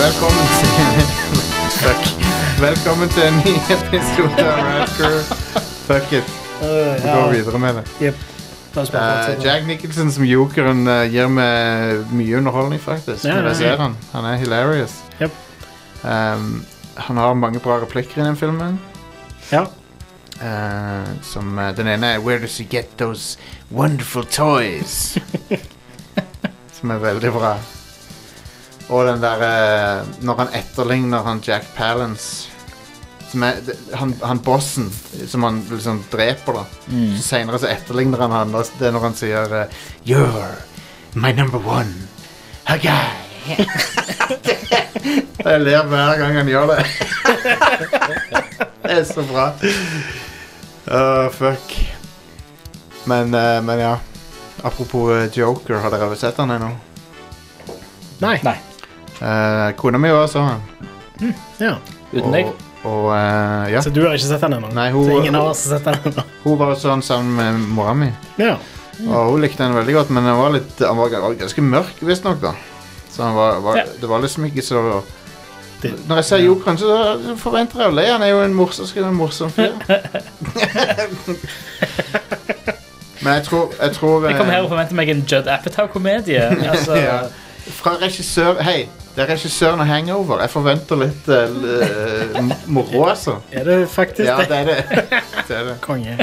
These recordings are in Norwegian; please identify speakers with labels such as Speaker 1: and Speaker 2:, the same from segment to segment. Speaker 1: Velkommen til Velkommen til en ny episode av Radcrew. Fuck it. Vi går videre med det.
Speaker 2: Jep. La oss
Speaker 1: Det
Speaker 2: bare
Speaker 1: er
Speaker 2: fortsette.
Speaker 1: Jack Nicholson som jokeren eh, gir meg mye underholdning, faktisk.
Speaker 2: Ja,
Speaker 1: Når
Speaker 2: ja,
Speaker 1: jeg ser
Speaker 2: ja.
Speaker 1: han. Han er hilarious.
Speaker 2: Jep.
Speaker 1: Um, han har mange bra replikker i den filmen.
Speaker 2: Ja.
Speaker 1: Eh, som eh, den ene er Where does you get those wonderful toys? som er veldig bra. Og den der eh, Når han etterligner han Jack Palance som er, d- han, han bossen som han liksom dreper, da. Mm. Seinere så etterligner han han. og Det er når han sier eh, You're my number one. A guy. Jeg ler hver gang han gjør det. Det er så bra. Åh, Eh, fuck. Men, eh, men ja. Apropos eh, Joker, har dere sett han ennå?
Speaker 2: Nei.
Speaker 3: Nei.
Speaker 1: Eh, kona mi også så han.
Speaker 2: Ja.
Speaker 3: Uten deg?
Speaker 1: Og, og eh, ja.
Speaker 2: Så du har ikke sett den ennå?
Speaker 1: Nei, hun-
Speaker 2: Så ingen av oss har sett den ennå?
Speaker 1: Hun var også han sammen med mora mi.
Speaker 2: Ja.
Speaker 3: Mm.
Speaker 1: Og hun likte han veldig godt, men han var, litt, han var g- var ganske mørk, visstnok. da. Så han var, var,
Speaker 3: Ja.
Speaker 1: det var liksom ikke så
Speaker 2: Det-
Speaker 1: Når jeg ser Jokeren, så så forventer jeg å le. Han er jo en morsom, skal være en morsom fyr. men jeg tror, jeg tror
Speaker 3: Jeg kom
Speaker 1: eh,
Speaker 3: her og forventet meg en Judd Apatow-komedie. Altså,
Speaker 1: Ja. Fra regissør Hei, det er regissøren av Hangover. Jeg forventer litt eh, l- eh, m- moro, altså.
Speaker 2: Er det faktisk
Speaker 1: Ja,
Speaker 2: det?
Speaker 1: det er det. det, er det.
Speaker 2: Konge.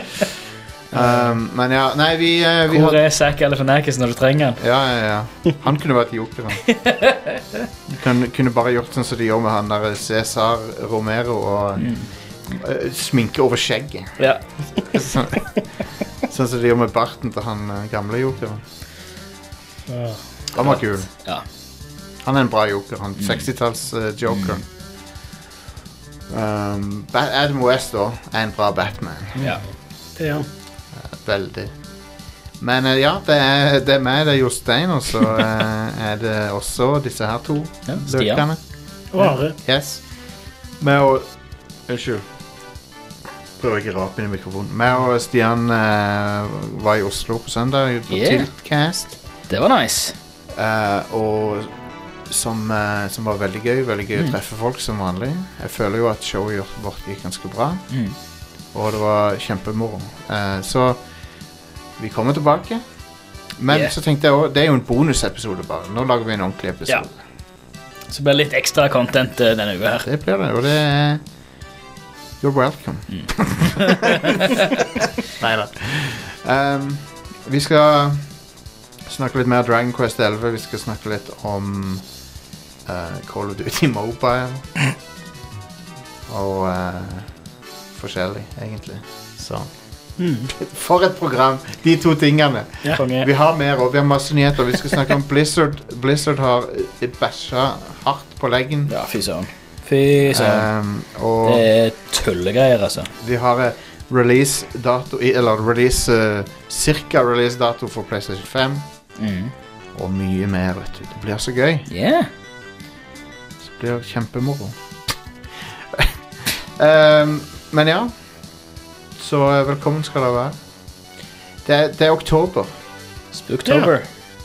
Speaker 1: Um, men ja, nei, vi, eh, vi
Speaker 3: Hvor
Speaker 1: har
Speaker 3: er Zac Galifianakis når du trenger han?
Speaker 1: ja, ja, ja. Han kunne vært jokeren. Du kan, kunne bare gjort sånn som de gjør med han der Cæsar Romero, og eh, sminke over skjegget.
Speaker 3: Ja.
Speaker 1: Sånn, sånn som de gjør med barten til han eh, gamle jokeren.
Speaker 2: Ja.
Speaker 1: Han var kul.
Speaker 3: Ja. Mm.
Speaker 1: Han er en bra joker. han 60-talls-jokeren.
Speaker 3: Mm.
Speaker 1: Um, Ba- Adam West da, er en bra Batman.
Speaker 3: ja.
Speaker 2: Det er han.
Speaker 1: Veldig. Men eh, ja, det er, det er meg, det er Jostein, og så eh, er det også disse her to
Speaker 3: Ja, Stian.
Speaker 1: løkene.
Speaker 2: Og Are.
Speaker 1: Yes. Med å Unnskyld. Prøver ikke å rape inn i mikrofonen. Meg og Stian eh, var i Oslo på søndag på
Speaker 3: Yeah.
Speaker 1: Tiltcast.
Speaker 3: Det var nice.
Speaker 1: Eh, og som, eh, som var veldig gøy. Veldig gøy å treffe folk som vanlig. Jeg føler jo at showet gjort- vårt gikk ganske bra,
Speaker 3: Mm.
Speaker 1: og det var kjempemoro. Eh, så vi kommer tilbake. Men
Speaker 3: Yeah.
Speaker 1: så tenkte jeg òg Det er jo en bonusepisode, bare. Nå lager vi en ordentlig episode.
Speaker 3: Så det blir litt ekstra content eh, denne uka her.
Speaker 1: Det blir det, og det er You're welcome. Nei da. Um, vi skal snakke litt mer Dragon Quest 11. Vi skal snakke litt om eh, Call of Duty Mobile. Og eh, forskjellig, egentlig. Så
Speaker 2: Mm.
Speaker 1: For et program! De to tingene.
Speaker 2: Ja.
Speaker 3: Konge.
Speaker 1: Vi har mer, og vi har masse nyheter. Vi skal snakke om Blizzard. Blizzard har eh, bæsja hardt på leggen.
Speaker 3: Ja, fy søren. Fy søren.
Speaker 1: Um, og
Speaker 3: det er tullegreier, altså.
Speaker 1: vi har eh, release-dato i- Eller release eh, cirka release-dato for PlayStation 5.
Speaker 3: Mm.
Speaker 1: Og mye mer, vet du. Det blir så gøy.
Speaker 3: Yeah.
Speaker 1: Det blir kjempemoro. um, men ja. Så eh, velkommen skal dere være. Det er, det er oktober.
Speaker 3: Spooktober.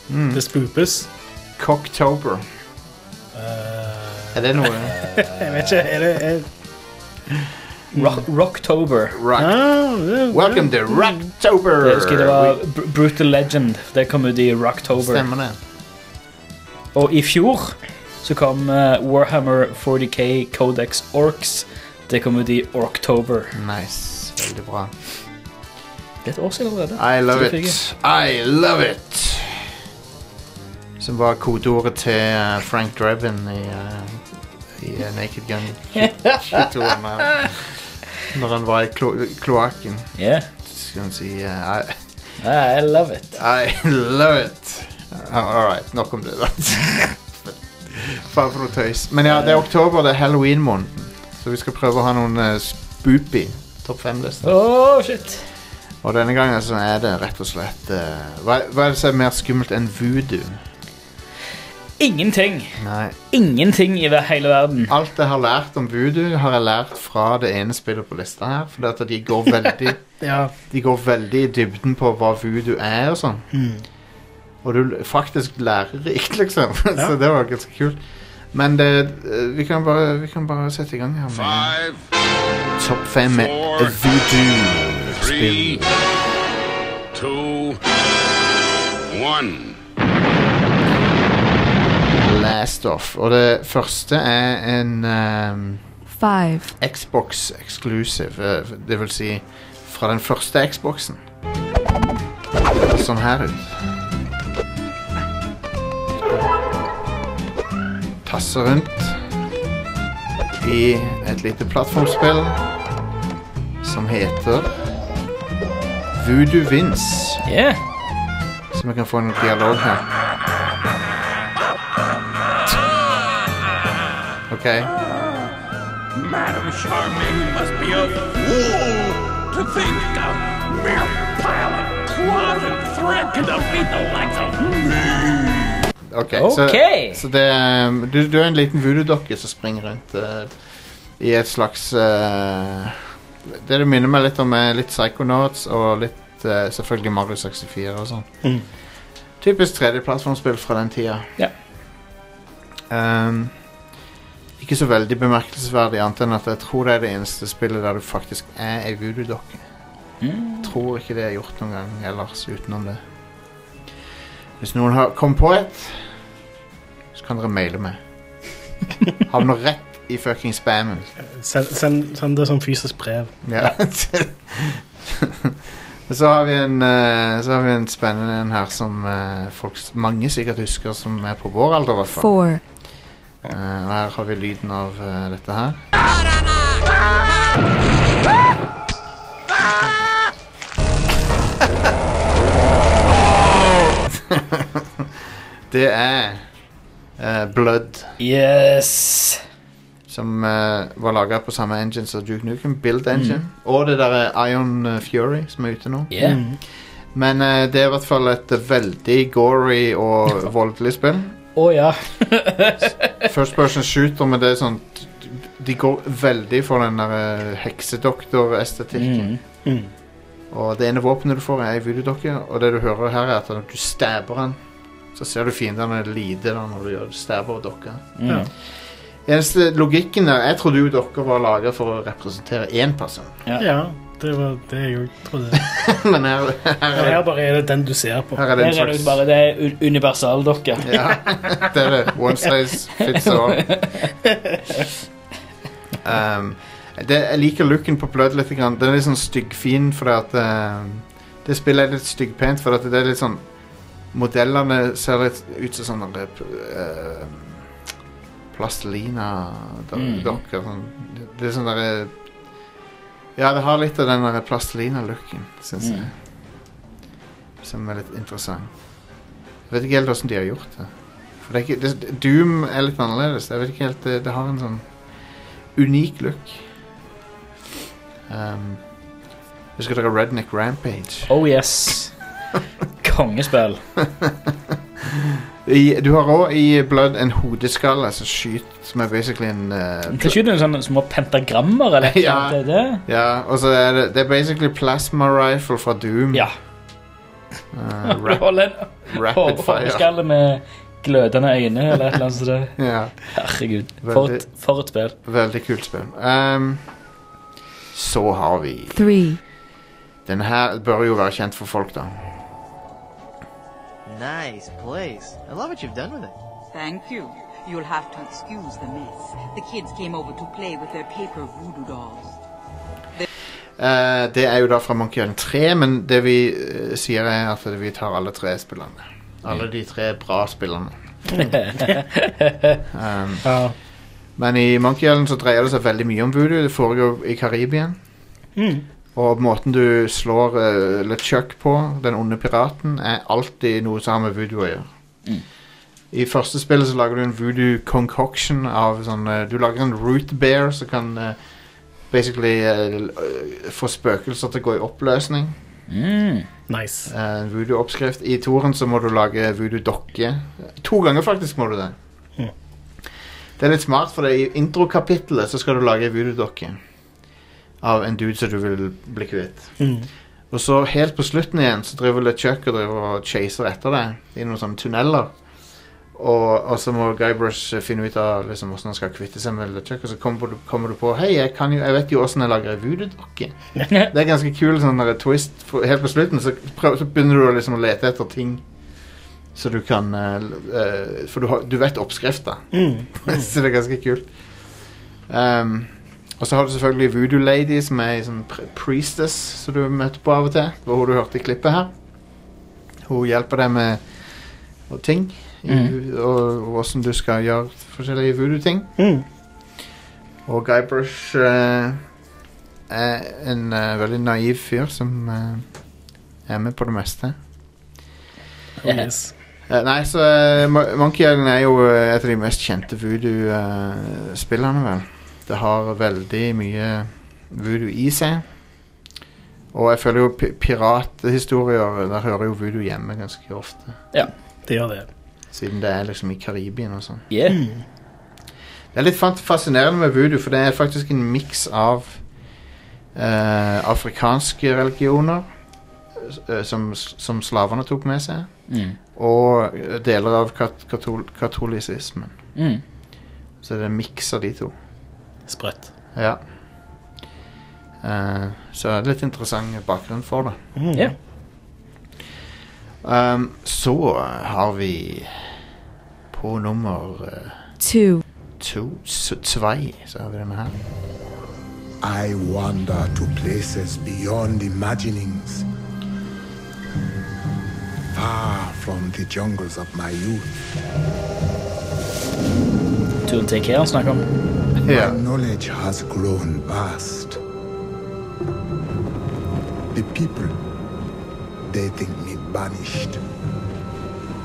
Speaker 1: Mm.
Speaker 2: Det spoopes.
Speaker 1: Cocktober. Eh,
Speaker 2: Eh,
Speaker 1: Er det noe?
Speaker 2: jeg vet ikke, er det er...
Speaker 3: Rock Rocktober.
Speaker 1: Rock.
Speaker 2: Ah, det-
Speaker 1: Welcome to Rocktober!
Speaker 3: Mm. Jeg husker det var Br Brutal Legend. Det kom ut i Rocktober.
Speaker 1: Stemmer det.
Speaker 3: Og i fjor så kom eh, Warhammer 40K Codex Orcs. Det kom ut i Orktober.
Speaker 1: Nice. Veldig bra.
Speaker 3: Det er et år siden allerede.
Speaker 1: I
Speaker 3: Så
Speaker 1: love
Speaker 3: det fikk
Speaker 1: it. I love it. Som var kodeordet til eh, Frank Drebin i, eh, i eh, Naked Gun. Shit-ordet med- Når han var i klo kloakken.
Speaker 3: Yeah.
Speaker 1: Skal han si eh, I,
Speaker 3: I love it.
Speaker 1: I love it. All right, nok om det, da. Faen for noe tøys. Men ja, det er oktober, det er halloween-måneden. Så vi skal prøve å ha noen eh, spoopy topp fem-lister.
Speaker 3: Oh, shit.
Speaker 1: Og denne gangen så er det rett og slett eh, hva, hva er det som er mer skummelt enn voodoo?
Speaker 3: Ingenting.
Speaker 1: Nei.
Speaker 3: Ingenting i ver- hele verden.
Speaker 1: Alt jeg har lært om voodoo, har jeg lært fra det ene spillet på lista her. For at de går veldig
Speaker 2: Ja.
Speaker 1: De går veldig i dybden på hva voodoo er og sånn. Og du l- faktisk lærer riktig, liksom.
Speaker 2: Ja.
Speaker 1: så det var ganske kult. Men det, eh, vi, kan bare, vi kan bare sette i gang her med
Speaker 4: Five,
Speaker 1: topp fem
Speaker 4: four, three,
Speaker 1: voodoo-spill.
Speaker 4: two, one.
Speaker 1: Last off. Og det første er en ehm,
Speaker 5: five,
Speaker 1: Xbox exclusive, eh, det vil si fra den første Xboxen. Sånn her ut. Tasse rundt i et lite plattformspill som heter Voodoo Vince.
Speaker 3: Yeah.
Speaker 1: Så vi kan få en dialog her. OK.
Speaker 6: Madame Charming must be a fool to think a mere pile of closet threat can defeat the likes of me.
Speaker 1: ok,
Speaker 3: Ok.
Speaker 1: Så, så det er, um, du, du er en liten voodoo-dokke som springer rundt eh, i et slags eh, Det det minner meg litt om, er litt Psychonauts og litt eh, selvfølgelig Mario 64 og sånn.
Speaker 2: Mm.
Speaker 1: Typisk tredjeplattformspill fra den tida.
Speaker 3: Ja.
Speaker 1: Um, ikke så veldig bemerkelsesverdig, annet enn at jeg tror det er det eneste spillet der du faktisk er ei voodoo-dokke.
Speaker 3: Mm.
Speaker 1: Tror ikke det er gjort noen gang ellers utenom det. Hvis noen har kom på et, så kan dere maile meg. Havner rett i fucking spammen.
Speaker 2: Send, send, send det som fysisk brev.
Speaker 1: Ja. så, har vi en, eh, så har vi en spennende en her som eh, folk, s- mange sikkert husker, som er på vår alder, i hvert fall.
Speaker 5: four,
Speaker 1: Eh, og her har vi lyden av eh, dette her. Det er eh, Blood,
Speaker 3: Yes.
Speaker 1: som eh, var laga på samme engine som Duke Nukem. Build Engine. Og det derre Ion eh, Fury, som er ute nå.
Speaker 3: Yeah.
Speaker 2: Mm.
Speaker 1: Men eh, det er i hvert fall et veldig gory og voldelig spill.
Speaker 3: Å ja.
Speaker 1: First person shooter, men det er sånn De går veldig for den der eh, heksedoktor-estetikken.
Speaker 3: Mm.
Speaker 2: Mm.
Speaker 1: Og det ene våpenet du får, er ei voodoo-dokke, og det du hører her, er at når du stabber den, så ser du fiendene lide da når du gjør- stabber dokka.
Speaker 3: Mm.
Speaker 1: Eneste logikken der Jeg trodde jo dokker var laga for å representere én person,
Speaker 2: Ja, det var det jeg jo trodde.
Speaker 1: men her, her,
Speaker 2: Og
Speaker 1: er,
Speaker 2: her bare er det den du ser på.
Speaker 1: her er det
Speaker 3: Der
Speaker 1: en
Speaker 3: er det jo
Speaker 1: slags
Speaker 3: bare det un- universaldokke.
Speaker 1: Ja, det er det. One size fits all. Um, det, jeg liker looken på Blood litt. Grann. Den er litt sånn styggfin fordi at um, Det spillet er litt styggpent fordi at det er litt sånn Modellene ser litt ut som sånn, eh, sånne der, uh,
Speaker 3: Mm.
Speaker 1: plastelina-dokker. Sånn. Det, det er sånn derre Ja, det har litt av den der plastelina-looken, syns jeg.
Speaker 3: Mm.
Speaker 1: Som er litt interessant. Jeg vet ikke helt åssen de har gjort det. For det er ikke, det, Doom er litt annerledes. Jeg vet ikke helt, Det, det har en sånn unik look. Um, husker dere Redneck Rampage?
Speaker 3: Oh yes. Kongespill.
Speaker 1: I, du har òg i Blood en hodeskalle som skyter, som er basically en eh,
Speaker 3: Det er ikke noen sånne små pentagrammer eller noe
Speaker 1: Ja.
Speaker 3: sånt? er det?
Speaker 1: Ja, og så er det, det er basically plasma rifle fra Doom.
Speaker 3: Ja.
Speaker 1: Eh,
Speaker 3: Du
Speaker 1: Mm. rap,
Speaker 3: holder en
Speaker 1: rapid fire.
Speaker 3: hodeskalle med glødende øyne eller et eller annet sånt. der.
Speaker 1: Ja,
Speaker 3: Herregud. For et, for et spill.
Speaker 1: veldig kult spill. Um, så har vi
Speaker 5: three,
Speaker 1: Den her bør jo være kjent for folk, da.
Speaker 7: Nice place. I love what you've done with it.
Speaker 8: Thank you. You'll have to excuse the mess. The kids came over to play with their paper voodoo dolls.
Speaker 1: Eh, det er jo da fra Monkey Island 3, men det vi eh, sier, er at vi tar alle tre spillene. Alle de tre bra spillene. Mm. um,
Speaker 2: Ja.
Speaker 1: men i Monkey Island så dreier det seg veldig mye om voodoo. Det foregår i Karibien.
Speaker 2: Mm.
Speaker 1: Og måten du slår uh, LeChuck på, den onde piraten, er alltid noe som har med voodoo å gjøre. I første spillet så lager du en voodoo concoction av sånn eh, Du lager en root bear som kan eh, basically eh, l- eh, få spøkelser til å gå i oppløsning.
Speaker 3: Mm.
Speaker 2: Nice.
Speaker 1: Eh, En voodoo-oppskrift. I toren så må du lage voodoo-dokke. To ganger faktisk må du det.
Speaker 2: Mhm.
Speaker 1: Det er litt smart, for i introkapittelet så skal du lage en voodoo-dokke av en dude som du vil bli kvitt.
Speaker 2: Mm.
Speaker 1: Og så helt på slutten igjen så driver LeChuck og driver og chaser etter deg i noen sånne tunneler. Og, og så må Guybrush eh, finne ut av liksom, hvordan han skal kvitte seg med Nunchuck. Og så kommer du, kommer du på Hei, jeg, kan jo, jeg vet jo åssen jeg lager ei voodoo-dokke. Det er ganske kul sånn der twist. For, helt på slutten så, prøv, så begynner du å liksom å lete etter ting så du kan eh, l- eh, For du, har, du vet oppskrifta.
Speaker 2: Mm.
Speaker 1: så det er ganske kult. Ehm, og så har du selvfølgelig Voodoo Lady, som er ei sånn pr- priestess som du møter på av og til. Det var hun du hørte i klippet her. Hun hjelper deg med og ting. i-
Speaker 3: Mhm.
Speaker 1: Og åssen du skal gjøre forskjellige voodoo-ting.
Speaker 2: Mm.
Speaker 1: Og Guybrush eh, er en eh, veldig naiv fyr som eh, er med på det meste.
Speaker 2: Oh, yes.
Speaker 1: Eh, nei, så eh, Mo- Monkey Island er jo eh, et av de mest kjente voodoo-spillene, vel. Det har veldig mye voodoo i seg. Og jeg føler jo pi- pirathistorier Der hører jo voodoo hjemme ganske ofte.
Speaker 2: Det gjør det.
Speaker 1: Siden det er liksom i Karibien og sånn.
Speaker 3: Yeah.
Speaker 1: Det er litt fant- fascinerende med voodoo, for det er faktisk en miks av eh, afrikanske religioner eh, som, som slavene tok med seg,
Speaker 3: Mm.
Speaker 1: og eh, deler av kat katol katolisismen.
Speaker 3: Mm.
Speaker 1: Så det er en miks av de to.
Speaker 2: Sprøtt.
Speaker 1: Ja. Eh, så det er litt interessant bakgrunn for det.
Speaker 2: Mm.
Speaker 3: Ja.
Speaker 1: Um, så har vi på nummer eh,
Speaker 5: two,
Speaker 1: to, s- tvei, så har vi denne her.
Speaker 9: I wander to places beyond imaginings, far from the jungles of my youth.
Speaker 3: Turen til IKEA han snakker om.
Speaker 1: Ja.
Speaker 9: My knowledge has grown vast. The people, they think me banished,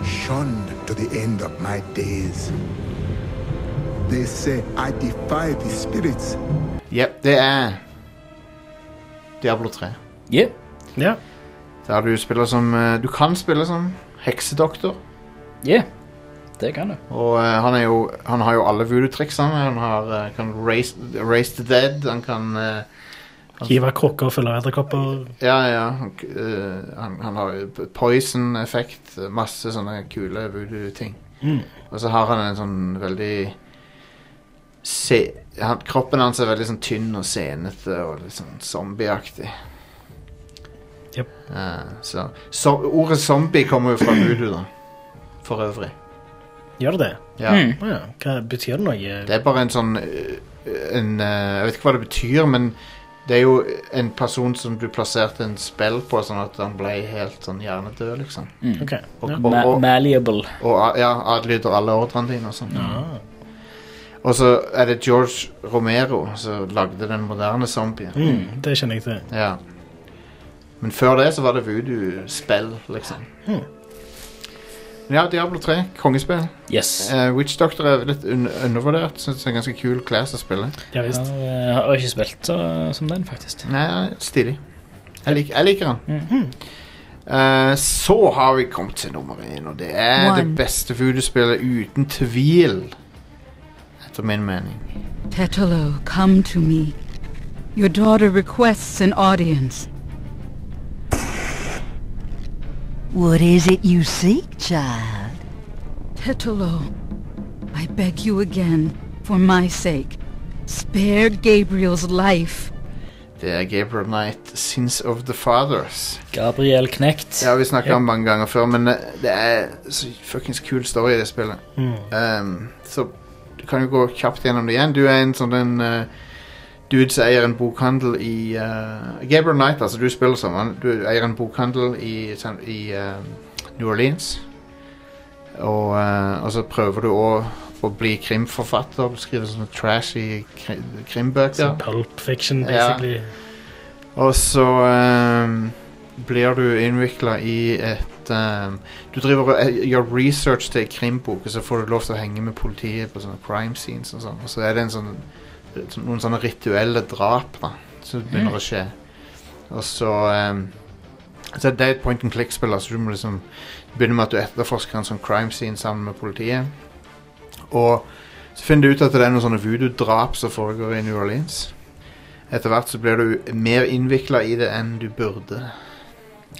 Speaker 9: shunned to the end of my days. They say I defy the spirits
Speaker 1: Jep, det er Diablo 3.
Speaker 3: Yeah.
Speaker 2: ja.
Speaker 1: Der du spiller som eh, Du kan spille som heksedoktor.
Speaker 3: Yeah. Det kan du.
Speaker 1: Og eh, han, er jo, han har jo alle voodoo-triksene. Han har, eh, kan raise, raise the dead. Han kan eh,
Speaker 2: Hive krukker og fylle edderkopper.
Speaker 1: Ja, ja. Han, k- eh, han, han har jo poison-effekt. Masse sånne kule voodoo-ting. Og så har han en sånn veldig se, han, Kroppen hans er veldig sånn tynn og senete og litt sånn zombieaktig.
Speaker 2: Jep.
Speaker 1: Eh, så, så ordet zombie kommer jo fra voodoo, da. For øvrig.
Speaker 2: Gjør det det?
Speaker 1: Ja.
Speaker 3: Mm.
Speaker 2: Å ja. Hva betyr det noe?
Speaker 1: Det er bare en sånn øh, en, øh, Jeg vet ikke hva det betyr, men det er jo en person som du plasserte en spill på, sånn at han ble helt sånn hjernedød, liksom.
Speaker 2: Ok.
Speaker 1: Og,
Speaker 2: Ja.
Speaker 1: og,
Speaker 3: Ma
Speaker 1: og,
Speaker 3: malleable.
Speaker 1: og a- ja, adlyder alle ordrene dine og sånn.
Speaker 2: Ah.
Speaker 1: Og så er det George Romero som lagde den moderne zombien.
Speaker 2: Mm, det kjenner jeg til.
Speaker 1: Ja. Men før det så var det voodoo-spill, liksom. Ja, Diablo 3, kongespill.
Speaker 3: Yes.
Speaker 1: Eh, Witch Doctor er litt un undervurdert. Syns det er en ganske kul class å spille.
Speaker 2: Ja
Speaker 3: Jeg
Speaker 2: visst.
Speaker 3: har, eh, har ikke spilt så, som den, faktisk.
Speaker 1: Nei, stilig. Jeg, lik, jeg liker han. Eh, så har vi kommet til nummer én, og det er
Speaker 5: One.
Speaker 1: det beste voodoo-spillet uten tvil. Etter min mening.
Speaker 8: Tetolo, come to me. Your daughter requests an audience.
Speaker 10: What is it you seek, child?
Speaker 8: Tetolo, I beg you again, for my sake, spare Gabriel's life.
Speaker 1: Det er Gabriel Knight, 'Sins of the Fathers'.
Speaker 3: Gabriel Knekt.
Speaker 1: Ja, Vi snakka om mange ganger før, men eh, det er så fuckings kul story i det spillet.
Speaker 2: Mm.
Speaker 1: Ehm, så du kan jo gå kjapt gjennom det igjen. Du er en sånn en eh, dude som eier en bokhandel i eh, Gabriel Knight, altså du spiller som han. Du eier en bokhandel i, San- i eh, New Orleans. Og, eh, og så prøver du å, å bli krimforfatter. Du skriver sånne trashy kri- krimbøker.
Speaker 2: Så Pulp fiction,
Speaker 1: Ja.
Speaker 2: basically.
Speaker 1: Og så ehm, blir du innvikla i et ehm, Du driver og eh, gjør research til en krimbok, og så får du lov til å henge med politiet på sånne crime scenes og sånn. Og så er det en sånn, sånn- noen sånne rituelle drap da som begynner å skje. Og så ehm, så Det er et point and click-spill, så du må liksom begynne med at du etterforsker en sånn crime scene sammen med politiet. Og så finner du ut at det er noen sånne voodoo-drap som foregår i New Orleans. Etter hvert så blir du mer innvikla i det enn du burde.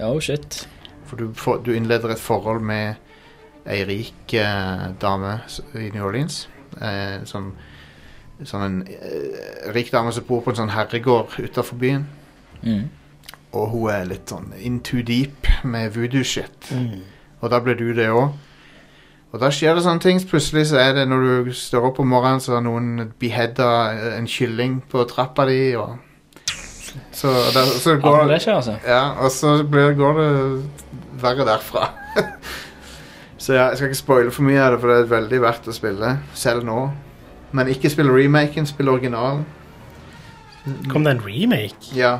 Speaker 3: Oh, shit.
Speaker 1: For du, får, du innleder et forhold med ei rik eh, dame s- i New Orleans. Eh, som, sånn en eh, rik dame som bor på en sånn herregård utafor byen.
Speaker 3: Mm.
Speaker 1: Og hun er litt sånn in too deep med voodoo-shit.
Speaker 2: Mm.
Speaker 1: Og da blir du det òg. Og da skjer det sånne ting. Plutselig så er det når du står opp om morgenen, så har noen beheada en kylling på trappa di, og Så, da, så
Speaker 3: Ja, men
Speaker 1: går
Speaker 3: det skjer, altså.
Speaker 1: ja, og så blir, går det verre derfra. så ja, jeg skal ikke spoile for mye av det, for det er veldig verdt å spille. Selv nå. Men ikke spill remaken, spill originalen.
Speaker 2: Kom det en remake?
Speaker 1: Ja,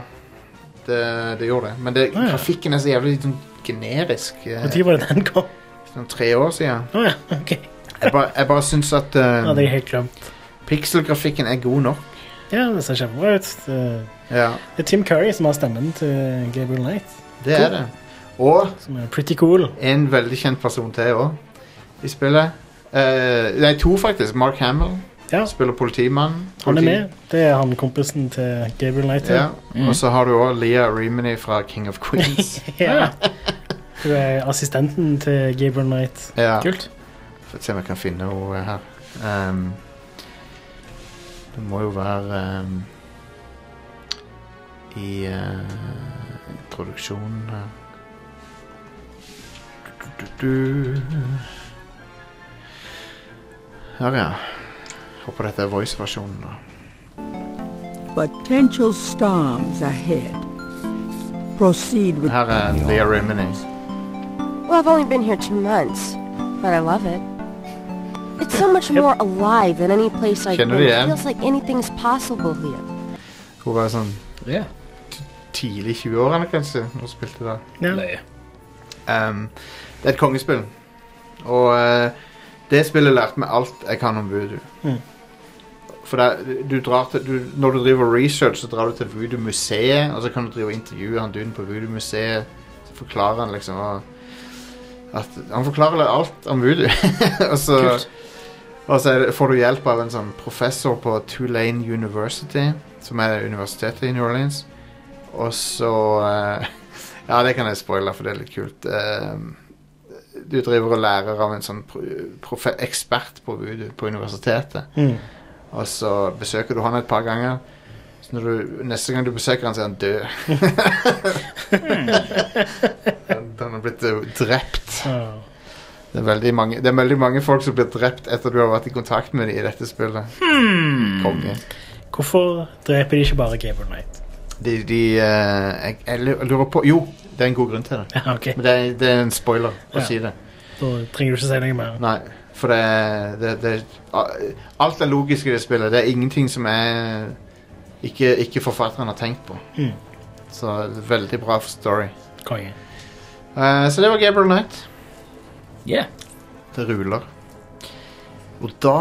Speaker 1: det, det gjorde det. Men det,
Speaker 2: Ah, ja.
Speaker 1: grafikken er så jævlig sånn generisk. eh,
Speaker 2: Når var det den kom?
Speaker 1: Sånn tre år siden.
Speaker 2: Å ja, ok.
Speaker 1: Jeg bare, jeg bare syns at eh,
Speaker 2: Ja, det er jeg helt glemt.
Speaker 1: pikselgrafikken er god nok.
Speaker 2: Ja, det ser kjempebra ut. Det-
Speaker 1: Ja,
Speaker 2: Det er Tim Curry som har stemmen til Gabriel Knight,
Speaker 1: det er det. Og
Speaker 2: som er pretty cool.
Speaker 1: en veldig kjent person til òg i spillet. Eh, nei, to faktisk. Mark Hamill
Speaker 2: Ja.
Speaker 1: spiller politimannen.
Speaker 2: Han er
Speaker 1: Politi-
Speaker 2: med. Det er han kompisen til Gabriel Knight.
Speaker 1: Ja.
Speaker 3: Mm.
Speaker 1: Og så har du òg Leah Remini fra King of Queens.
Speaker 2: Ja. Hun er assistenten til Gabriel Knight.
Speaker 1: ja.
Speaker 3: Kult.
Speaker 1: Får se om jeg kan finne henne her. Ehm, det må jo være ehm, i eh, introduksjonen her. Du, du, du, du. Her, ja. Håper dette er voice-versjonen. da.
Speaker 5: Potential storms ahead. Proceed with.
Speaker 1: Her er Leah Remini.
Speaker 5: Well, I've only been here two months, but I love it. It's so much more alive than any place I've
Speaker 1: Kjenner du
Speaker 5: been. It
Speaker 1: igjen?
Speaker 5: feels like anything's possible here.
Speaker 1: Hun var sånn
Speaker 3: Ja.
Speaker 1: tidlig i 20-årene, kanskje, hun spilte det.
Speaker 2: Ja.
Speaker 3: Løye.
Speaker 1: Ehm, det er et kongespill. Og eh, det spillet lærte meg alt jeg kan om voodoo.
Speaker 2: Mhm.
Speaker 1: For det, du drar til, du, når du driver og research, så drar du til voodoo-museet, og så kan du drive og intervjue han duden på voodoo-museet. Så forklarer han liksom hva- at, Han forklarer alt om voodoo. og så,
Speaker 3: Kult.
Speaker 1: og så er det, får du hjelp av en sånn professor på Tulane University, som er universitetet i New Orleans. Og så eh, Ja, det kan jeg spoile, for det er litt kult. Eh, du driver og lærer av en sånn pro profe- ekspert på, voodoo på universitetet.
Speaker 2: Mm.
Speaker 1: Og så besøker du han et par ganger. Så når du, neste gang du besøker han, så er han død. han, han er blitt eh, drept.
Speaker 2: Ja.
Speaker 1: Det er, veldig mange, det er veldig mange folk som blir drept etter du har vært i kontakt med dem i dette spillet.
Speaker 3: Hmm.
Speaker 1: Konge.
Speaker 2: Hvorfor dreper de ikke bare Gabriel Knight?
Speaker 1: De, de eh, jeg, jeg lurer på Jo, det er en god grunn til det.
Speaker 2: Ja, ok.
Speaker 1: Men det er, det er en spoiler å
Speaker 2: Ja.
Speaker 1: si det.
Speaker 2: Da trenger du ikke si noe mer.
Speaker 1: Nei, for det, det, det a- Alt er logisk i det spillet. Det er ingenting som er ikke, ikke forfatteren har tenkt på.
Speaker 2: Mm.
Speaker 1: Så veldig bra for story.
Speaker 2: Konge.
Speaker 1: Eh, så det var Gabriel Knight.
Speaker 3: Ja.
Speaker 1: Det ruler. Og da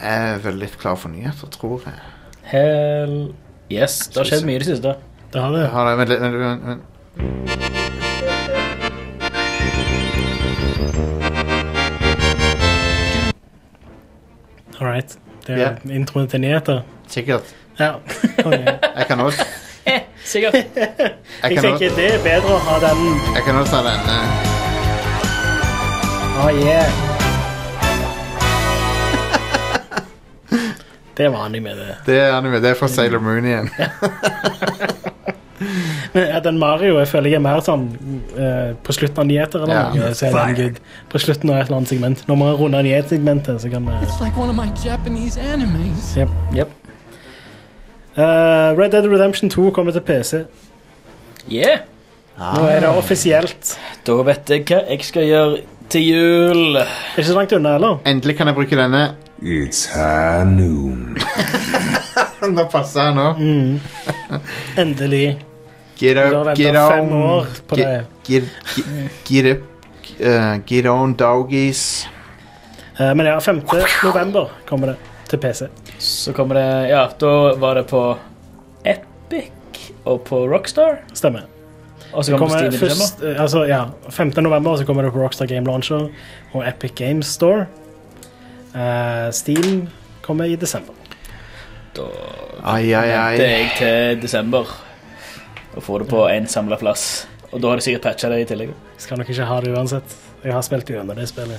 Speaker 1: er jeg vel litt klar for nyheter, tror jeg.
Speaker 3: Hell Yes, det har skjedd mye i det siste.
Speaker 2: Det har det.
Speaker 1: Jeg har det, vent litt, vent, vent, vent.
Speaker 2: All right. Det er
Speaker 1: Ja.
Speaker 2: introen til nyheter.
Speaker 1: Sikkert.
Speaker 2: Ja. Konge.
Speaker 1: Jeg kan også
Speaker 3: Sikkert.
Speaker 1: Jeg
Speaker 2: Jeg
Speaker 1: kan også,
Speaker 2: tenker det er bedre å ha den
Speaker 1: jeg kan også ta denne.
Speaker 3: Oh, yeah.
Speaker 2: Det er vanlig med det.
Speaker 1: Det er anime. Det er fra Sailor Moon igjen.
Speaker 2: Men at den Mario jeg føler jeg er mer sånn eh, på slutten av nyheter eller
Speaker 1: Ja.
Speaker 2: noe. Så er den good. På slutten av et eller annet segment. Når vi har rundet nyhetssegmentet, så kan vi
Speaker 6: like one of my Japanese animes.
Speaker 3: Yep.
Speaker 2: Eh, Red Dead Redemption 2 kommer til PC.
Speaker 3: Yeah.
Speaker 2: Nå er
Speaker 1: Ah.
Speaker 2: det offisielt.
Speaker 3: Da vet jeg hva jeg skal gjøre til jul.
Speaker 2: Det er ikke så langt unna, heller.
Speaker 1: Endelig kan jeg bruke denne.
Speaker 4: It's high noon.
Speaker 1: Nå passer jeg nå.
Speaker 2: Endelig.
Speaker 1: Get
Speaker 2: Du har
Speaker 1: up, get
Speaker 2: ventet fem
Speaker 1: on.
Speaker 2: år på det.
Speaker 1: Get, get, get up. eh, get on, doggies.
Speaker 2: Eh, men ja, 5. november kommer det til PC.
Speaker 3: Så kommer det Ja, da var det på Epic og på Rockstar.
Speaker 2: Stemmer.
Speaker 3: Og så
Speaker 2: Det
Speaker 3: kommer
Speaker 2: kommer
Speaker 3: det på Steam i desember.
Speaker 2: først, eh, altså, ja, 15. november så kommer det på Rockstar Game Launcher og Epic Games Store. Eh, Steam kommer i desember.
Speaker 3: Da
Speaker 1: Ai, ai, ai.
Speaker 3: venter jeg til desember og får det på en samla plass. Og da har de sikkert patcha det i tillegg.
Speaker 2: Skal nok ikke ha det uansett. Jeg har spilt gjennom det spillet.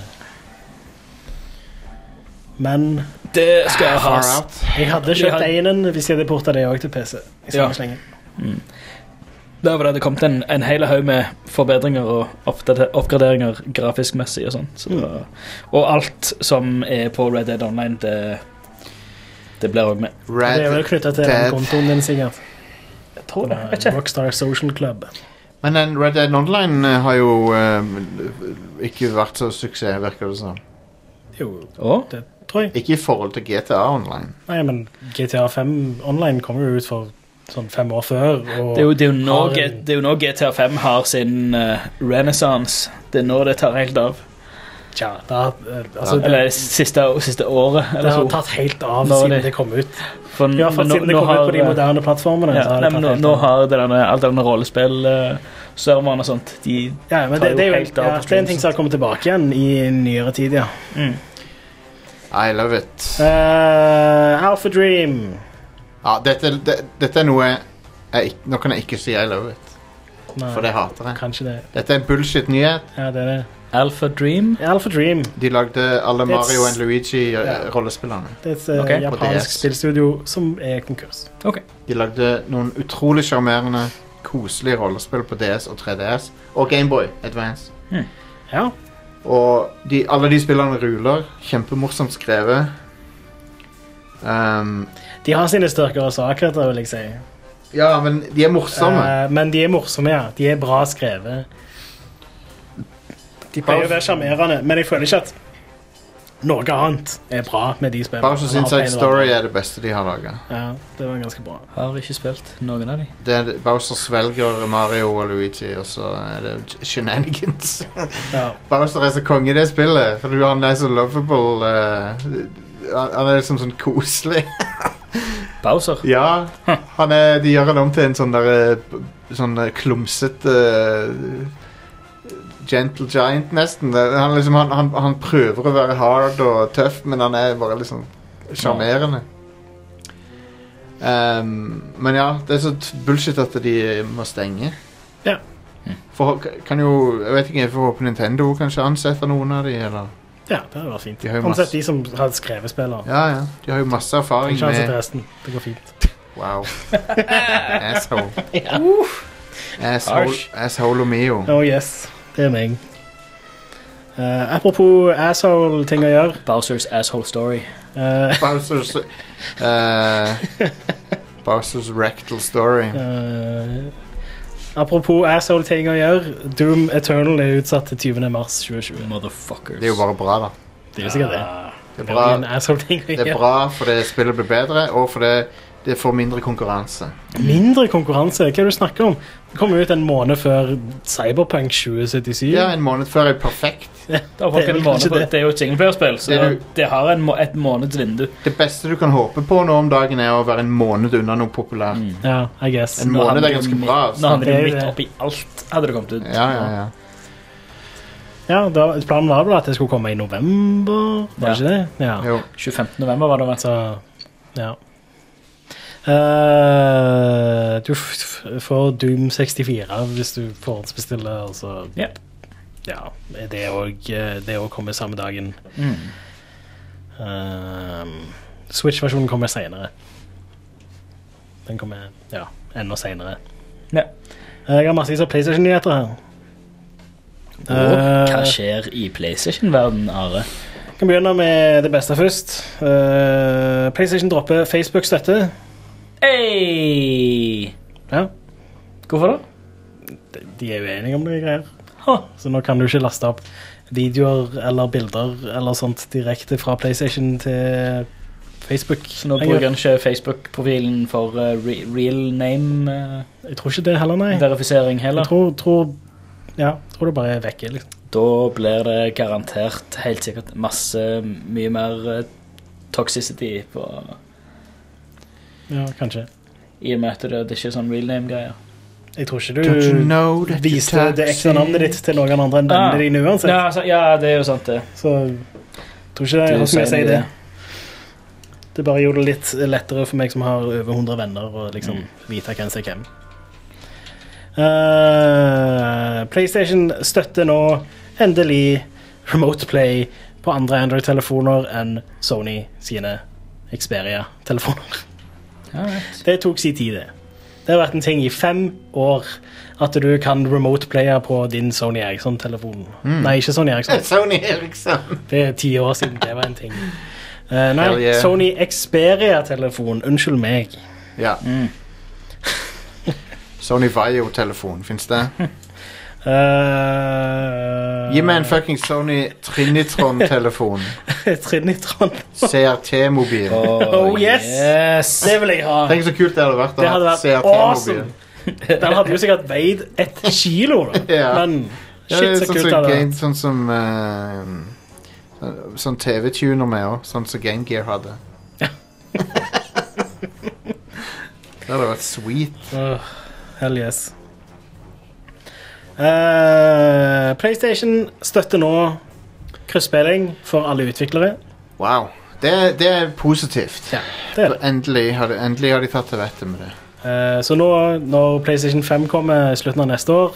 Speaker 2: Men
Speaker 3: Det skal jeg ha.
Speaker 1: Far
Speaker 3: ass.
Speaker 1: out.
Speaker 2: jeg hadde
Speaker 3: Vi
Speaker 2: kjøpt
Speaker 3: hadde-
Speaker 2: einen hvis jeg hadde porta det òg til PC. Jeg skal
Speaker 3: Ja.
Speaker 2: ikke slenge.
Speaker 3: Der hvor det hadde kommet en, en hel haug med forbedringer og oppdate- oppgraderinger grafisk-messig og sånn. Så, Og alt som er på Red Dead Online, det, det blir òg med.
Speaker 2: Det er vel
Speaker 1: Red
Speaker 2: knytta til
Speaker 1: Dead.
Speaker 2: kontoen din, sikkert.
Speaker 3: Jeg tror det.
Speaker 2: Eh, Rockstar Social Club.
Speaker 1: Men den Red Dead Online eh, har jo eh, ikke vært så suksess, virker det som.
Speaker 2: Jo,
Speaker 3: Og
Speaker 2: det tror jeg.
Speaker 1: Ikke i forhold til GTA Online.
Speaker 2: Nei, men GTA 5 online kom jo ut for sånn fem år før. Og
Speaker 3: det er jo, det er jo, nå,
Speaker 2: har en-
Speaker 3: G- det er jo nå GTA5 har sin uh, renessanse. Det er nå det tar helt av.
Speaker 2: Tja, det, har- eh, altså, det,
Speaker 3: Eller siste, siste året.
Speaker 2: det
Speaker 3: Eller
Speaker 2: har
Speaker 3: så.
Speaker 2: tatt helt av
Speaker 3: Nå er
Speaker 2: siden
Speaker 3: det-
Speaker 2: det kom ut.
Speaker 3: For
Speaker 2: I hvert fall
Speaker 3: nå-
Speaker 2: siden det
Speaker 3: nå
Speaker 2: kom ut på de
Speaker 3: har, eh,
Speaker 2: moderne plattformene.
Speaker 3: Ja,
Speaker 2: så har
Speaker 3: nei,
Speaker 2: det
Speaker 3: men
Speaker 2: tatt
Speaker 3: nå,
Speaker 2: helt
Speaker 3: nå
Speaker 2: av.
Speaker 3: har det denne, alt denne rollespillserveren og sånt de,
Speaker 2: ja, men
Speaker 3: tar
Speaker 2: det, det er
Speaker 3: jo
Speaker 2: jo
Speaker 3: helt av
Speaker 2: ja,
Speaker 3: på
Speaker 2: det er en ting som har kommet tilbake igjen i nyere tid, ja.
Speaker 1: I love it.
Speaker 2: Eh, Alpha Dream.
Speaker 1: Ja, dette, det, dette er noe jeg, jeg ikk- Nå kan jeg ikke si I love it,
Speaker 2: Nei,
Speaker 1: for det hater jeg.
Speaker 2: kanskje det.
Speaker 1: Dette er en bullshit-nyhet.
Speaker 2: Ja, det er det.
Speaker 3: Alpha Dream
Speaker 2: Alpha Dream.
Speaker 1: De lagde alle
Speaker 2: Det er et
Speaker 1: Mario og eh,
Speaker 2: s- Ja.
Speaker 1: Luigi-rollespillerne.
Speaker 2: Det er et eh,
Speaker 3: Ok, på
Speaker 2: japansk
Speaker 1: DS.
Speaker 2: spillstudio som er konkurs.
Speaker 1: De lagde noen utrolig sjarmerende, koselige rollespill på DS og 3DS. Og Gameboy Advance.
Speaker 2: Hm. Ja.
Speaker 1: Og de, alle de spillene ruler. Kjempemorsomt skrevet. Um,
Speaker 2: De har sine styrker og svakheter, vil jeg si.
Speaker 1: ja, men de er morsomme.
Speaker 2: Eh, men de er morsomme, ja. De er bra skrevet. De pleier å være sjarmerende, men jeg føler ikke at noe annet er bra med de spillene.
Speaker 1: Bare så syns jeg Story er det beste de har laga.
Speaker 2: Ja, det var ganske bra.
Speaker 3: har ikke spilt noen av de.
Speaker 1: Bowser svelger Mario og Luigi, og så er det sh- shenanigans.
Speaker 2: Ja.
Speaker 1: Bowser er så konge i det spillet, for du- han er så lovable. eh, han han er liksom sånn koselig.
Speaker 3: Bowser.
Speaker 1: Ja, han er, de gjør han om til en sånn der eh, b- Sånn eh, klumsete eh, Gentle giant nesten Det- han, liksom, han, han, han prøver å være hard og tøff Men han er bare liksom Charmerende Ehm, Men ja, det er så t- bullshit at de må stenge Hm.
Speaker 2: Ja.
Speaker 1: For, kan jo, jeg vet ikke, for håper Nintendo kanskje ansetter noen av de, eller?
Speaker 2: ja, det var fint.
Speaker 1: De har jo
Speaker 2: Omsett
Speaker 1: masse-
Speaker 2: de som har skrevet spillere.
Speaker 1: Ja, ja, de har jo masse
Speaker 2: Ikke
Speaker 1: erfaring
Speaker 2: sjanse til
Speaker 1: med
Speaker 2: resten. Det går fint.
Speaker 1: Wow Asshole
Speaker 3: Ja.
Speaker 1: Asshole,
Speaker 3: Harsh.
Speaker 1: asshole og Mio
Speaker 2: Oh yes, det er meg. Eh, apropos asshole-ting å gjøre.
Speaker 3: Bowsers asshole story.
Speaker 2: eh,
Speaker 1: Bowser's eh, Bowser's rectal story.
Speaker 2: eh, apropos asshole-ting å gjøre. Doom Eternal er utsatt til 20. mars 2020.
Speaker 3: Motherfuckers.
Speaker 1: Det er jo bare bra, da.
Speaker 2: Det er jo sikkert det.
Speaker 1: Det er
Speaker 2: Det var en
Speaker 1: bra,
Speaker 2: asshole-ting å
Speaker 1: det er
Speaker 2: gjøre.
Speaker 1: bra fordi spillet blir bedre, og fordi det får mindre konkurranse.
Speaker 2: Mindre konkurranse? Hva er det du snakker om? Det kom ut en måned før Cyberpunk 2077.
Speaker 1: Ja, en måned før er perfekt.
Speaker 3: Det har folk
Speaker 2: Det er
Speaker 3: en
Speaker 2: vel
Speaker 3: måned
Speaker 2: kanskje
Speaker 3: på.
Speaker 2: det.
Speaker 3: Det er jo et singleplayerspill, så
Speaker 1: Det er
Speaker 3: det,
Speaker 1: jo-
Speaker 3: har en, må- et måneds vindu.
Speaker 1: Det beste du kan håpe på nå om dagen, er å være en måned unna noe populært.
Speaker 2: Ja, I guess.
Speaker 1: En
Speaker 3: Nå
Speaker 1: måned
Speaker 3: havner
Speaker 1: er
Speaker 3: du
Speaker 1: ganske
Speaker 3: midt-
Speaker 1: bra.
Speaker 3: Nå
Speaker 1: altså.
Speaker 3: handler det
Speaker 2: Det er
Speaker 3: jo
Speaker 2: jo
Speaker 3: midt
Speaker 2: det.
Speaker 3: oppi alt, hadde det kommet ut.
Speaker 1: Ja, ja, ja.
Speaker 2: Ja, da, Planen var vel at det skulle komme i november? Var
Speaker 3: Ja.
Speaker 2: det ikke det? Ja.
Speaker 1: Jo.
Speaker 3: 25. november var det vel.
Speaker 2: Så ja. Eh, du f f- får Doom 64 hvis du forhåndsbestiller, altså og så
Speaker 3: Ja.
Speaker 2: Ja, det òg Det òg kommer samme dagen. Ehm, Switch-versjonen kommer seinere. Den kommer ja, enda seinere.
Speaker 3: Ja.
Speaker 2: Jeg har massevis av PlayStation-nyheter her.
Speaker 3: Og
Speaker 2: Eh,
Speaker 3: hva skjer i PlayStation-verden, Are?
Speaker 2: Vi kan begynne med det beste først. Eh, PlayStation dropper Facebook-støtte.
Speaker 3: Hey!
Speaker 2: Ja,
Speaker 3: Hvorfor det?
Speaker 2: De er uenige om noen greier.
Speaker 3: Huh.
Speaker 2: Så nå kan du ikke laste opp videoer eller bilder eller sånt direkte fra PlayStation til Facebook.
Speaker 3: Så nå bruker han ikke Facebook-profilen for eh, re real eh, name-verifisering
Speaker 2: Jeg tror ikke det heller, nei.
Speaker 3: heller.
Speaker 2: Jeg tror, tror Ja, tror det bare er vekke, liksom.
Speaker 3: Da blir det garantert helt sikkert masse mye mer eh, toxicity på,
Speaker 2: Ja, kanskje.
Speaker 3: i og med at det, det ikke er sånn real name-greier.
Speaker 2: Jeg tror ikke
Speaker 1: Don't you
Speaker 2: du
Speaker 1: know that you
Speaker 2: viste det ekte navnet ditt til noen andre enn
Speaker 3: Ah.
Speaker 2: vennene dine uansett.
Speaker 3: Ja, altså, ja, det er jo sant, det.
Speaker 2: Så jeg tror ikke det
Speaker 3: Du
Speaker 2: er noe som jeg
Speaker 3: sier
Speaker 2: sier det.
Speaker 3: det.
Speaker 2: Det bare gjorde det litt lettere for meg som har over 100 venner, å liksom
Speaker 1: Mm.
Speaker 2: vite hvem som er hvem. Eh, PlayStation støtter nå endelig remote play på andre Android-telefoner enn Sony sine Xperia-telefoner. Det tok sin tid, det. Det har vært en ting i fem år at du kan remote-playe på din Sony Eriksson-telefon.
Speaker 1: Mm.
Speaker 2: Nei, ikke Sony Eriksson.
Speaker 1: Sony Eriksson.
Speaker 2: Det er ti år siden det var en ting. Eh, nei,
Speaker 1: Hell yeah.
Speaker 2: Sony Xperia-telefon. Unnskyld meg.
Speaker 1: Ja.
Speaker 2: Mm.
Speaker 1: Sony Vaio-telefon, fins det?
Speaker 2: Eh,
Speaker 1: Gi meg en fucking Sony Trinitron-telefon.
Speaker 2: Trinitron.
Speaker 1: CRT-mobil.
Speaker 2: Oh yes! Det vil jeg ha.
Speaker 1: Tenk så kult det hadde vært å
Speaker 2: Det hadde
Speaker 1: ha
Speaker 2: vært
Speaker 1: CRT-mobil.
Speaker 2: awesome. Den hadde jo sikkert veid ett kilo, da.
Speaker 1: Ja.
Speaker 2: Men
Speaker 1: Ja, det
Speaker 2: shit,
Speaker 1: er
Speaker 2: så
Speaker 1: sånn
Speaker 2: kult
Speaker 1: som
Speaker 2: det hadde
Speaker 1: game,
Speaker 2: vært.
Speaker 1: sånn som eh, sånn- Sånn TV-tuner med òg, sånn som Game Gear hadde. det hadde vært sweet.
Speaker 2: Åh, hell yes. Eh, PlayStation støtter nå krysspilling for alle utviklere.
Speaker 1: Wow. Det, det er positivt.
Speaker 2: Ja, det er det.
Speaker 1: Endelig har, de, endelig har de tatt til vettet med det.
Speaker 2: Eh, så nå, når PlayStation 5 kommer i slutten av neste år,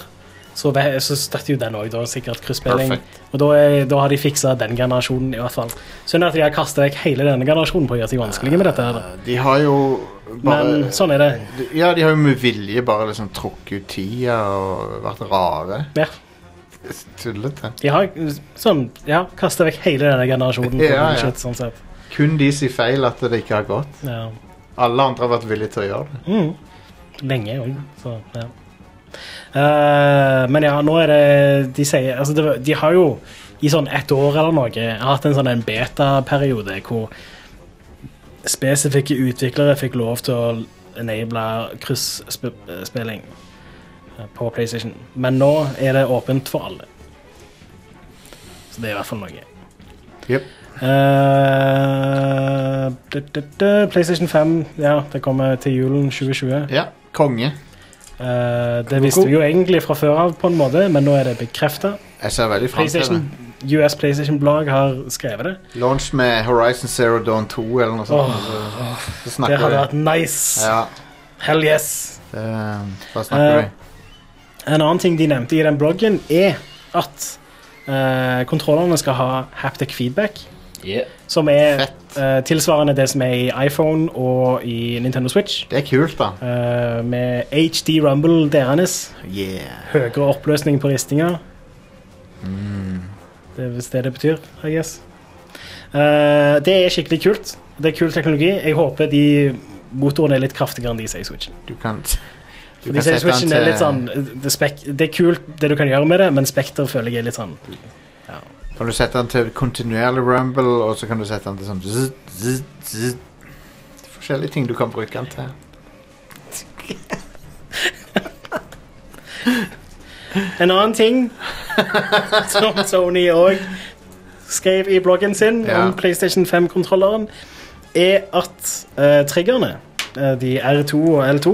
Speaker 2: så, ve- så støtter jo den òg, da, sikkert krysspilling.
Speaker 1: Perfect.
Speaker 2: Og da, er, da har de fiksa den generasjonen, i hvert fall. Synd at de har kasta vekk hele denne generasjonen på å gjøre seg vanskelige med dette. her. da.
Speaker 1: De har jo bare
Speaker 2: Men sånn er det.
Speaker 1: Ja, de har jo med vilje bare liksom trukket ut tida og vært rare.
Speaker 2: Ja.
Speaker 1: Det er så Tullete.
Speaker 2: De har sånn, ja, kasta vekk hele denne generasjonen. på
Speaker 1: Ja,
Speaker 2: den
Speaker 1: ja.
Speaker 2: shit, sånn sett.
Speaker 1: Kun de sier feil at det ikke har gått.
Speaker 2: Ja.
Speaker 1: Alle andre har vært villige til å gjøre det.
Speaker 2: Mm. Lenge òg, så ja. Eh, men ja, nå er det De sier altså det, var- De har jo i sånn ett år eller noe hatt en sånn en beta-periode hvor spesifikke utviklere fikk lov til å enable krysspilling på PlayStation. Men nå er det åpent for alle. Så det er i hvert fall noe.
Speaker 1: Jep.
Speaker 2: Eh, du, du, du, PlayStation 5 ja, det kommer til julen 2020.
Speaker 1: Ja, konge.
Speaker 2: Eh, det visste vi jo egentlig fra før av, på en måte, men nå er det bekrefta.
Speaker 1: Jeg ser veldig frem til det.
Speaker 2: US PlayStation Blog har skrevet det.
Speaker 1: Launch med Horizon Zero Dawn 2 eller noe sånt. så- så
Speaker 2: Det
Speaker 1: snakker
Speaker 2: hadde
Speaker 1: vi.
Speaker 2: vært nice.
Speaker 1: Ja,
Speaker 2: Hell yes.
Speaker 1: det, da snakker
Speaker 2: Eh,
Speaker 1: vi.
Speaker 2: En annen ting de nevnte i den bloggen, er at eh, kontrollerne skal ha haptic feedback.
Speaker 3: Yeah.
Speaker 2: Som er
Speaker 1: Fett.
Speaker 2: eh, tilsvarende det som er i iPhone og i Nintendo Switch.
Speaker 1: Det er kult, da.
Speaker 2: Eh, med HD Rumble deres.
Speaker 1: Yeah.
Speaker 2: Høyere oppløsning på ristinger.
Speaker 1: Mm.
Speaker 2: Det er visst det det betyr, I guess. Eh, det er skikkelig kult. Det er kul teknologi. Jeg håper de motorene er litt kraftigere enn de sier i Switchen.
Speaker 1: Du kan, du
Speaker 2: For de
Speaker 1: kan
Speaker 2: sier
Speaker 1: sette
Speaker 2: Switchen
Speaker 1: den
Speaker 2: er litt sånn
Speaker 1: til,
Speaker 2: det, spek det er kult, det du kan gjøre med det, men Spekter føler jeg er litt sånn
Speaker 1: kan du sette den til kontinuerlig rumble, og så kan du sette den til sånn zzz, zzz, zzz. Forskjellige ting du kan bruke den til.
Speaker 2: En annen ting som Sony òg skrev i bloggen sin
Speaker 1: Ja.
Speaker 2: om PlayStation 5-kontrolleren, er at eh, triggerne, eh, de R2 og L2,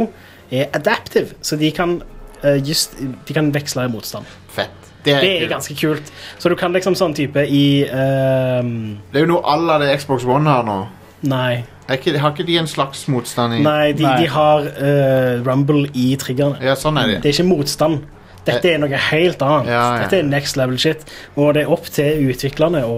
Speaker 2: er adaptive, så de kan, eh, just, de kan veksle i motstand.
Speaker 1: Fett. Det er,
Speaker 2: Det er
Speaker 1: kult.
Speaker 2: ganske kult. Så du kan liksom sånn type i ehm,
Speaker 1: Det er jo noe à la det Xbox One har nå.
Speaker 2: Nei.
Speaker 1: Er ikke, har ikke de en slags motstand i
Speaker 2: Nei, de,
Speaker 3: Nei.
Speaker 2: de har eh, rumble i triggerne.
Speaker 1: Ja, sånn er
Speaker 2: Det
Speaker 1: de.
Speaker 2: er ikke motstand. Dette er noe helt annet.
Speaker 1: Ja, ja.
Speaker 2: Dette er next level shit. Og det er opp til utviklerne å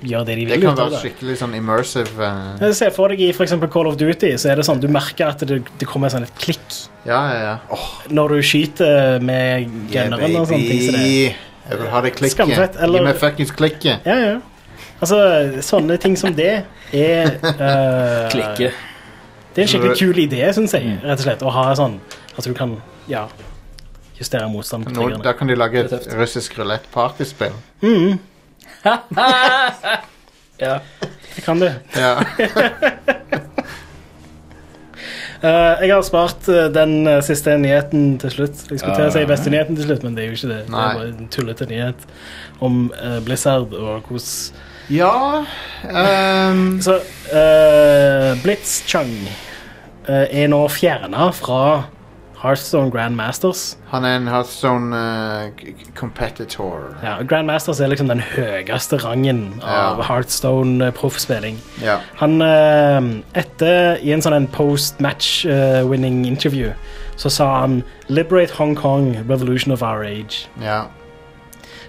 Speaker 2: gjøre det de
Speaker 1: Det
Speaker 2: vil.
Speaker 1: kan
Speaker 2: ut av
Speaker 1: være skikkelig sånn immersive eh,
Speaker 2: Se for deg i for eksempel Call of Duty, så er det sånn du merker at det, det kommer sånn et klikk
Speaker 1: Ja, ja, ja. Åh,
Speaker 2: når du skyter med
Speaker 1: yeah,
Speaker 2: gunneren og sånne ting. Så det.
Speaker 1: baby. Jeg vil ha det
Speaker 2: Skamfett,
Speaker 1: klikket.
Speaker 2: eller-
Speaker 1: Gi meg fuckings klikket.
Speaker 2: Ja, ja. Altså, sånne ting som det er eh,
Speaker 3: Klikke.
Speaker 2: Det er en skikkelig kul idé, syns jeg, rett og slett, å ha sånn at du kan ja, justere motstand på
Speaker 1: Nå, da
Speaker 2: triggerne.
Speaker 1: kan de lage
Speaker 3: Det er
Speaker 1: et
Speaker 3: tøft.
Speaker 1: russisk rulett-partyspill.
Speaker 3: Ja.
Speaker 2: Det kan du.
Speaker 1: Ja.
Speaker 2: Eh, jeg har spart eh, den eh, siste nyheten til slutt. Jeg skulle til å si beste nyheten til slutt, men det er jo ikke det.
Speaker 1: Ah.
Speaker 2: Det
Speaker 1: Nei.
Speaker 2: er bare en tullete nyhet om eh, Blizzard og hvordan
Speaker 1: ja ehm,
Speaker 2: Så eh, Blitzchung eh, er nå fjerna fra Hearthstone Grandmasters.
Speaker 1: Han er en Hearthstone eh, k- k- competitor.
Speaker 2: Ja, Grandmasters er liksom den høyeste rangen av
Speaker 1: Ja.
Speaker 2: Hearthstone-proffspilling.
Speaker 1: Ja.
Speaker 2: Han eh, etter I en sånn en post-match eh, winning interview så sa han 'Liberate Hong Kong, revolution of our age'.
Speaker 1: ja.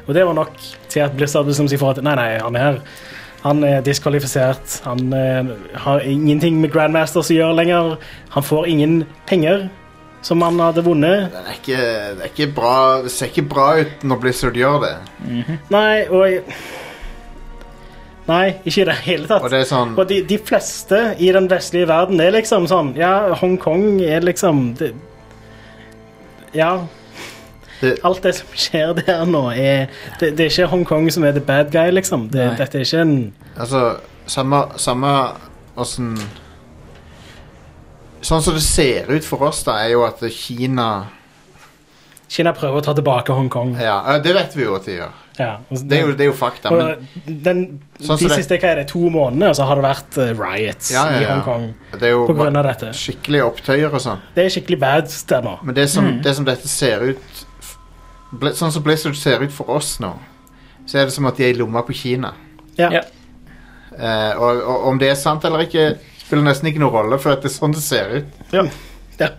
Speaker 2: Og det var nok til at Blizzard bestemte seg for at nei, nei, han er her. Han er diskvalifisert. Han eh, har ingenting med Grandmasters å gjøre lenger. Han får ingen penger som han hadde vunnet.
Speaker 1: Det, er ikke, det, er ikke bra, det ser ikke bra ut når Blizzard gjør det.
Speaker 2: Nei, og jeg... Nei, ikke i det hele tatt.
Speaker 1: Og det er sånn-
Speaker 2: Og de, de fleste i den vestlige verden er liksom sånn Ja, Hongkong er liksom det, Ja.
Speaker 1: Det-
Speaker 2: Alt det som skjer der nå, er Det, det er ikke Hongkong som er the bad guy, liksom. Det,
Speaker 3: Nei.
Speaker 2: dette er ikke en
Speaker 1: Altså, samme, samme åssen Sånn som det ser ut for oss, da, er jo at Kina
Speaker 2: Kina prøver å ta tilbake Hongkong.
Speaker 1: Ja, eh, det vet vi jo at de gjør.
Speaker 2: Ja, og
Speaker 1: Det er jo, det er jo fakta. Men
Speaker 2: og den,
Speaker 1: Sånn som
Speaker 2: de
Speaker 1: det-
Speaker 2: siste hva er det, to månedene så har det vært eh, riots
Speaker 1: Ja, ja,
Speaker 2: i
Speaker 1: ja.
Speaker 2: Hongkong
Speaker 1: det er jo
Speaker 2: på grunn
Speaker 1: ba-
Speaker 2: av dette.
Speaker 1: skikkelige opptøyer og sånn.
Speaker 2: Det er skikkelig bad der nå.
Speaker 1: Men det som,
Speaker 2: Mm.
Speaker 1: det som dette ser ut f- Bli- Sånn som Blizzard ser ut for oss nå, så er det som at de er i lomma på Kina.
Speaker 2: Ja.
Speaker 3: Ja.
Speaker 1: Eh, og, og om det er sant eller ikke, spiller nesten ikke noen rolle, for at det er sånn det ser ut.
Speaker 2: Ja. Ja.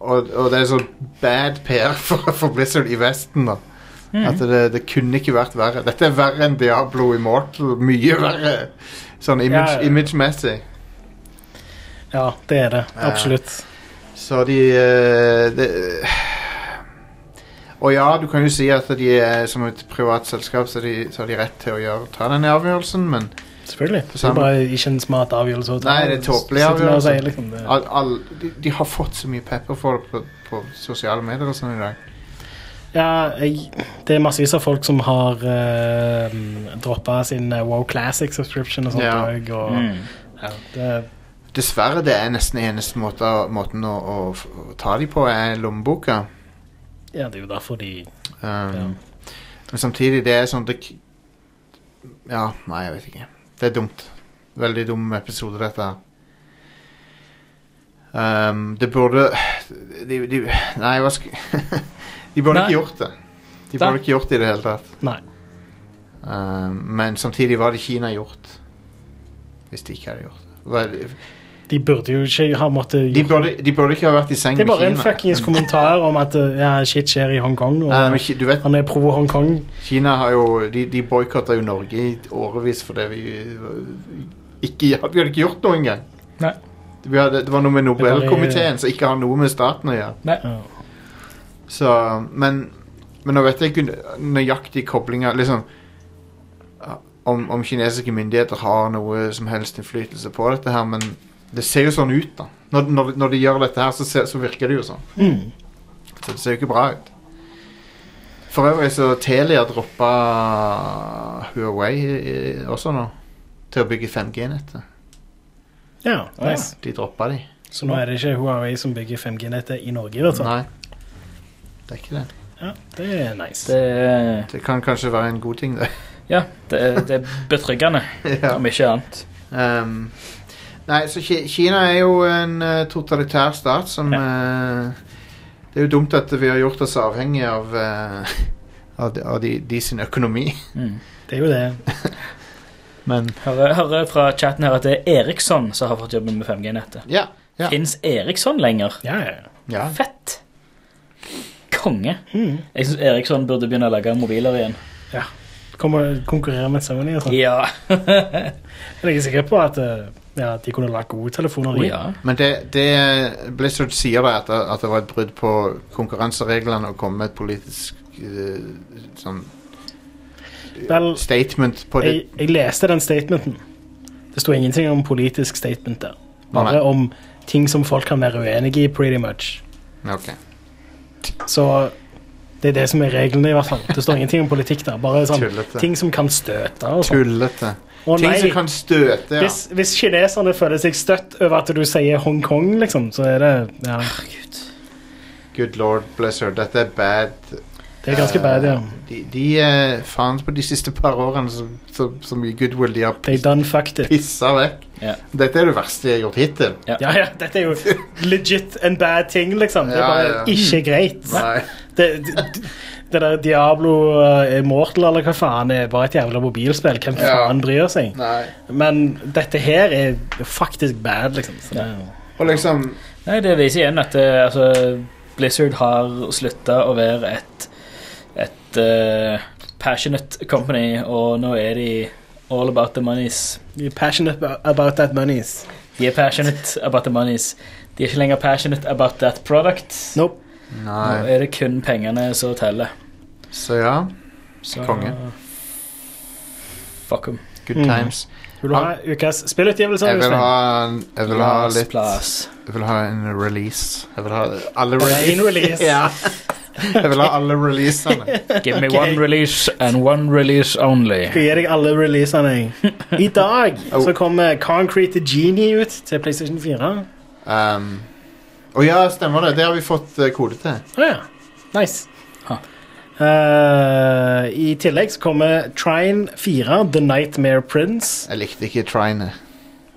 Speaker 1: Og, og det er sånn bad PR for, for Blizzard i Vesten. da
Speaker 2: Mm.
Speaker 1: At det, det kunne ikke vært verre. Dette er verre enn Diablo Immortal. Mye verre. Sånn
Speaker 2: Ja, ja.
Speaker 1: image- image-messig.
Speaker 2: ja, det er det.
Speaker 1: Ja.
Speaker 2: Absolutt.
Speaker 1: Så de, eh, det, eh, Og ja, du kan jo si at de er som et privat selskap, så, de, så har de rett til å gjøre, ta den avgjørelsen, men
Speaker 2: Selvfølgelig. Det
Speaker 1: Samme.
Speaker 2: er bare ikke en smart avgjørelse å ta.
Speaker 1: Nei, det er tåpelig
Speaker 2: Sitter der og
Speaker 1: avgjørelse.
Speaker 2: sier liksom det.
Speaker 1: all, all, de, de har fått så mye pepper for det på, på sosiale medier og sånn i dag.
Speaker 2: Ja, jeg, det er massevis av folk som har uh, droppa sin eh, WoW Classic subscription og sånt
Speaker 1: Ja.
Speaker 2: òg. Og,
Speaker 3: Mm.
Speaker 2: ja, det,
Speaker 1: Dessverre, det er nesten eneste måte, måten å, å, f- å ta de på, er lommeboka.
Speaker 2: ja, det er jo derfor de
Speaker 1: Um,
Speaker 2: Ja.
Speaker 1: Men samtidig, det er sånn det, k- Ja, nei, jeg vet ikke. Det er dumt. Veldig dum episode, dette her. Um, det burde de, de, Nei, hva skal De burde
Speaker 3: Nei.
Speaker 1: ikke gjort det. De
Speaker 3: Nei.
Speaker 1: burde ikke gjort det i det hele tatt.
Speaker 2: Nei.
Speaker 1: Um, men samtidig, hva hadde Kina gjort? Hvis de ikke hadde gjort det. Hva,
Speaker 2: De burde jo ikke ha måttet
Speaker 1: de, burde, de burde ikke ha vært i seng
Speaker 2: Det er
Speaker 1: med
Speaker 2: bare en
Speaker 1: Kina.
Speaker 2: fuckings kommentar om at uh, ja, shit skjer i Hongkong. Og
Speaker 1: Nei, men, Ki- du vet,
Speaker 2: han er pro Hongkong.
Speaker 1: Kina har jo De, de boikotta jo Norge i årevis fordi vi ikke, Vi hadde ikke gjort noe engang.
Speaker 3: Nei.
Speaker 1: Vi hadde, det var noe med
Speaker 2: bare-
Speaker 1: Nobelkomiteen som ikke har noe med staten å gjøre.
Speaker 2: Ja.
Speaker 1: Så, men, men nå vet jeg ikke nøyaktig koblinga liksom, om, om kinesiske myndigheter har noe som helst innflytelse på dette her, men det ser jo sånn ut, da. Når, når, når de gjør dette her, så, ser, så virker det jo sånn.
Speaker 2: Mm.
Speaker 1: Så det ser jo ikke bra ut. For øvrig så Telia droppa Huawei i- også nå. Til å bygge 5G-nettet.
Speaker 2: ja, nice.
Speaker 1: De droppa de.
Speaker 2: Så nå er det ikke Huawei som bygger 5G-nettet i Norge, i hvert fall.
Speaker 1: Nei. Det er ikke det.
Speaker 2: Ja, det er nice.
Speaker 3: Det, er-
Speaker 1: Det kan kanskje være en god ting, det.
Speaker 3: ja, det, er- det er betryggende,
Speaker 1: ja.
Speaker 3: om ikke annet.
Speaker 1: um, nei, så Ki- Kina er jo en eh, totalitær stat som eh, Det er jo dumt at vi har gjort oss avhengig av eh, av, de, av de, de sin økonomi.
Speaker 3: Mm.
Speaker 2: Det er jo det.
Speaker 1: Men
Speaker 3: Hører, hører fra chatten her at det er Eriksson som har fått jobben med 5G-nettet.
Speaker 1: ja. Ja.
Speaker 3: Fins Eriksson lenger?
Speaker 2: Ja, ja, ja.
Speaker 1: ja.
Speaker 3: Fett! Konge. Jeg syns Eriksson burde begynne å lage mobiler igjen.
Speaker 2: Kommer og konkurrerer med Sony og sånn.
Speaker 3: Ja.
Speaker 2: Jeg er sikker på at uh, ja, de kunne lagt gode telefoner i.
Speaker 3: ja.
Speaker 1: Men det, det Blizzard sier er at, at det var et brudd på konkurransereglene å komme med et politisk eh, sånn
Speaker 2: Vel,
Speaker 1: statement på det.
Speaker 2: jeg, jeg leste den statementen. Det sto ingenting om politisk statement der.
Speaker 1: Nei.
Speaker 2: Bare om ting som folk kan være uenige i, pretty much.
Speaker 1: Ok.
Speaker 2: Så det er det som er reglene, i hvert fall. Det står ingenting om politikk der. Bare sånn
Speaker 1: Tullete.
Speaker 2: ting som kan støte. Og sånn.
Speaker 1: Tullete.
Speaker 2: Å
Speaker 1: Ting som
Speaker 2: nei,
Speaker 1: kan støte, ja.
Speaker 2: hvis, hvis kineserne føler seg støtt over at du sier Hongkong, liksom, så er det ja,
Speaker 1: Good lord, Blizzard. Dette er bad.
Speaker 2: Det er ganske bad, ja.
Speaker 1: De, de eh, faen på de siste par årene så, så, så mye goodwill de har
Speaker 2: They done fucked it.
Speaker 1: pissa vekk.
Speaker 3: Ja.
Speaker 1: Dette er det verste jeg har gjort hittil.
Speaker 2: Ja, ja, dette er jo legit en bad ting, liksom. Det er
Speaker 1: Ja,
Speaker 2: bare
Speaker 1: ja.
Speaker 2: ikke greit.
Speaker 1: Nei.
Speaker 2: Det, det, det der Diablo eh, Immortal eller hva faen er bare et jævla mobilspill. Hvem
Speaker 1: Ja.
Speaker 2: faen bryr seg?
Speaker 1: Nei.
Speaker 2: Men dette her er faktisk bad, liksom. Så det,
Speaker 1: Og liksom
Speaker 3: Nei, det viser igjen at eh, altså, Blizzard har slutta å være et, et eh, passionate company, og nå er de all about the monies.
Speaker 2: You're passionate about, about that monies.
Speaker 3: De er passionate about the monies. De er ikke lenger passionate about that product.
Speaker 2: Nope.
Speaker 3: Nå er det kun pengene som teller.
Speaker 1: Så ja.
Speaker 3: Så-
Speaker 1: Konge.
Speaker 3: Fuck 'em.
Speaker 1: Good times.
Speaker 2: Vil du ha ukas spillutgivelse?
Speaker 1: Jeg vil
Speaker 2: Øystein?
Speaker 1: ha, en- jeg vil ha
Speaker 3: Plass,
Speaker 1: litt
Speaker 3: plass.
Speaker 1: Jeg vil ha en release. Jeg vil ha alle
Speaker 2: Brain release.
Speaker 1: ja. Jeg vil ha alle releasene.
Speaker 3: Give me
Speaker 2: Ok.
Speaker 3: one release and one release only.
Speaker 2: Skal gi deg alle releasene. jeg. I dag så kommer Concrete Genie ut til PlayStation 4. Å
Speaker 1: Um, og ja, stemmer det. Det har vi fått eh, kode til.
Speaker 2: ja. Nice.
Speaker 3: Ha.
Speaker 2: Eh, I tillegg så kommer Trine 4, The Nightmare Prince.
Speaker 1: Jeg likte ikke Trine.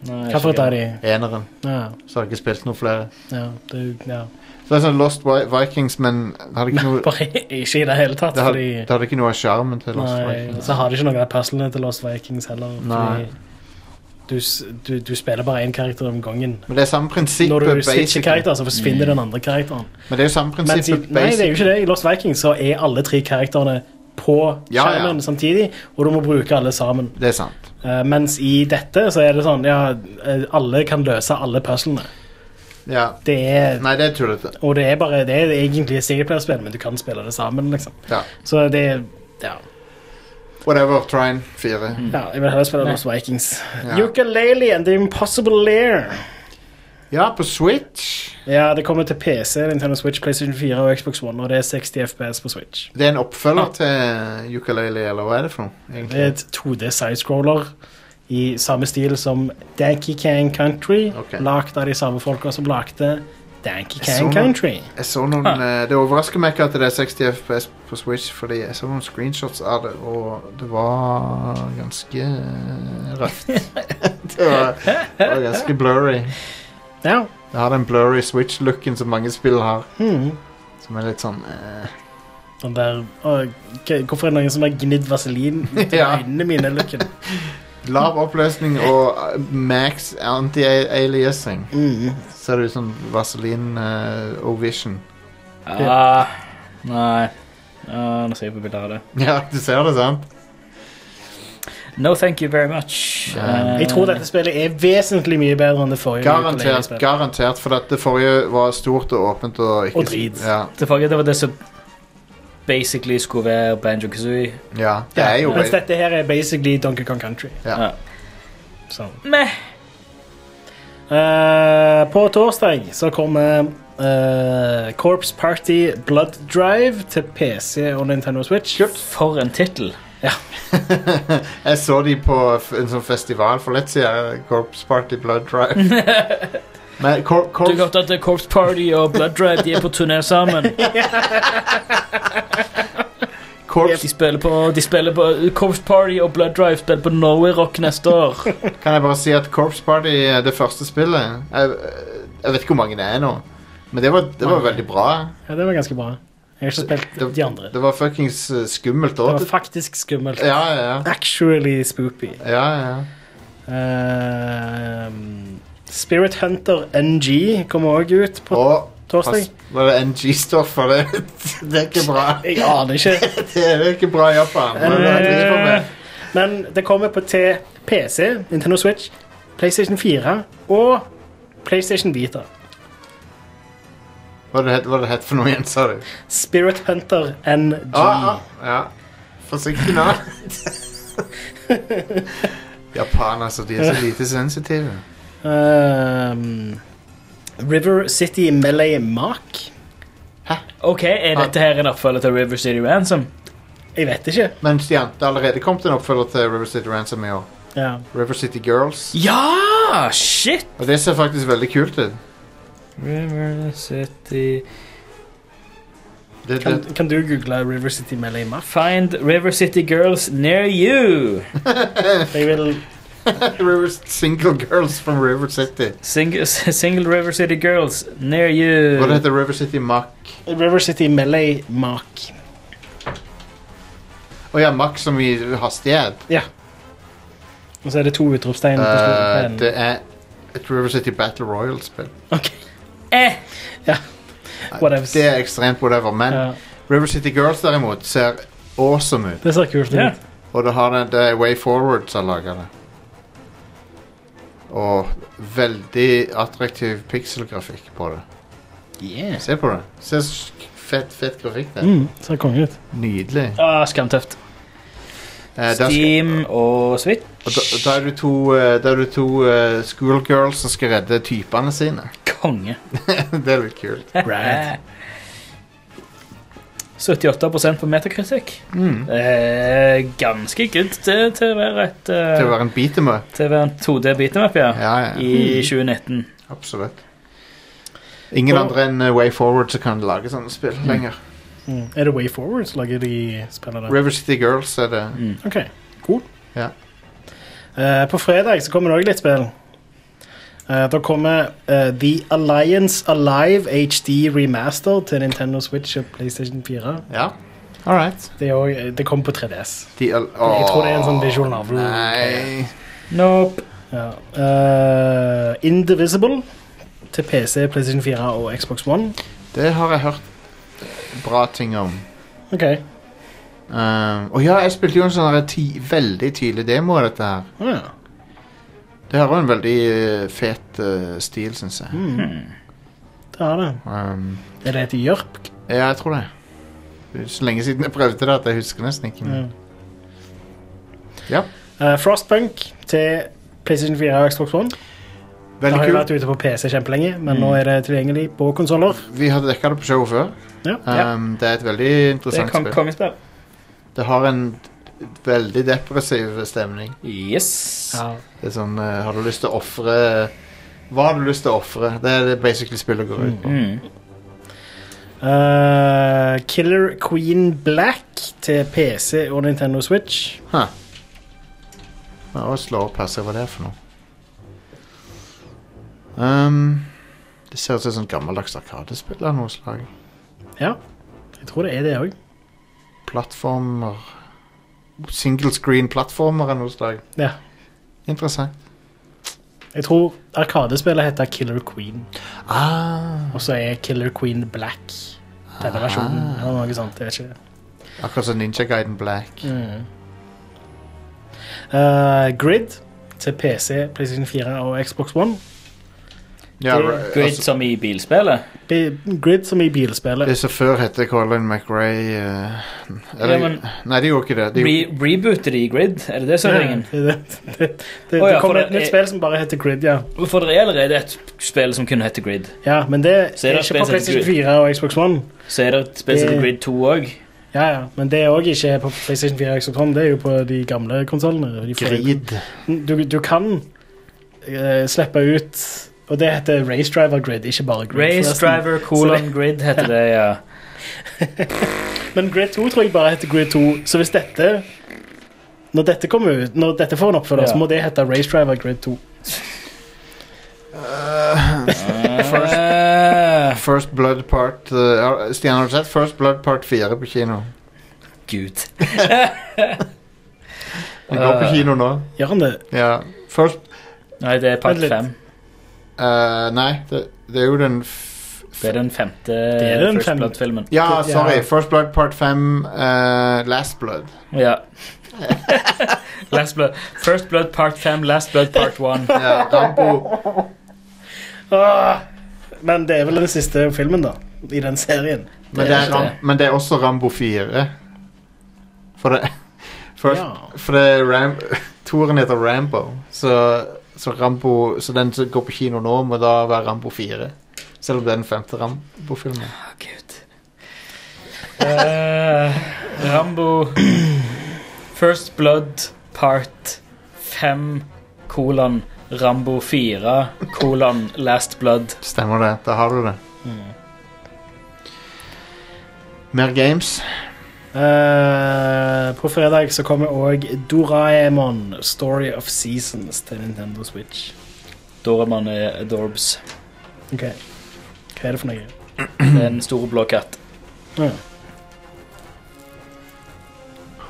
Speaker 3: Hva
Speaker 2: Hvorfor tar de?
Speaker 1: Eneren.
Speaker 2: Ja,
Speaker 1: Så har jeg ikke spilt noe flere.
Speaker 2: ja, det, ja.
Speaker 1: Så det er sånn Lost Vi- Vikings, men det hadde ikke noe,
Speaker 2: Bare ikke i det hele tatt,
Speaker 1: det hadde,
Speaker 2: fordi
Speaker 1: det hadde ikke noe av sjarmen til Lost
Speaker 2: Nei,
Speaker 1: Vikings.
Speaker 2: så har de ikke noen av puzzlene til Lost Vikings heller.
Speaker 1: Nei.
Speaker 2: Fordi du, s- du, du spiller bare én karakter om gangen.
Speaker 1: Men det er samme
Speaker 2: Når
Speaker 1: prinsippet,
Speaker 2: du switcher
Speaker 1: basically.
Speaker 2: karakter, så forsvinner den andre karakteren.
Speaker 1: Men det er jo samme
Speaker 2: Mens i,
Speaker 1: prinsippet,
Speaker 2: nei, det er jo
Speaker 1: basic.
Speaker 2: ikke det. I Lost Vikings så er alle tre karakterene på
Speaker 1: Ja, ja.
Speaker 2: skjermen samtidig, og du må bruke alle sammen.
Speaker 1: Det er sant.
Speaker 2: Eh, mens i dette så er det sånn ja, eh, alle kan løse alle puzzlene.
Speaker 1: Ja.
Speaker 2: Det er
Speaker 1: Nei, det er tullete.
Speaker 2: Og det er bare det er egentlig et singleplayerspill, men du kan spille det sammen, liksom.
Speaker 1: Ja.
Speaker 2: Så det er ja.
Speaker 1: Whatever, Trine 4.
Speaker 2: ja. Jeg vil heller spille Lost Vikings.
Speaker 1: Ja.
Speaker 2: Ukulele and The Impossible Lair.
Speaker 1: Ja, på Switch
Speaker 2: Ja, det kommer til PC, Nintendo Switch, PlayStation 4 og Xbox One, og det er 60 FPS på Switch.
Speaker 1: Det er en oppfølger til Ukulele, eller hva er det for noe?
Speaker 2: Det er
Speaker 1: egentlig?
Speaker 2: et 2D sidescroller i samme stil som Danky Kang Country,
Speaker 1: Ok.
Speaker 2: lagd av de samme folka som lagde Danky
Speaker 1: Jeg så
Speaker 2: Kang
Speaker 1: noe.
Speaker 2: Country.
Speaker 1: Jeg så noen, eh, Det overrasker meg ikke at det er 60 FPS på Switch, fordi jeg så noen screenshots av det, og det var ganske eh, røft. det, var, det var ganske blurry.
Speaker 2: Ja.
Speaker 1: Det har den blurry Switch-looken som mange spill har,
Speaker 2: Hmm.
Speaker 1: som er litt sånn eh,
Speaker 2: Den der å, k- Hvorfor er det noen som har gnidd vaselin ut
Speaker 1: Ja.
Speaker 2: av øynene mine? Looken?
Speaker 1: Lav oppløsning og eh, max anti-aliasing.
Speaker 2: Mm.
Speaker 1: Ser ut som Vaseline eh, Ovision.
Speaker 3: Ah, nei. Ah, nå ser jeg på bilder av det.
Speaker 1: Ja, du ser det, sant?
Speaker 3: No thank you very much.
Speaker 1: Nei.
Speaker 3: Eh,
Speaker 2: Jeg tror dette spillet er vesentlig mye bedre enn det forrige.
Speaker 1: Garantert,
Speaker 2: ukulele-spillet.
Speaker 1: garantert for at det forrige var stort og åpent og ikke
Speaker 2: Og drit.
Speaker 1: Ja,
Speaker 3: Det forrige det var det som basically skulle være Banjo Kazooie.
Speaker 1: ja. Det er jo
Speaker 2: Mens dette her er basically Donkey Kong Country.
Speaker 1: Ja.
Speaker 3: Ja.
Speaker 2: Så. Eh, på torsdag så kommer eh, Corps Party Blood Drive til PC og Nintendo Switch.
Speaker 3: For en tittel.
Speaker 1: Jeg så de på f- en sånn festival for litt siden. Corps Party Blood Drive. Men Cor
Speaker 3: Du
Speaker 1: Corps
Speaker 3: godt at The Corpse Party og Blood Drive de er på turné sammen. De
Speaker 1: Corps-
Speaker 3: spiller på, de spiller på uh, Corpse Party og Blood Drive spiller på Norway Rock neste år.
Speaker 1: Kan jeg bare si at Corps Party, eh, det første spillet Jeg, jeg vet ikke hvor mange det er nå, men det var, det var veldig bra.
Speaker 2: Ja, det var ganske bra. Jeg har ikke spilt
Speaker 1: Det,
Speaker 2: de andre. Det
Speaker 1: det var fuckings eh, skummelt
Speaker 2: var
Speaker 1: òg.
Speaker 2: faktisk skummelt.
Speaker 1: Ja, ja, ja.
Speaker 2: Actually spoopy.
Speaker 1: ja, ja.
Speaker 2: Eh, Spirit Hunter NG kommer òg ut på
Speaker 1: Og
Speaker 2: torsdag.
Speaker 1: pass, var det NG-stoff for det? Det er ikke bra.
Speaker 2: Jeg aner ikke.
Speaker 1: Det er ikke bra i Japan. Hva er det de driver
Speaker 2: Eh.
Speaker 1: med?
Speaker 2: Men det kommer på til PC, Nintendo Switch, PlayStation 4 og PlayStation Vita.
Speaker 1: Hva er det het- hva er det het for noe igjen, sa du?
Speaker 2: Spirit Hunter NG.
Speaker 1: Ah, ah, ja. Forsiktig nå. Japanere, altså. De er så lite sensitive.
Speaker 2: Ehm, River City Melee Mark.
Speaker 3: Ok, Er
Speaker 1: Ah.
Speaker 3: dette her en oppfølger til River City Ransom?
Speaker 2: Jeg vet ikke.
Speaker 1: Mens de andre allerede kom til en oppfølger til River City Ransom i år.
Speaker 2: Ja.
Speaker 1: River City Girls.
Speaker 3: Ja! Shit!
Speaker 1: Og det ser faktisk veldig kult ut.
Speaker 3: River City
Speaker 1: Det,
Speaker 2: Kan,
Speaker 1: det,
Speaker 2: kan du google River City Melee Mark?
Speaker 3: Find River City Girls near you.
Speaker 2: Jeg vil
Speaker 1: River, single girls from River City.
Speaker 3: Sing single River City Girls near you.
Speaker 1: Hva det heter River City Mack?
Speaker 2: River City Melee Mark.
Speaker 1: Å ja, Mack som i hastighet.
Speaker 2: Og så er det to utropstegn på
Speaker 1: Eh,
Speaker 2: slutten.
Speaker 1: det er et River City Battle Royal-spill.
Speaker 2: Ok,
Speaker 3: Eh,
Speaker 2: Whatevs.
Speaker 1: Det er ekstremt whatever. Men
Speaker 2: ja.
Speaker 1: River City Girls derimot ser awesome ut.
Speaker 2: Det ser kult ut.
Speaker 3: Ja.
Speaker 1: Og det har den det er Way Forward som har laga det. Og veldig attraktiv pikselgrafikk på det. Se på det. Se så fett, fett grafikk det er.
Speaker 2: Mm, ser konge ut.
Speaker 1: Nydelig.
Speaker 3: Ah, Skamtøft.
Speaker 1: Eh, der skal-
Speaker 3: Steam og Switch.
Speaker 1: og da, da er du to, eh, da er du to eh, schoolgirls som skal redde typene sine.
Speaker 3: Konge.
Speaker 1: det er litt kult.
Speaker 2: Rad.
Speaker 3: 78 på metakritikk.
Speaker 1: Mm.
Speaker 3: Eh, ganske good til, til å være et eh,
Speaker 1: Til å være en beat em up.
Speaker 3: Til å være en 2D beatemap, ja.
Speaker 1: Ja, ja.
Speaker 3: I 2019.
Speaker 1: Absolutt. Ingen
Speaker 2: Og-
Speaker 1: andre enn eh, Way Forward som kan lage sånne spill lenger.
Speaker 2: Mm. Er det Way Forward som lager de spillene? der?
Speaker 1: River City Girls er det.
Speaker 3: Mm.
Speaker 2: OK, cool.
Speaker 1: Ja.
Speaker 2: Eh, på fredag så kommer det òg litt spill. Eh, da kommer eh, The Alliance Alive HD Remaster til Nintendo Switch og PlayStation 4.
Speaker 1: Ja. All right.
Speaker 2: Det, er også- eh, det kommer på 3DS.
Speaker 1: De, al-
Speaker 2: Jeg tror det er en sånn
Speaker 1: Åh,
Speaker 2: visual novel.
Speaker 1: Nei.
Speaker 3: Nope.
Speaker 2: Ja. Eh, Indivisible til PC, PlayStation 4 og Xbox One.
Speaker 1: Det har jeg hørt bra ting om.
Speaker 2: OK.
Speaker 1: Um, og ja, jeg spilte jo en sånn her ti, veldig tydelig demo av dette her.
Speaker 2: Ah, ja.
Speaker 1: Det har jo en veldig eh, fet eh, stil, syns jeg.
Speaker 2: Mm. Det er det.
Speaker 1: Um,
Speaker 2: Er det et Jørp?
Speaker 1: ja, jeg tror det. Det er så lenge siden jeg prøvde det at jeg husker nesten ikke. Men. Ja.
Speaker 2: Mm. Eh, Frostpunk til PlayStation 4 og Xbox One. Det
Speaker 1: Veldig
Speaker 2: har jo vært
Speaker 1: kult.
Speaker 2: ute på PC kjempelenge, men nå er det tilgjengelig på konsoller.
Speaker 1: Vi hadde dekka det på showet før.
Speaker 2: Ja.
Speaker 1: Um, det er et veldig
Speaker 3: Det
Speaker 1: interessant
Speaker 3: kom
Speaker 1: spill.
Speaker 3: kongespill.
Speaker 1: Det har en veldig depressiv stemning.
Speaker 3: Yes.
Speaker 1: Det er sånn eh, Har du lyst til å ofre Hva har du lyst til å ofre? Det er det basically spillet går ut på.
Speaker 3: Mm.
Speaker 2: Eh, Killer Queen Black til PC og Nintendo Switch.
Speaker 1: Huh. Jeg må slå opp her, se hva det er for noe. Ehm, det ser ut som et sånt gammeldags arkadespill av noe slag.
Speaker 2: Ja, jeg tror det er det òg.
Speaker 1: Plattformer Single screen-plattformer av noe slag.
Speaker 2: Ja.
Speaker 1: Interessant.
Speaker 2: Jeg tror Arkadespillet heter Killer Queen,
Speaker 1: Ah,
Speaker 2: og så er Killer Queen Black denne versjonen. Eller noe sånt, jeg vet ikke.
Speaker 1: akkurat som Ninja Guiden Black.
Speaker 2: Mm. Eh, Grid til PC, PlayStation 4 og Xbox One.
Speaker 1: Ja,
Speaker 2: Det-
Speaker 1: ra-
Speaker 3: Grid
Speaker 1: altså,
Speaker 3: som i bilspillet.
Speaker 2: Bi- Grid som i bilspillet.
Speaker 1: det som før hette Colin McRae eh, eller,
Speaker 3: Ja, men-
Speaker 1: Nei, de gjorde ikke det. De,
Speaker 3: Re Rebooter i Grid, er det det som er
Speaker 2: Ja,
Speaker 3: ringen?
Speaker 2: Det, det, det, det,
Speaker 3: Å ja,
Speaker 2: det kommer
Speaker 3: for
Speaker 2: et
Speaker 3: det
Speaker 2: nytt
Speaker 3: er-
Speaker 2: spill som bare heter Grid, ja.
Speaker 3: For det er allerede et spill som kunne hete Grid.
Speaker 2: ja men det
Speaker 3: Så er
Speaker 2: er ikke
Speaker 3: det
Speaker 2: på
Speaker 3: spill som heter
Speaker 2: PlayStation 4 og Xbox One.
Speaker 3: Så er det et spill som heter
Speaker 2: Det-
Speaker 3: Grid 2 òg.
Speaker 2: Ja, ja, Men det er òg ikke på PlayStation 4 og Xbox One, det er jo på de gamle konsollene.
Speaker 1: Grid.
Speaker 2: Du, du kan eh, slippe ut Og det heter Race Driver Grid, ikke bare Grid.
Speaker 3: Race
Speaker 2: forresten.
Speaker 3: Driver
Speaker 2: Så
Speaker 3: Colon Grid heter det, ja.
Speaker 2: Men Grid 2 tror jeg bare heter Grid 2, så hvis dette når dette kommer ut, når dette får en oppfølger,
Speaker 3: Ja.
Speaker 2: så må det hete Race Driver Grid 2.
Speaker 1: Eh,
Speaker 3: Eh, Ah,
Speaker 1: First Blood Part eh, Stian, har du sett First Blood Part 4 på kino?
Speaker 3: Gud.
Speaker 1: Den går på
Speaker 3: Eh.
Speaker 1: kino nå.
Speaker 2: Gjør han det?
Speaker 1: Ja. First
Speaker 3: Nei, det er part
Speaker 2: Vent litt.
Speaker 3: fem.
Speaker 1: Eh, nei, det, det er jo den f
Speaker 3: Det er den femte
Speaker 2: er den
Speaker 3: First
Speaker 2: fem-
Speaker 3: Blood-filmen.
Speaker 1: Ja,
Speaker 2: Ja.
Speaker 1: sorry. First Blood Part 5, eh, Last Blood.
Speaker 3: Ja. Last Blood. First Blood Part 5, Last Blood Part 1.
Speaker 1: Ja, Rambo.
Speaker 2: Ah, men det er vel den siste filmen, da. I den serien.
Speaker 1: Men,
Speaker 3: Det
Speaker 1: det
Speaker 3: er
Speaker 1: er
Speaker 3: det.
Speaker 1: Ram men det er også Rambo 4. For det First,
Speaker 2: Ja.
Speaker 1: For det er Ram Toren heter Rambo, så, så Rambo Så den som går på kino nå, må da være Rambo 4. Selv om det er den femte Rambo-filmen.
Speaker 3: Å, Gud. Eh, Rambo First Blood Part 5 kolon Rambo 4 kolon Last Blood.
Speaker 1: Stemmer det. Da har du det. Mm. Mer games.
Speaker 2: Eh, på fredag så kommer òg Doraemon Story of Seasons til Nintendo Switch.
Speaker 3: Doraemon er adorbs.
Speaker 2: Ok Hva er det for noe?
Speaker 3: Det er en stor blå katt.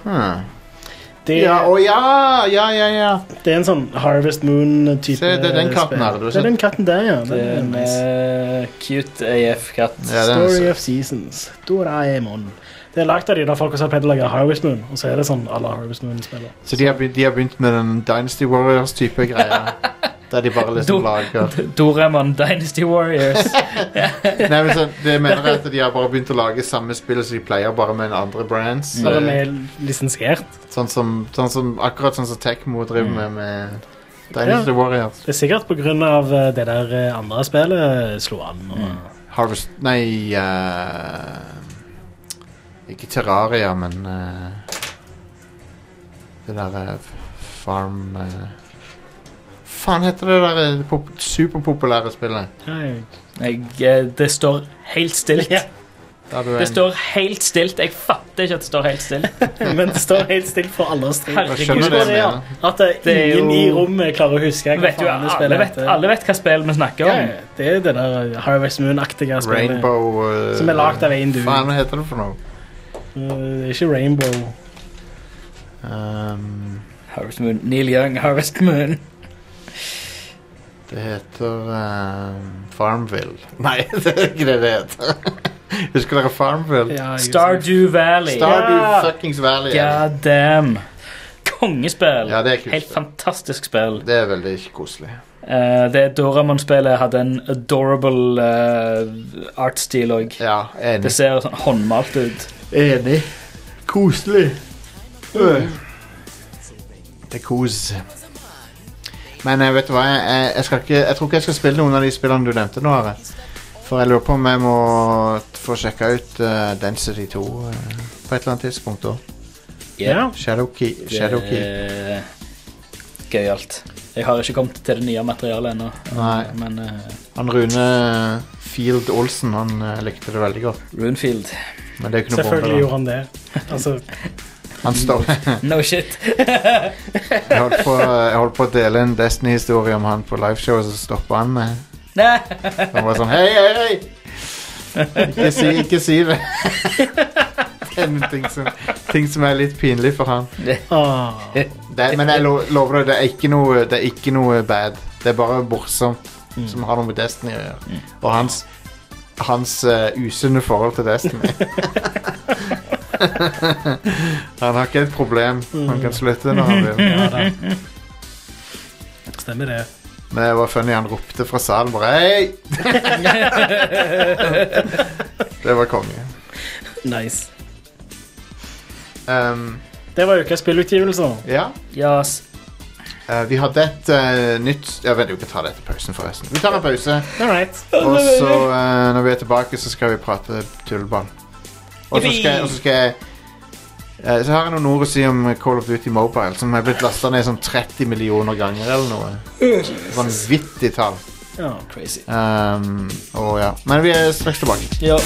Speaker 1: Hmm.
Speaker 2: Det,
Speaker 1: Ja, å ja! Ja, ja, ja.
Speaker 2: det er en sånn Harvest Moon-type
Speaker 1: Se, det er den katten
Speaker 2: spill.
Speaker 1: her, du har
Speaker 2: Det er den katten der, ja.
Speaker 3: Det
Speaker 2: Den
Speaker 3: er
Speaker 2: er
Speaker 3: en
Speaker 2: nice.
Speaker 3: eh, cute AF-katt.
Speaker 1: ja den er
Speaker 2: Story
Speaker 1: søt.
Speaker 2: of Seasons. Doraemon. Det er lagd av de der folk som har pleid å lage Harvest Moon, og så er det sånn alle Harvest Moon-spiller.
Speaker 1: Så de har, begynt, de har begynt med den Dynasty Warriors-type greia. Der de bare liksom lager
Speaker 3: Doraemon Dynasty Warriors.
Speaker 1: Nei, men så, Det mener jeg at de har bare begynt å lage samme spill som de pleier, bare med en andre brands.
Speaker 2: Bare med lisensiert.
Speaker 1: Sånn som, sånn som, akkurat sånn som Tecmo driver med med Dynasty
Speaker 2: Mm. Ja.
Speaker 1: Warriors.
Speaker 2: Det er sikkert pga. det der eh, andre spillet slo an. Og,
Speaker 1: Harvest Nei eh, Ikke Terraria, men eh, Det derre Farm eh, Faen heter det der eh, pop superpopulære spillet?
Speaker 2: Nei,
Speaker 3: Jeg, eh, det står helt stilt.
Speaker 1: Der du er
Speaker 3: Det
Speaker 1: en-
Speaker 3: står helt stilt. Jeg fatter ikke at det står helt stilt.
Speaker 2: Men det står helt stille for alle oss tre.
Speaker 1: Jeg skjønner
Speaker 3: Herregud.
Speaker 1: det, jeg
Speaker 2: det, ja.
Speaker 1: mener.
Speaker 2: At eh,
Speaker 3: Det er
Speaker 2: ingen i
Speaker 3: jo-
Speaker 2: rommet klarer å huske hva
Speaker 3: Vet jo,
Speaker 2: faen det
Speaker 3: alle,
Speaker 2: spillet
Speaker 3: vet,
Speaker 2: heter.
Speaker 3: alle vet hva spill vi snakker
Speaker 2: Ja,
Speaker 3: om.
Speaker 2: ja, det er det der eh, Harvest Moon-aktige spillet.
Speaker 1: Rainbow eh,
Speaker 2: Som er lagd av en dude.
Speaker 1: Faen, hva heter det for noe?
Speaker 2: Eh, ikke Rainbow.
Speaker 1: Ehm,
Speaker 3: Harvest Moon. Neil Young, Harvest Moon.
Speaker 1: det heter ehm, Farmville. Nei, det er ikke det det heter. Husker dere Farmville?
Speaker 2: Ja, jeg-
Speaker 3: Stardew Valley.
Speaker 1: Stardew
Speaker 2: Ja.
Speaker 1: fuckings Valley.
Speaker 3: God damn. Kongespill.
Speaker 1: Ja, det er kult.
Speaker 3: Helt fantastisk spill.
Speaker 1: Det er veldig koselig.
Speaker 3: Eh, det Doraemon-spillet hadde en adorable eh, artstil òg.
Speaker 1: Ja,
Speaker 3: Det
Speaker 1: enig.
Speaker 3: ser sånn håndmalt ut.
Speaker 1: Enig. Koselig. Øh. Det er kos. Men eh, vet du hva, jeg, jeg, jeg, skal ikke, jeg tror ikke jeg skal spille noen av de spillene du nevnte nå. Are. For jeg lurer på om jeg må t- få sjekka ut eh, Density 2 eh, på et eller annet tidspunkt òg.
Speaker 2: Ja.
Speaker 1: Shadowkey. Shadowkey.
Speaker 3: Det er Gøyalt. Jeg har ikke kommet til det nye materialet ennå.
Speaker 1: Nei.
Speaker 3: Men eh,
Speaker 1: Han Rune Field Olsen han eh, likte det veldig godt.
Speaker 3: Runefield
Speaker 1: Men det er ikke noe
Speaker 2: Selvfølgelig
Speaker 1: bombe.
Speaker 2: gjorde han det. Altså,
Speaker 1: da. Han står,
Speaker 3: No shit.
Speaker 1: jeg, holdt på, jeg holdt på å dele en Destiny-historie om han på liveshowet, så stoppa han eh, meg.
Speaker 3: Nei.
Speaker 1: Han var sånn Hei, hei, hei! Ikke si, ikke si det. det er noen ting som, ting som er litt pinlig for han.
Speaker 2: ah,
Speaker 1: Det, men jeg lo, lover deg, det er, ikke noe, det er ikke noe bad. Det er bare morsomt som har noe med Destiny å gjøre. Og hans, hans eh, usunne forhold til Destiny. han har ikke et problem. Han kan slutte når han vil.
Speaker 2: ja da. Stemmer det.
Speaker 1: Men det var funny, han ropte fra salen bare Hei! det var konge.
Speaker 2: Nice.
Speaker 1: Um,
Speaker 2: Det var ukas spillutgivelser.
Speaker 1: ja.
Speaker 3: Yes.
Speaker 1: Eh, vi hadde et eh, nytt Jeg vet jo ikke ta det etter pausen, forresten. Vi tar en pause,
Speaker 2: All right.
Speaker 1: og så eh, når vi er tilbake, så skal vi prate tulleball. Og så skal, jeg- og så skal jeg eh, Så har jeg noen ord å si om Call of Duty Mobile, som er blitt lasta ned sånn 30 millioner ganger eller noe. Vanvittig tall.
Speaker 2: Ja.
Speaker 3: Crazy.
Speaker 1: Um, og ja. Men vi er straks tilbake.
Speaker 3: Ja.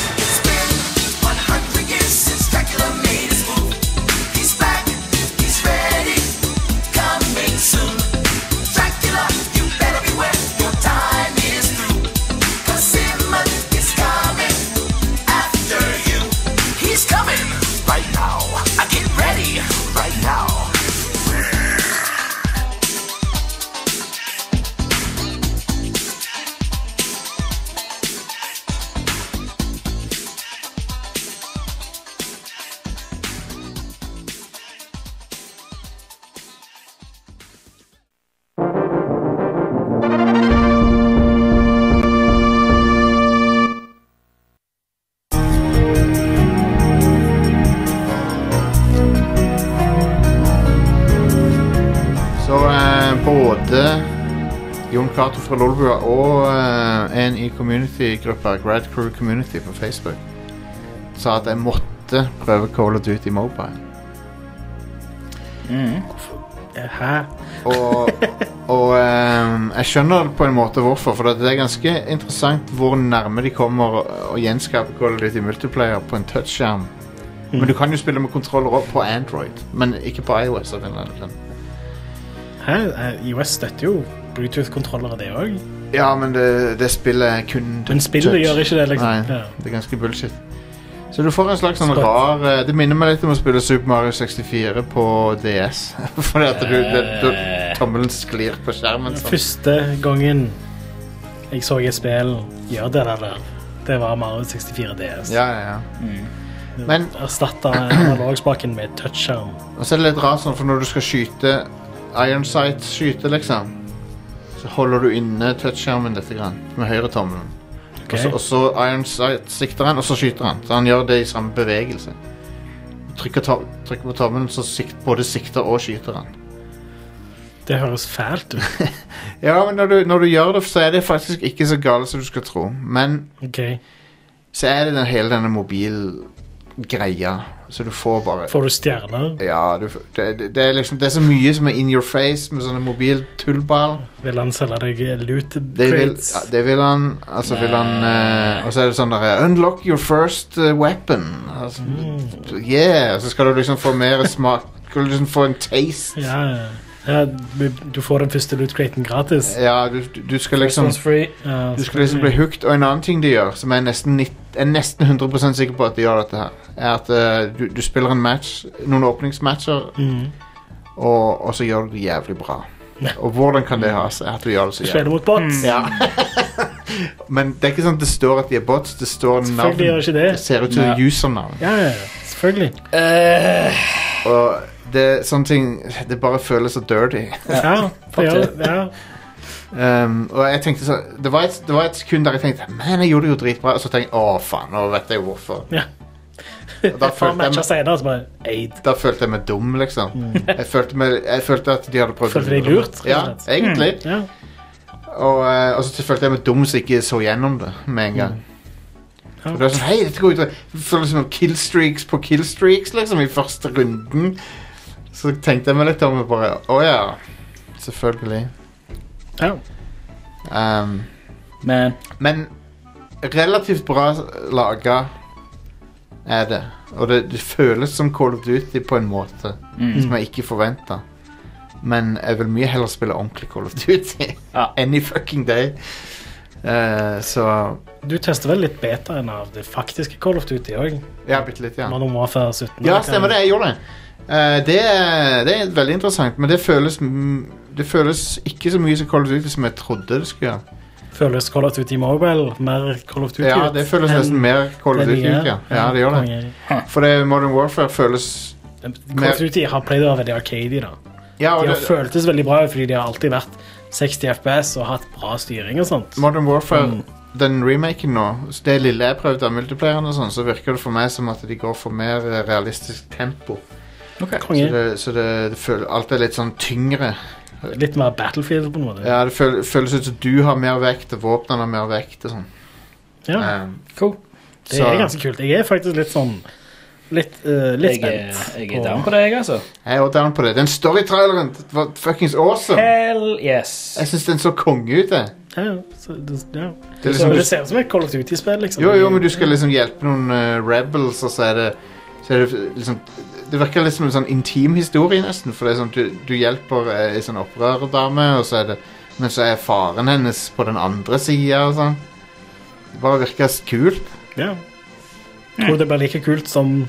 Speaker 1: Så eh, både Jon Cato fra Lolbua og eh, en i community-gruppa, Grad Crew Community på Facebook, sa at jeg måtte prøve Call of Duty Mobile.
Speaker 2: Eh, Hæ?
Speaker 1: Og, og eh, jeg skjønner på en måte hvorfor, for det er ganske interessant hvor nærme de kommer å gjenskape Call of Duty Multiplayer på en touchskjerm. Men du kan jo spille med kontroller også på Android, men ikke på iOS. av en eller annen grunn.
Speaker 2: Hæ? Eh, IOS støtter jo Bluetooth-kontrollere, det òg.
Speaker 1: Ja, men det, det spillet er kun
Speaker 2: Men spillet
Speaker 1: touch.
Speaker 2: gjør ikke det, liksom.
Speaker 1: Nei,
Speaker 2: Ja.
Speaker 1: det er ganske bullshit. Så du får en slags sånn
Speaker 2: Skott.
Speaker 1: rar eh, Det minner meg litt om å spille Super Mario 64 på DS. Fordi at du, det- du, tommelen sklir på skjermen. Sånn.
Speaker 2: Første gangen jeg så et spill gjøre det der, det var Mario 64 DS.
Speaker 1: Ja, ja, ja. Men
Speaker 2: Erstatte analogspaken med touchskjerm.
Speaker 1: Og så er det litt rart sånn, for når du skal skyte Iron Sight skyte, liksom Så holder du inne touchskjermen litt grann, med høyre tommelen.
Speaker 2: Ok.
Speaker 1: Og så- Og så Iron Sight sikter han, og så skyter han. Så han gjør det i samme bevegelse. Du Trykker, to trykker på tommelen, så sikt både sikter og skyter han.
Speaker 2: Det høres fælt ut.
Speaker 1: Ja, men når du, når du gjør det, så er det faktisk ikke så galt som du skal tro. Men
Speaker 2: Ok,
Speaker 1: så er det den, hele denne mobilgreia, så du får bare
Speaker 2: Får du stjerner?
Speaker 1: Ja, du, f- det, det, det er liksom Det er så mye som er in your face med sånne mobiltullball.
Speaker 2: Vil han selge deg loot
Speaker 1: Det vil,
Speaker 2: crates?
Speaker 1: ja, det vil han Altså vil han eh, Og så er det sånn der Unlock your first eh, weapon altså,
Speaker 2: Mm.
Speaker 1: Yeah Så skal du liksom få mer smak Skal du liksom få en taste
Speaker 2: Ja, ja. ja, du- du får den første loot craten gratis.
Speaker 1: Ja, du, du- du skal liksom
Speaker 3: free.
Speaker 2: Ja,
Speaker 1: Du skal liksom bli hooked Og en annen ting de gjør Som jeg er nesten, nitt- jeg er nesten 100% sikker på at de gjør dette her Er at eh, du, du spiller en match Noen åpningsmatcher
Speaker 2: Mhm.
Speaker 1: og, og så gjør du det jævlig bra Og hvordan kan det ha seg At du gjør det så jævlig
Speaker 2: Spiller mot bots.
Speaker 1: Ja. Mm. Men det er ikke sånn at det står at de er bots. Det står navn.
Speaker 2: Selvfølgelig gjør ikke det.
Speaker 1: ser ut som
Speaker 3: Nei.
Speaker 1: usernavn.
Speaker 2: Ja, ja, selvfølgelig.
Speaker 3: Eh,
Speaker 1: Og det er sånne ting Det bare føles så dirty.
Speaker 2: Ja, det gjør
Speaker 3: det.
Speaker 2: det. Ja.
Speaker 1: Um, og jeg tenkte så det var, et, det var et sekund der jeg tenkte Man, jeg gjorde det jo dritbra. Og så tenkte jeg å faen, nå vet jeg hvorfor.
Speaker 2: Ja.
Speaker 1: Og da
Speaker 2: For
Speaker 1: følte jeg
Speaker 2: matcher
Speaker 1: meg
Speaker 2: senere, så bare Aid.
Speaker 1: da følte jeg meg dum, liksom. Jeg, følte meg, jeg følte at de hadde prøvd
Speaker 2: Mm. Følte deg lurt, rett og
Speaker 1: Ja,
Speaker 2: slett.
Speaker 1: egentlig.
Speaker 2: mm, Ja.
Speaker 1: Og, eh, og så følte jeg meg dum som ikke så gjennom det med en gang.
Speaker 2: Ja.
Speaker 1: Og det var sånn, hei, dette går ut Det føles som killstreaks på killstreaks liksom, i første runden. Så tenkte jeg meg litt om og bare Å ja, selvfølgelig.
Speaker 2: Ja.
Speaker 1: Um,
Speaker 3: Men
Speaker 1: men relativt bra laga er det. Og det, det føles som Call of Duty på en måte
Speaker 3: mm.
Speaker 1: som jeg ikke forventa. Men jeg vil mye heller spille ordentlig Call of Duty
Speaker 3: Ja.
Speaker 1: any fucking day. Eh, så
Speaker 2: Du tester vel litt betaen av det faktiske Call of Duty òg?
Speaker 1: Ja, bitte litt, ja.
Speaker 2: Modern Warfare 17.
Speaker 1: Ja, stemmer det. Jeg gjorde det. Eh, det, er, det er veldig interessant, men det føles, m- det føles ikke så mye som Call of Duty som jeg trodde det skulle gjøre.
Speaker 2: Føles Call of Duty Mobile mer Call of Duty
Speaker 1: Ja, det føles nesten mer Call of Duty ut, ja. ja det gjør det. For det Modern Warfare føles
Speaker 2: Call of Duty har pleid å være veldig arcady, da.
Speaker 1: Ja, og
Speaker 2: De har
Speaker 1: det,
Speaker 2: føltes veldig bra fordi de har alltid vært 60 FPS og hatt bra styring og sånt.
Speaker 1: Modern
Speaker 2: Mm.
Speaker 1: Warfare, den remaken nå, så det lille jeg prøvde av multiplayeren og sånn, så virker det for meg som at de går for mer eh, realistisk tempo. Så,
Speaker 2: Konge.
Speaker 1: det, så det, det føles, alt er litt sånn tyngre.
Speaker 2: Litt mer Battlefield, på en måte.
Speaker 1: Ja, det føl, føles ut som du har mer vekt, og våpnene har mer vekt og sånn.
Speaker 2: Ja,
Speaker 1: Eh,
Speaker 3: cool.
Speaker 2: det er ganske kult. Jeg er faktisk litt sånn Litt, eh, litt
Speaker 3: Jeg er,
Speaker 2: spent.
Speaker 3: jeg er down på det, jeg, altså.
Speaker 1: Jeg er også down på det. Den storytraileren det var fuckings awesome.
Speaker 3: Hell yes.
Speaker 1: Jeg syns den så konge ut. jeg.
Speaker 2: Ja, ja, så det, ja.
Speaker 1: Det er
Speaker 2: Så
Speaker 1: liksom,
Speaker 2: det ser ut som et Call of Duty-spill, liksom.
Speaker 1: jo, jo, men du skal liksom hjelpe noen eh, rebels, og så er det så er det liksom Det virker litt som en sånn intim historie, nesten. For det er sånn, du, du hjelper eh, ei sånn opprørerdame, og så er det Men så er faren hennes på den andre sida og sånn. Det bare virker s- kult.
Speaker 2: Ja. Tror du det blir like kult som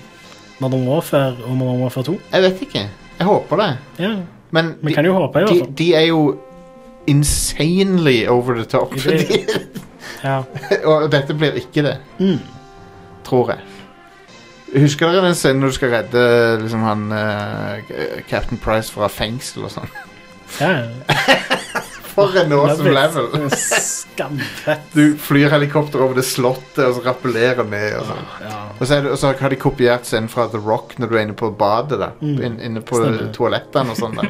Speaker 2: Modern Warfare og Modern Warfare 2?
Speaker 1: Jeg vet ikke. Jeg håper det.
Speaker 2: Ja,
Speaker 1: Men
Speaker 2: vi kan jo håpe, i altså.
Speaker 1: de, altså?
Speaker 2: hvert fall.
Speaker 1: de er jo insanely over the top.
Speaker 2: Det-
Speaker 1: De,
Speaker 2: Ja.
Speaker 1: Og dette blir ikke det. Tror jeg. Husker dere den scenen når du skal redde liksom, han, eh, Captain Price fra fengsel og sånn?
Speaker 2: ja.
Speaker 1: For en awesome
Speaker 2: Love
Speaker 1: level!
Speaker 2: it. Skamfett.
Speaker 1: Du flyr helikopter over det slottet og så rappellerer ned. Og, sånn. og, så er det, og så har de kopiert scenen fra The Rock når du er inne på badet. der Inn- Inne på
Speaker 2: Stemmer.
Speaker 1: toalettene og sånn. der.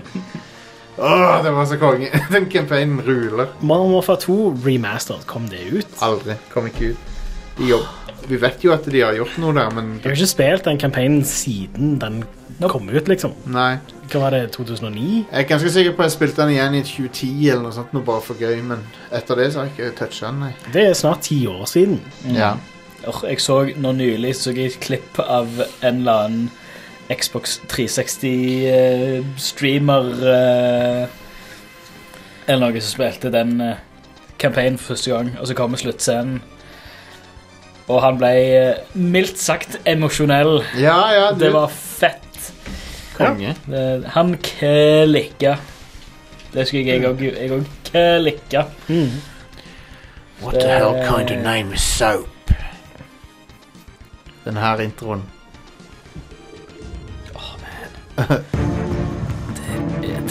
Speaker 1: Åh, det var så konge! Den campaignen ruler.
Speaker 2: Modern Warfare 2 remastered, kom det ut?
Speaker 1: Aldri. Kom ikke ut. De jobb. Vi vet jo at de har gjort noe der, men
Speaker 2: Jeg har ikke spilt den kampanjen siden den kom ut, liksom.
Speaker 1: nei.
Speaker 2: Hva var det, 2009?
Speaker 1: Jeg er ganske sikker på at jeg spilte den igjen i 2010 eller noe sånt, noe bare for gøy, men etter det så har jeg ikke toucha den, nei.
Speaker 2: Det er snart ti år siden.
Speaker 1: Ja.
Speaker 3: Åh, jeg så nå nylig så jeg et klipp av en eller annen Xbox eh, 360-streamer eh, Eller noe som spilte den eh, campaignen for første gang, og så kommer sluttscenen. Og han ble eh, mildt sagt emosjonell.
Speaker 1: ja, ja, du,
Speaker 3: Det var fett.
Speaker 1: konge.
Speaker 3: Det- Han klikka. Det skulle jeg òg. Jeg òg klikka.
Speaker 1: What the hell kind of name is soap? Den her introen.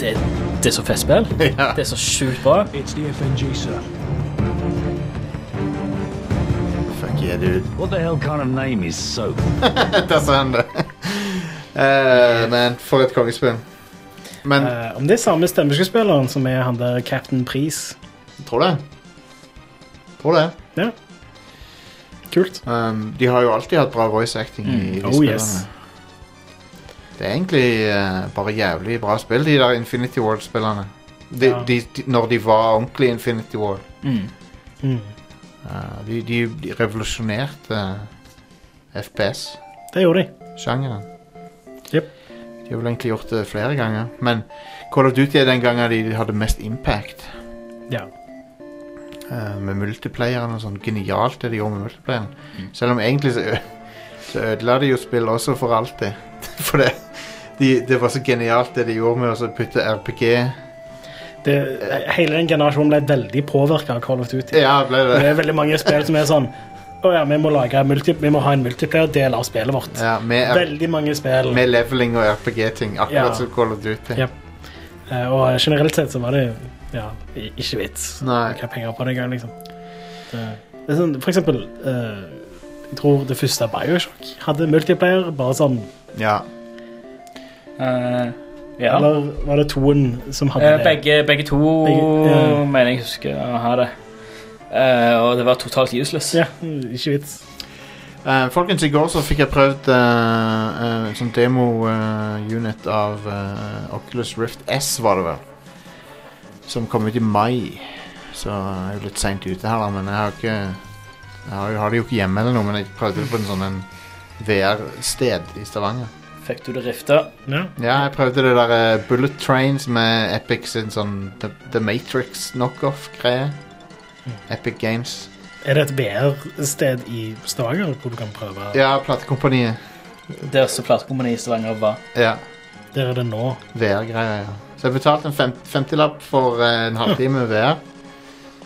Speaker 3: Det, det er så fett spill.
Speaker 1: Ja.
Speaker 3: Det er så sjukt bra.
Speaker 11: It's the FNG, sir.
Speaker 1: Fuck yeah, dude.
Speaker 11: What the hell kind of name is Soap?
Speaker 1: Der sa han det. Eh, men for et kongespill. Men
Speaker 2: Eh, om det er samme stemmeskuespilleren som er han der Captain Pris
Speaker 1: tror det. Tror det.
Speaker 2: Ja. Kult.
Speaker 1: Um, de har jo alltid hatt bra voice acting i de
Speaker 2: Mm. Oh,
Speaker 1: spillene.
Speaker 2: yes.
Speaker 1: Det er egentlig eh, bare jævlig bra spill, de der Infinity World-spillene. De,
Speaker 2: Ja.
Speaker 1: de, de, når de var ordentlig Infinity World.
Speaker 3: Mm.
Speaker 2: Mm.
Speaker 1: Eh, de, de, de revolusjonerte eh, FPS-sjangeren.
Speaker 2: Det gjorde de. Jep.
Speaker 1: De har vel egentlig gjort det flere ganger, men Call of Duty er den gangen de hadde mest impact.
Speaker 2: Ja.
Speaker 1: eh, med multiplayeren og sånn. Genialt det de gjorde med multiplayeren.
Speaker 2: Mm.
Speaker 1: Selv om egentlig så, ø- så ødela de jo spillet også for alltid. For det, de, det var så genialt det de gjorde med å så putte RPG
Speaker 2: Det, hele den generasjonen ble veldig påvirka av Call of Duty.
Speaker 1: Ja, ble det.
Speaker 2: Det er veldig mange spill som er sånn Å ja, vi må, lage multi, vi må ha en multiplayer-del av spillet vårt.
Speaker 1: ja, med, R-
Speaker 2: Veldig mange spill.
Speaker 1: med leveling og RPG-ting, akkurat
Speaker 2: Ja.
Speaker 1: som Call of Duty.
Speaker 2: Jep. Eh, Og generelt sett så var det ja, i- ikke vits å
Speaker 1: Nei.
Speaker 2: bruke penger på det engang, liksom. Det, det er sånn, for eksempel eh, Jeg tror det første Bioshock hadde multiplayer. Bare sånn
Speaker 1: Ja.
Speaker 3: Eh, ja.
Speaker 2: Eller var det toen som hadde
Speaker 3: Eh,
Speaker 2: det?
Speaker 3: begge, begge to
Speaker 2: Begge- ja.
Speaker 3: mener jeg husker å ha det. Eh, og det var totalt useless.
Speaker 2: Ja, ikke vits.
Speaker 1: Eh, folkens, i går så fikk jeg prøvd eh, eh, en sånn demo-unit av eh, Oculus Rift S, var det vel. Som kom ut i mai. Så jeg er jo litt seint ute her, da, men jeg har ikke Jeg har, jo- har det jo ikke hjemme eller noe, men jeg prøvde det på en sånn en VR-sted i Stavanger.
Speaker 3: Fikk du det rifta?
Speaker 2: Ja.
Speaker 1: Ja, jeg prøvde det der eh, Bullet Trains med Epic sin sånn The, The Matrix knockoff-greie. Epic Games.
Speaker 2: Er det et VR-sted i Stavanger hvor du kan prøve?
Speaker 1: Ja, platekompaniet.
Speaker 3: Der som platekompaniet i Stavanger var.
Speaker 1: Ja.
Speaker 2: Der er det nå.
Speaker 1: VR-greier, ja. Så jeg betalte en fem- 50-lapp for eh, en halvtime VR,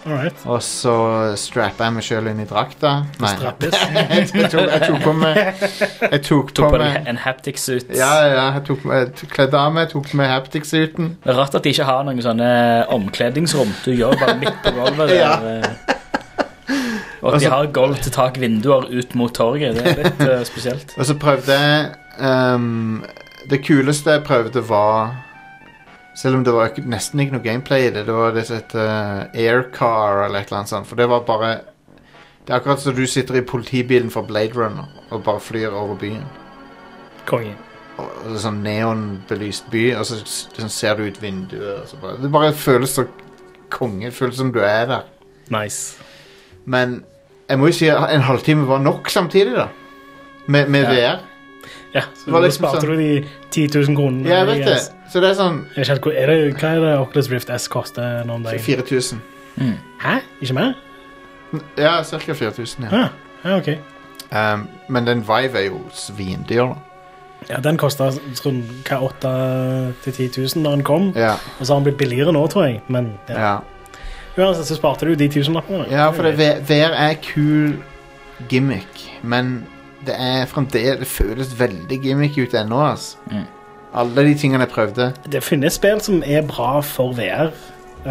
Speaker 2: All right.
Speaker 1: og så strappa jeg meg sjøl inn i drakta. Nei,
Speaker 2: Strappes.
Speaker 1: jeg tok, jeg tok på meg Jeg tok på
Speaker 3: Tok på deg
Speaker 1: meg
Speaker 3: en haptic suit.
Speaker 1: Ja, ja, jeg tok jeg tok- kledde av meg, tok på meg haptic-suiten.
Speaker 3: Det er Rart at de ikke har noen sånne omkledningsrom. Du gjør det bare midt på gulvet. der,
Speaker 1: Ja.
Speaker 3: eh. Og at de
Speaker 1: Altså-
Speaker 3: har gulv til tak, vinduer ut mot torget. Det er litt eh, spesielt.
Speaker 1: Og så prøvde jeg ehm, Det kuleste jeg prøvde, var Selv om det var ikke, nesten ikke noe gameplay i det, det var det som het eh, Aircar eller et eller annet sånt. For det var bare Det er akkurat som du sitter i politibilen fra Blade Runner og bare flyr over byen.
Speaker 2: Konge.
Speaker 1: Og og det er sånn neonbelyst by, og så s- sånn ser du ut vinduet og så bare, Det bare føles så konge. Det føles som du er der.
Speaker 2: Nice.
Speaker 1: Men jeg må jo si at en halvtime var nok samtidig, da. Med, med
Speaker 3: Ja.
Speaker 1: VR.
Speaker 2: Ja,
Speaker 1: Det
Speaker 2: så
Speaker 1: var
Speaker 2: nå
Speaker 1: liksom
Speaker 2: sparte
Speaker 1: sånn-
Speaker 2: du de 10 000 kronene.
Speaker 1: Ja, jeg vet det. Så det er sånn
Speaker 2: Jeg vet ikke helt hvor- er det, hva er det Oculus Rift S koster nå om dagen?
Speaker 1: 4000.
Speaker 3: Mm.
Speaker 2: Hæ? Ikke mer?
Speaker 1: Ja, ca. 4000. Ja.
Speaker 2: Ja, ja ok.
Speaker 1: Um, men den Vive er jo svindyr, da.
Speaker 2: Ja, den kosta hva, 8 000-10 000 da den kom,
Speaker 1: Ja,
Speaker 2: og så har den blitt billigere nå, tror jeg. Men ja.
Speaker 1: ja.
Speaker 2: uansett så sparte du de tusenlappene.
Speaker 1: ja for det, V- VR er kul gimmick, men det er fremdeles Det føles veldig gimmick ut ennå, altså.
Speaker 3: Mm.
Speaker 1: Alle de tingene jeg prøvde.
Speaker 2: Det finnes spill som er bra for VR. Eh,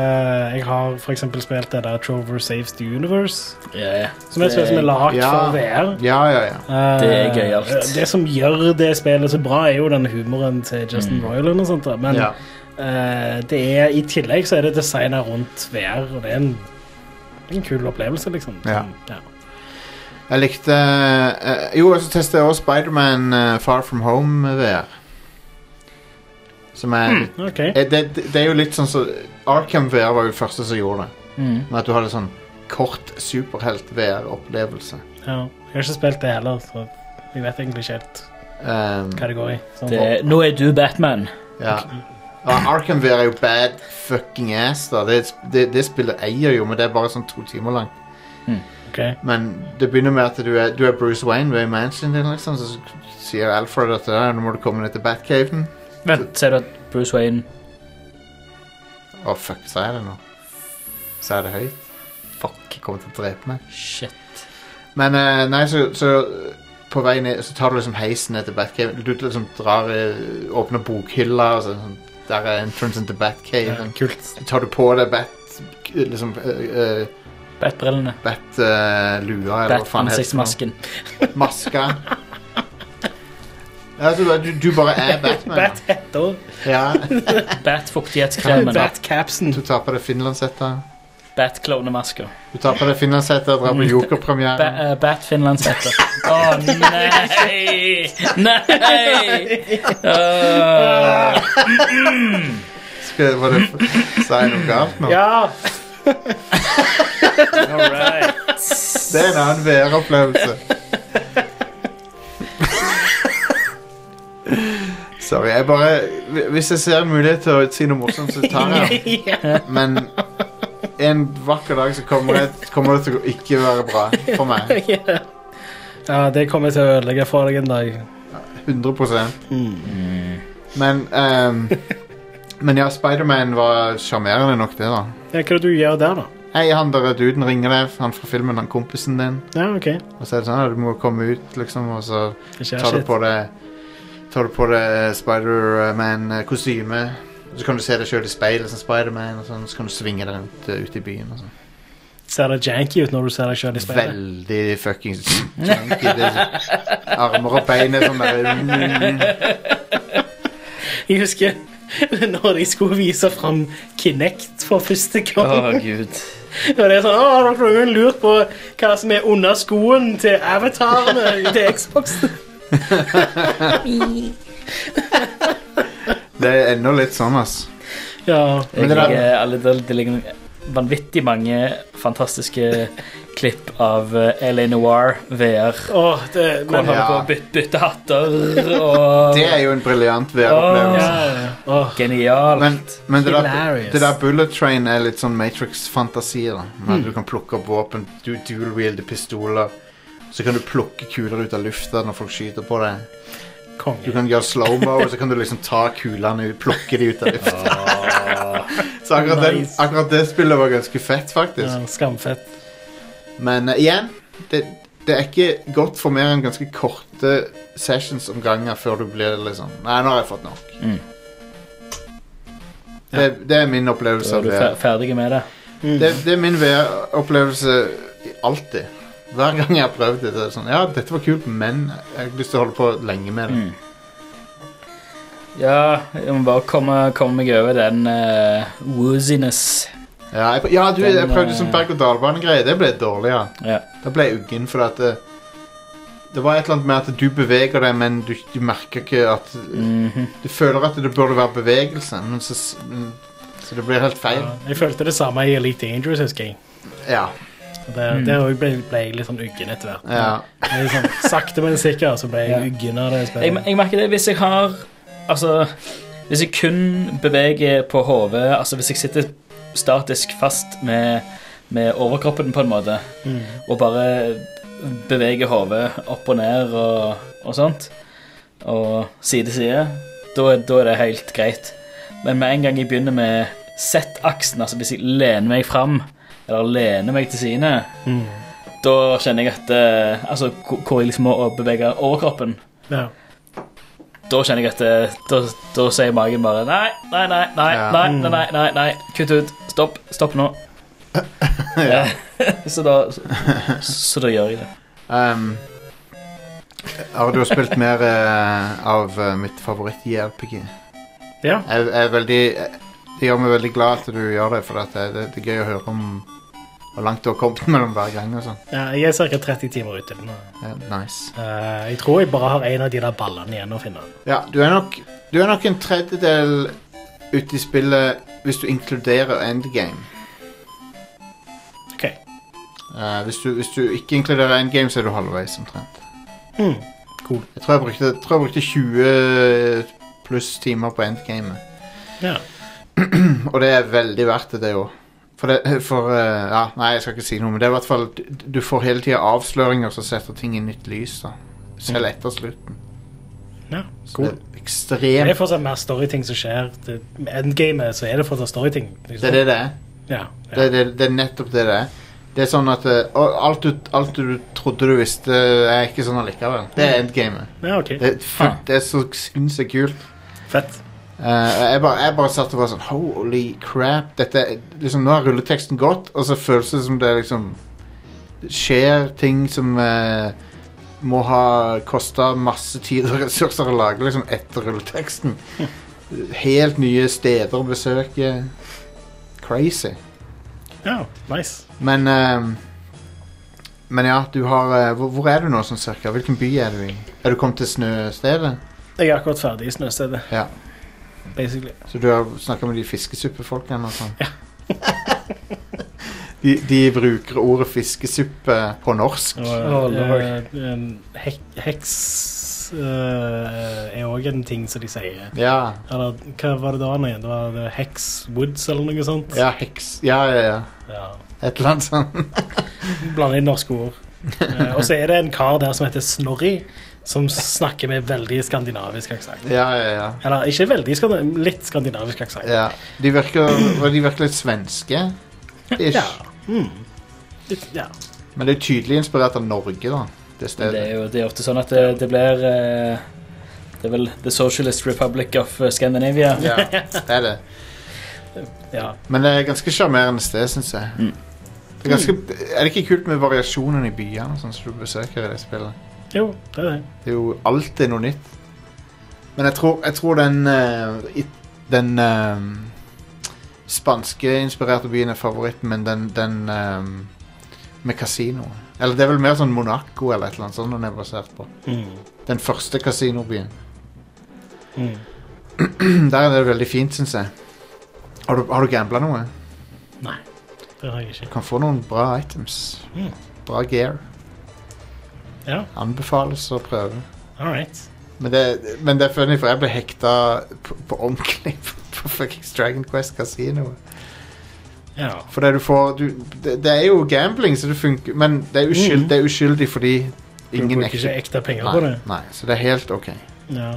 Speaker 2: jeg har for eksempel spilt det der Trover Saves the Universe,
Speaker 3: Ja, ja.
Speaker 2: som er et spill som er
Speaker 3: Det-
Speaker 2: lagd
Speaker 1: ja.
Speaker 2: for VR.
Speaker 1: Ja, ja, ja.
Speaker 2: Eh,
Speaker 3: Det er gøyalt.
Speaker 2: Det som gjør det spillet så bra, er jo den humoren til Justin Roiland og sånt. da,
Speaker 1: Mm.
Speaker 2: Men
Speaker 1: ja.
Speaker 2: eh, det er, i tillegg så er det designa rundt VR, og det er en, en kul opplevelse, liksom.
Speaker 1: Ja.
Speaker 2: Som- ja.
Speaker 1: Jeg likte eh, Jo, og så testet jeg også Spiderman uh, Far From Home med VR. Som er
Speaker 2: OK.
Speaker 1: eh, det, det, det er jo litt sånn som Arkham VR var jo det første som gjorde det.
Speaker 3: Mm.
Speaker 1: Men at du hadde sånn kort superhelt-VR-opplevelse.
Speaker 2: Ja. Jeg har ikke spilt det heller, så jeg vet egentlig ikke helt
Speaker 1: Um,
Speaker 2: hva det går i. Sånn.
Speaker 3: Det, nå er du Batman.
Speaker 1: ja. Ja, Arkham VR er jo bad fucking ass, da. Det, det, det spillet eier jo, men det er bare sånn to timer langt.
Speaker 2: Ok.
Speaker 1: Men det begynner med at du er, du er Bruce Wayne, du er i mansionen din, liksom, så sier Alfred at "Ja, nå må du komme ned til Batcaven.
Speaker 3: Vent, ser du at Bruce Wayne
Speaker 1: Å, fuck, sa jeg det nå? Sa jeg det høyt? Fuck, jeg kommer til å drepe meg.
Speaker 3: Shit.
Speaker 1: Men eh, nei, så, så på vei ned, så tar du liksom heisen ned til Batcave. Du liksom drar, eh, åpner bokhylla, og så, sånn, der er entrance into Batcave.
Speaker 2: Ja,
Speaker 1: Så tar du på deg Bat... Liksom, eh, eh,
Speaker 3: Batbrillene.
Speaker 1: Bat-lua, eller hva faen heter det?
Speaker 3: Bat-ansiktsmasken.
Speaker 1: Maska. Ja, så du, du bare er Batman. da.
Speaker 2: Bat-hetta.
Speaker 1: Ja.
Speaker 3: Bat-fuktighetskremen.
Speaker 2: Bat-capsen.
Speaker 1: Du tar på deg finlandshetta.
Speaker 3: Bat-klovnemasker.
Speaker 1: Du tar på deg finlandshetta og drar på
Speaker 3: Ba
Speaker 1: Joker-premiere.
Speaker 3: eh, Bat-finlandshetter. Å nei! Nei! Åh.
Speaker 1: Skal- var det- Sa jeg noe galt nå?
Speaker 2: Ja!
Speaker 3: All right.
Speaker 1: Det er en annen VR-opplevelse. Sorry, jeg bare Hvis jeg ser en mulighet til å si noe morsomt, så tar jeg den. Men en vakker dag så kommer det, kommer det til å ikke være bra for meg.
Speaker 2: ja, det kommer jeg til å ødelegge for deg en dag.
Speaker 1: 100 Men ehm, Men ja, Spiderman var sjarmerende nok, det, da.
Speaker 2: Ja, hva er det du gjør der, da?
Speaker 1: Hei, han der duden ringer deg, han fra filmen, han kompisen din.
Speaker 2: Ja, OK.
Speaker 1: Og så er det sånn, ja, du må komme ut, liksom, og så
Speaker 2: Det skjer
Speaker 1: tar du
Speaker 2: shit.
Speaker 1: på deg Tar du på deg Spiderman-kostyme. og Så kan du se deg sjøl i speilet som Spiderman, og sånn, så kan du svinge deg ut, ut i byen. og sånn.
Speaker 2: Ser det janky ut når du ser deg sjøl i speilet?
Speaker 1: Veldig fuckings junky. det er så- Armer og bein er sånn der
Speaker 2: Jeg husker når de skulle vise fram Kinect for første
Speaker 3: Å,
Speaker 2: gang.
Speaker 3: gud.
Speaker 2: Og det er sånn, «Åh, Har dere noen lurt på hva som er under skoen til avatarene til Xboxen?
Speaker 1: Det er ennå litt sånn, ass.
Speaker 2: Ja.
Speaker 1: Men
Speaker 3: Jeg
Speaker 1: det der-
Speaker 3: liker alle, det, det ligger vanvittig mange fantastiske klipp av eh, LA Noir VR.
Speaker 2: Åh, det,
Speaker 3: Hvor
Speaker 2: men,
Speaker 3: han holder på å bytte, bytte hatter og
Speaker 1: Det er jo en briljant VR-opplevelse.
Speaker 2: åh,
Speaker 3: Genial.
Speaker 1: Men, men det, der,
Speaker 2: Hilarious.
Speaker 1: det der bullet train er litt sånn Matrix-fantasi. da
Speaker 2: Hmm.
Speaker 1: Med at Du kan plukke opp våpen, du dual-wielde pistoler. Så kan du plukke kuler ut av lufta når folk skyter på deg. Du
Speaker 2: konge.
Speaker 1: kan gjøre slow-mo, og så kan du liksom ta kulene ut, plukke de ut av lufta. så akkurat, den,
Speaker 2: Nice.
Speaker 1: akkurat det spillet var ganske fett, faktisk.
Speaker 2: Ja, skamfett.
Speaker 1: Men eh, igjen, det, det er ikke godt for mer enn ganske korte sessions om gangen før du blir liksom Nei, nå har jeg fått nok.
Speaker 3: Mm.
Speaker 1: Det, det er min opplevelse
Speaker 3: Så er
Speaker 1: av
Speaker 3: du
Speaker 1: det.
Speaker 3: fer ferdig med det.
Speaker 1: Det, det er min VR-opplevelse alltid. Hver gang jeg har prøvd det, så er det sånn Ja, dette var kult, men jeg har lyst til å holde på lenge med det.
Speaker 3: Mm. Ja, jeg må bare komme, komme meg over den eh, wooziness.
Speaker 1: Ja, jeg, ja du, jeg
Speaker 3: Den,
Speaker 1: prøvde sånn
Speaker 3: eh,
Speaker 1: berg-og-dal-bane-greie. Det ble dårlig, ja.
Speaker 3: Ja.
Speaker 1: Da ble jeg uggen, fordi at det, det var et eller annet med at du beveger deg, men du, du merker ikke at
Speaker 3: Mhm.
Speaker 1: Du føler at det burde være bevegelse, men så s- mm, Så det blir helt feil.
Speaker 2: Jeg følte det samme i Elite Dangerous, husker jeg.
Speaker 1: Ja.
Speaker 2: Og Der,
Speaker 3: Mm.
Speaker 2: der også ble, ble jeg litt sånn uggen etter hvert.
Speaker 1: ja.
Speaker 2: Men Sånn, sakte, men sikkert så ble jeg
Speaker 3: Ja.
Speaker 2: uggen av det
Speaker 3: Jeg,
Speaker 2: spillet.
Speaker 3: jeg merker det hvis jeg har Altså, hvis jeg kun beveger på hodet Altså, hvis jeg sitter statisk fast med, med overkroppen på en måte,
Speaker 2: Mm.
Speaker 3: og bare beveger hodet opp og ned og, og sånt, og side til side, da er- da er det helt greit. Men med en gang jeg begynner med Z-aksen, altså hvis jeg lener meg fram, eller lener meg til sine,
Speaker 2: Mm.
Speaker 3: da kjenner jeg at eh, Altså, hvor- hvor jeg liksom må bevege overkroppen
Speaker 2: Ja.
Speaker 3: da kjenner jeg at eh, da, da sier magen bare nei, nei, nei, nei,
Speaker 1: Ja.
Speaker 3: nei, nei, nei, nei, nei, kutt ut, stopp, stopp nå. Eh, så, da, så, så da gjør jeg det.
Speaker 1: Um, har du spilt mer eh, av eh, mitt favoritt-JRPG?
Speaker 2: Ja.
Speaker 1: Jeg, jeg er veldig eh, jeg- Det gjør meg veldig glad at du gjør det, for at det, det, det er gøy å høre om hvor langt du har kommet mellom hver gang og sånn.
Speaker 2: ja, jeg er ca. 30 timer ute nå.
Speaker 1: Ja, nice.
Speaker 2: Eh, jeg tror jeg bare har en av de der ballene igjen å finne.
Speaker 1: Ja, du er nok, du er nok en tredjedel ute i spillet hvis du inkluderer endgame.
Speaker 2: Ok.
Speaker 1: Eh, hvis, du, hvis du ikke inkluderer endgame, så er du halvveis omtrent.
Speaker 2: Mm. Cool.
Speaker 1: Jeg tror jeg brukte, jeg tror jeg brukte 20 pluss timer på endgame. Mm,
Speaker 2: Ja.
Speaker 1: Og det er veldig verdt det, det òg. For, det, for eh, ja, Nei, jeg skal ikke si noe, men det er i hvert fall du- Du får hele tida avsløringer som setter ting i nytt lys. da Selv etter slutten.
Speaker 2: ja.
Speaker 1: Så
Speaker 2: Mm. Cool.
Speaker 1: det er
Speaker 2: Det er
Speaker 1: ekstremt
Speaker 2: fortsatt mer storyting som skjer. Det, med endgamet så er det fortsatt storyting. liksom.
Speaker 1: Det er det det er.
Speaker 2: Ja,
Speaker 1: Det,
Speaker 2: ja.
Speaker 1: det, det er nettopp det det er. Det er sånn at eh, og alt, du, alt du trodde du visste, er ikke sånn allikevel. Det er endgame.
Speaker 2: Ja, ok.
Speaker 1: Det, er full- det er så sinnssykt kult. Eh,
Speaker 2: Fett.
Speaker 1: jeg, bare, jeg bare satt og var sånn Holy crap. Dette, er- liksom, nå har rulleteksten gått, og så føles det som det liksom skjer ting som eh, må ha kosta masse tid og ressurser å lage liksom, etter rulleteksten. Helt nye steder å besøke. Crazy.
Speaker 2: Ja, nice.
Speaker 1: Men ehm, Men ja, du har eh, hvor, hvor er du nå sånn cirka? Hvilken by er du i? Er du kommet til snøstedet?
Speaker 2: Jeg er akkurat ferdig i Snøstedet.
Speaker 1: Ja.
Speaker 2: Basically.
Speaker 1: Så du har snakka med de fiskesuppefolkene og sånn? de, de bruker ordet fiskesuppe på norsk.
Speaker 2: Og, eh, en hek, heks eh, er òg en ting som de sier.
Speaker 1: Ja.
Speaker 2: Eller hva var det da nå igjen? Det var det Hex Woods eller noe sånt?
Speaker 1: Ja, heks Ja, ja, ja.
Speaker 2: Ja.
Speaker 1: Et eller annet sånt.
Speaker 2: Blande inn norske ord. Eh, og så er det en kar der som heter Snorri, som snakker med veldig skandinavisk aksent.
Speaker 1: ja, ja, ja.
Speaker 2: Eller ikke veldig, skandinavisk, litt skandinavisk aksent.
Speaker 1: ja. De, virker, var de virker litt svenske. Ish.
Speaker 2: Ja. Mm. Litt- ja.
Speaker 1: Men det er tydelig inspirert av Norge, da. Det
Speaker 3: Men
Speaker 1: stedet.
Speaker 3: Det er jo det er ofte sånn at det, det blir eh, Det er vel The Socialist Republic of eh, Scandinavia.
Speaker 1: Ja, det er det.
Speaker 2: Ja.
Speaker 1: Men det er ganske sjarmerende sted, syns jeg. Det er, ganske, er det ikke kult med variasjonen i byene sånn som du besøker i det spillet?
Speaker 2: Jo, det er det.
Speaker 1: Det er jo alltid noe nytt. Men jeg tror, jeg tror den eh, it- Den eh, spanskeinspirerte byen er favoritten, men den, den eh, med kasino Eller det er vel mer sånn Monaco eller et eller annet sånt den er basert på.
Speaker 2: Mm.
Speaker 1: Den første kasinobyen.
Speaker 2: Mm.
Speaker 1: Der er det veldig fint, syns jeg. Har du, har du gambla noe?
Speaker 2: Nei, det har
Speaker 1: Du
Speaker 2: jeg ikke.
Speaker 1: kan få noen bra items.
Speaker 2: Mm.
Speaker 1: Bra gear.
Speaker 2: Ja.
Speaker 1: Anbefales å prøve.
Speaker 2: All right.
Speaker 1: Men det, men det er funny, for jeg ble hekta på, på ordentlig på, på fuckings Dragon Quest Casino.
Speaker 2: Ja.
Speaker 1: For det du får du, det, det er jo gambling, så det funker, men det er, uskyld,
Speaker 2: Mhm.
Speaker 1: det er uskyldig fordi
Speaker 2: Du
Speaker 1: ingen
Speaker 2: bruker ikke ekte penger
Speaker 1: nei,
Speaker 2: på det.
Speaker 1: Nei, så det er helt OK.
Speaker 2: Ja.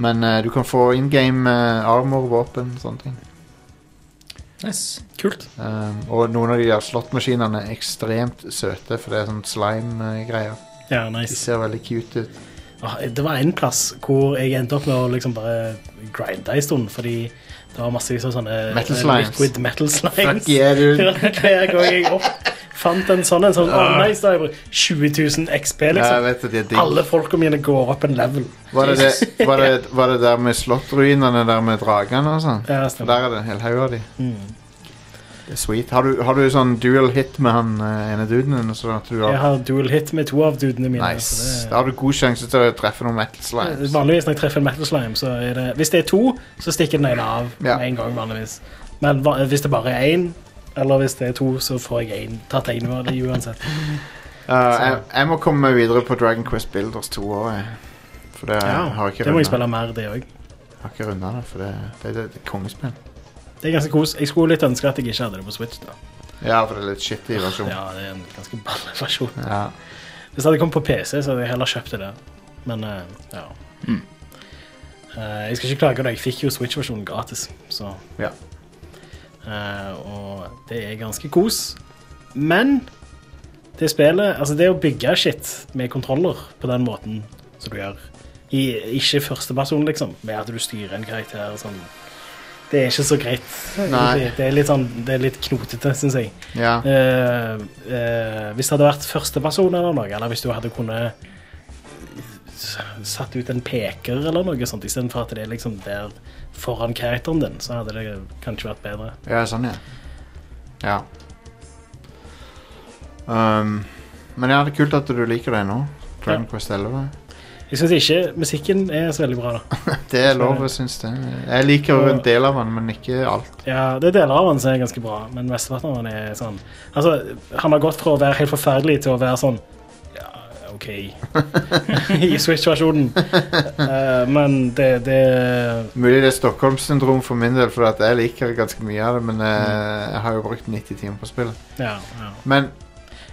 Speaker 1: Men eh, du kan få in game armor, våpen, sånne ting.
Speaker 3: Nice. Kult.
Speaker 1: Um, og noen av de der slåttmaskinene er ekstremt søte, for det er sånn slime-greier.
Speaker 2: Ja,
Speaker 1: De
Speaker 2: nice.
Speaker 1: ser veldig cute ut.
Speaker 2: Ah, Det var en plass hvor jeg endte opp med å liksom bare grinde en stund, fordi det var masse liksom sånne
Speaker 1: Metal
Speaker 2: eh,
Speaker 1: slimes.
Speaker 2: liquid metal slimes.
Speaker 1: Fuck yeah, dude.
Speaker 2: Hver gang jeg opp, fant en sånn, en sånn oh, nice, da har jeg brukt 20 000 XP,
Speaker 1: Ja, jeg
Speaker 2: liksom.
Speaker 1: vet at de er digg.
Speaker 2: Alle folka mine går opp en level.
Speaker 1: Var det, det, var, det, var det der med slottruinene, der med dragene og sånn?
Speaker 2: Ja,
Speaker 1: For
Speaker 2: stemmer.
Speaker 1: der
Speaker 2: Mm.
Speaker 1: er det en hel haug av de. Det er sweet. Har du, har du sånn dual hit med han eh, ene duden din? Sånn at du
Speaker 2: Jeg
Speaker 1: har,
Speaker 2: har dual hit med to av dudene mine.
Speaker 1: nice.
Speaker 2: så det-
Speaker 1: Da har du god sjanse til å treffe noen metal slimes.
Speaker 2: Vanligvis når jeg treffer en metal slime, så er det Hvis det er to, så stikker den ene av
Speaker 1: Ja.
Speaker 2: med en gang, vanligvis. Men va hvis det bare er én, eller hvis det er to, så får jeg én. Tatt én av det uansett.
Speaker 1: Uh, jeg, jeg må komme meg videre på Dragon Quest Builders 2 òg, jeg. For det har jeg ikke
Speaker 2: det må
Speaker 1: runda.
Speaker 2: jeg spille mer, det òg.
Speaker 1: Har ikke runda det, for det, det, det, det er kongespill.
Speaker 2: Det er ganske kos. Jeg skulle litt ønske at jeg ikke hadde det på Switch. da
Speaker 1: Ja, for det er litt shitty versjon.
Speaker 2: Ja, det er en ganske balle versjon.
Speaker 1: Ja.
Speaker 2: Hvis det hadde kommet på PC, så hadde jeg heller kjøpt det der. Men eh, ja.
Speaker 3: Mm.
Speaker 2: Eh, jeg skal ikke klage, da. Jeg fikk jo Switch-versjonen gratis, så
Speaker 1: Ja.
Speaker 2: Eh, og det er ganske kos. Men det spillet Altså, det å bygge shit med kontroller på den måten som du gjør i ikke førsteperson, liksom, med at du styrer en karakter og sånn Det er ikke så greit.
Speaker 1: Nei.
Speaker 2: egentlig. Det er litt sånn Det er litt knotete, syns jeg.
Speaker 1: ja.
Speaker 2: Eh, eh, hvis det hadde vært førsteperson eller noe, eller hvis du hadde kunnet s- satt ut en peker eller noe sånt, istedenfor at det er liksom der foran karakteren din, så hadde det kanskje vært bedre.
Speaker 1: Ja, sånn, ja. Ja. Um, men ja, det er kult at du liker det nå. Dragon Quest 11.
Speaker 2: Jeg syns ikke musikken er så veldig bra, da.
Speaker 1: Det er lov, jeg syns det. Jeg liker jo en del av den, men ikke alt.
Speaker 2: Ja, det er deler av han som er ganske bra, men mesteparten av han er sånn Altså, han har gått fra å være helt forferdelig til å være sånn Ja, OK. I Switch-versjonen. Eh, men det, det
Speaker 1: Mulig det er Stockholm-syndrom for min del, for at jeg liker ganske mye av det, men eh,
Speaker 2: Mm.
Speaker 1: jeg har jo brukt 90 timer på spillet.
Speaker 2: Ja. ja.
Speaker 1: Men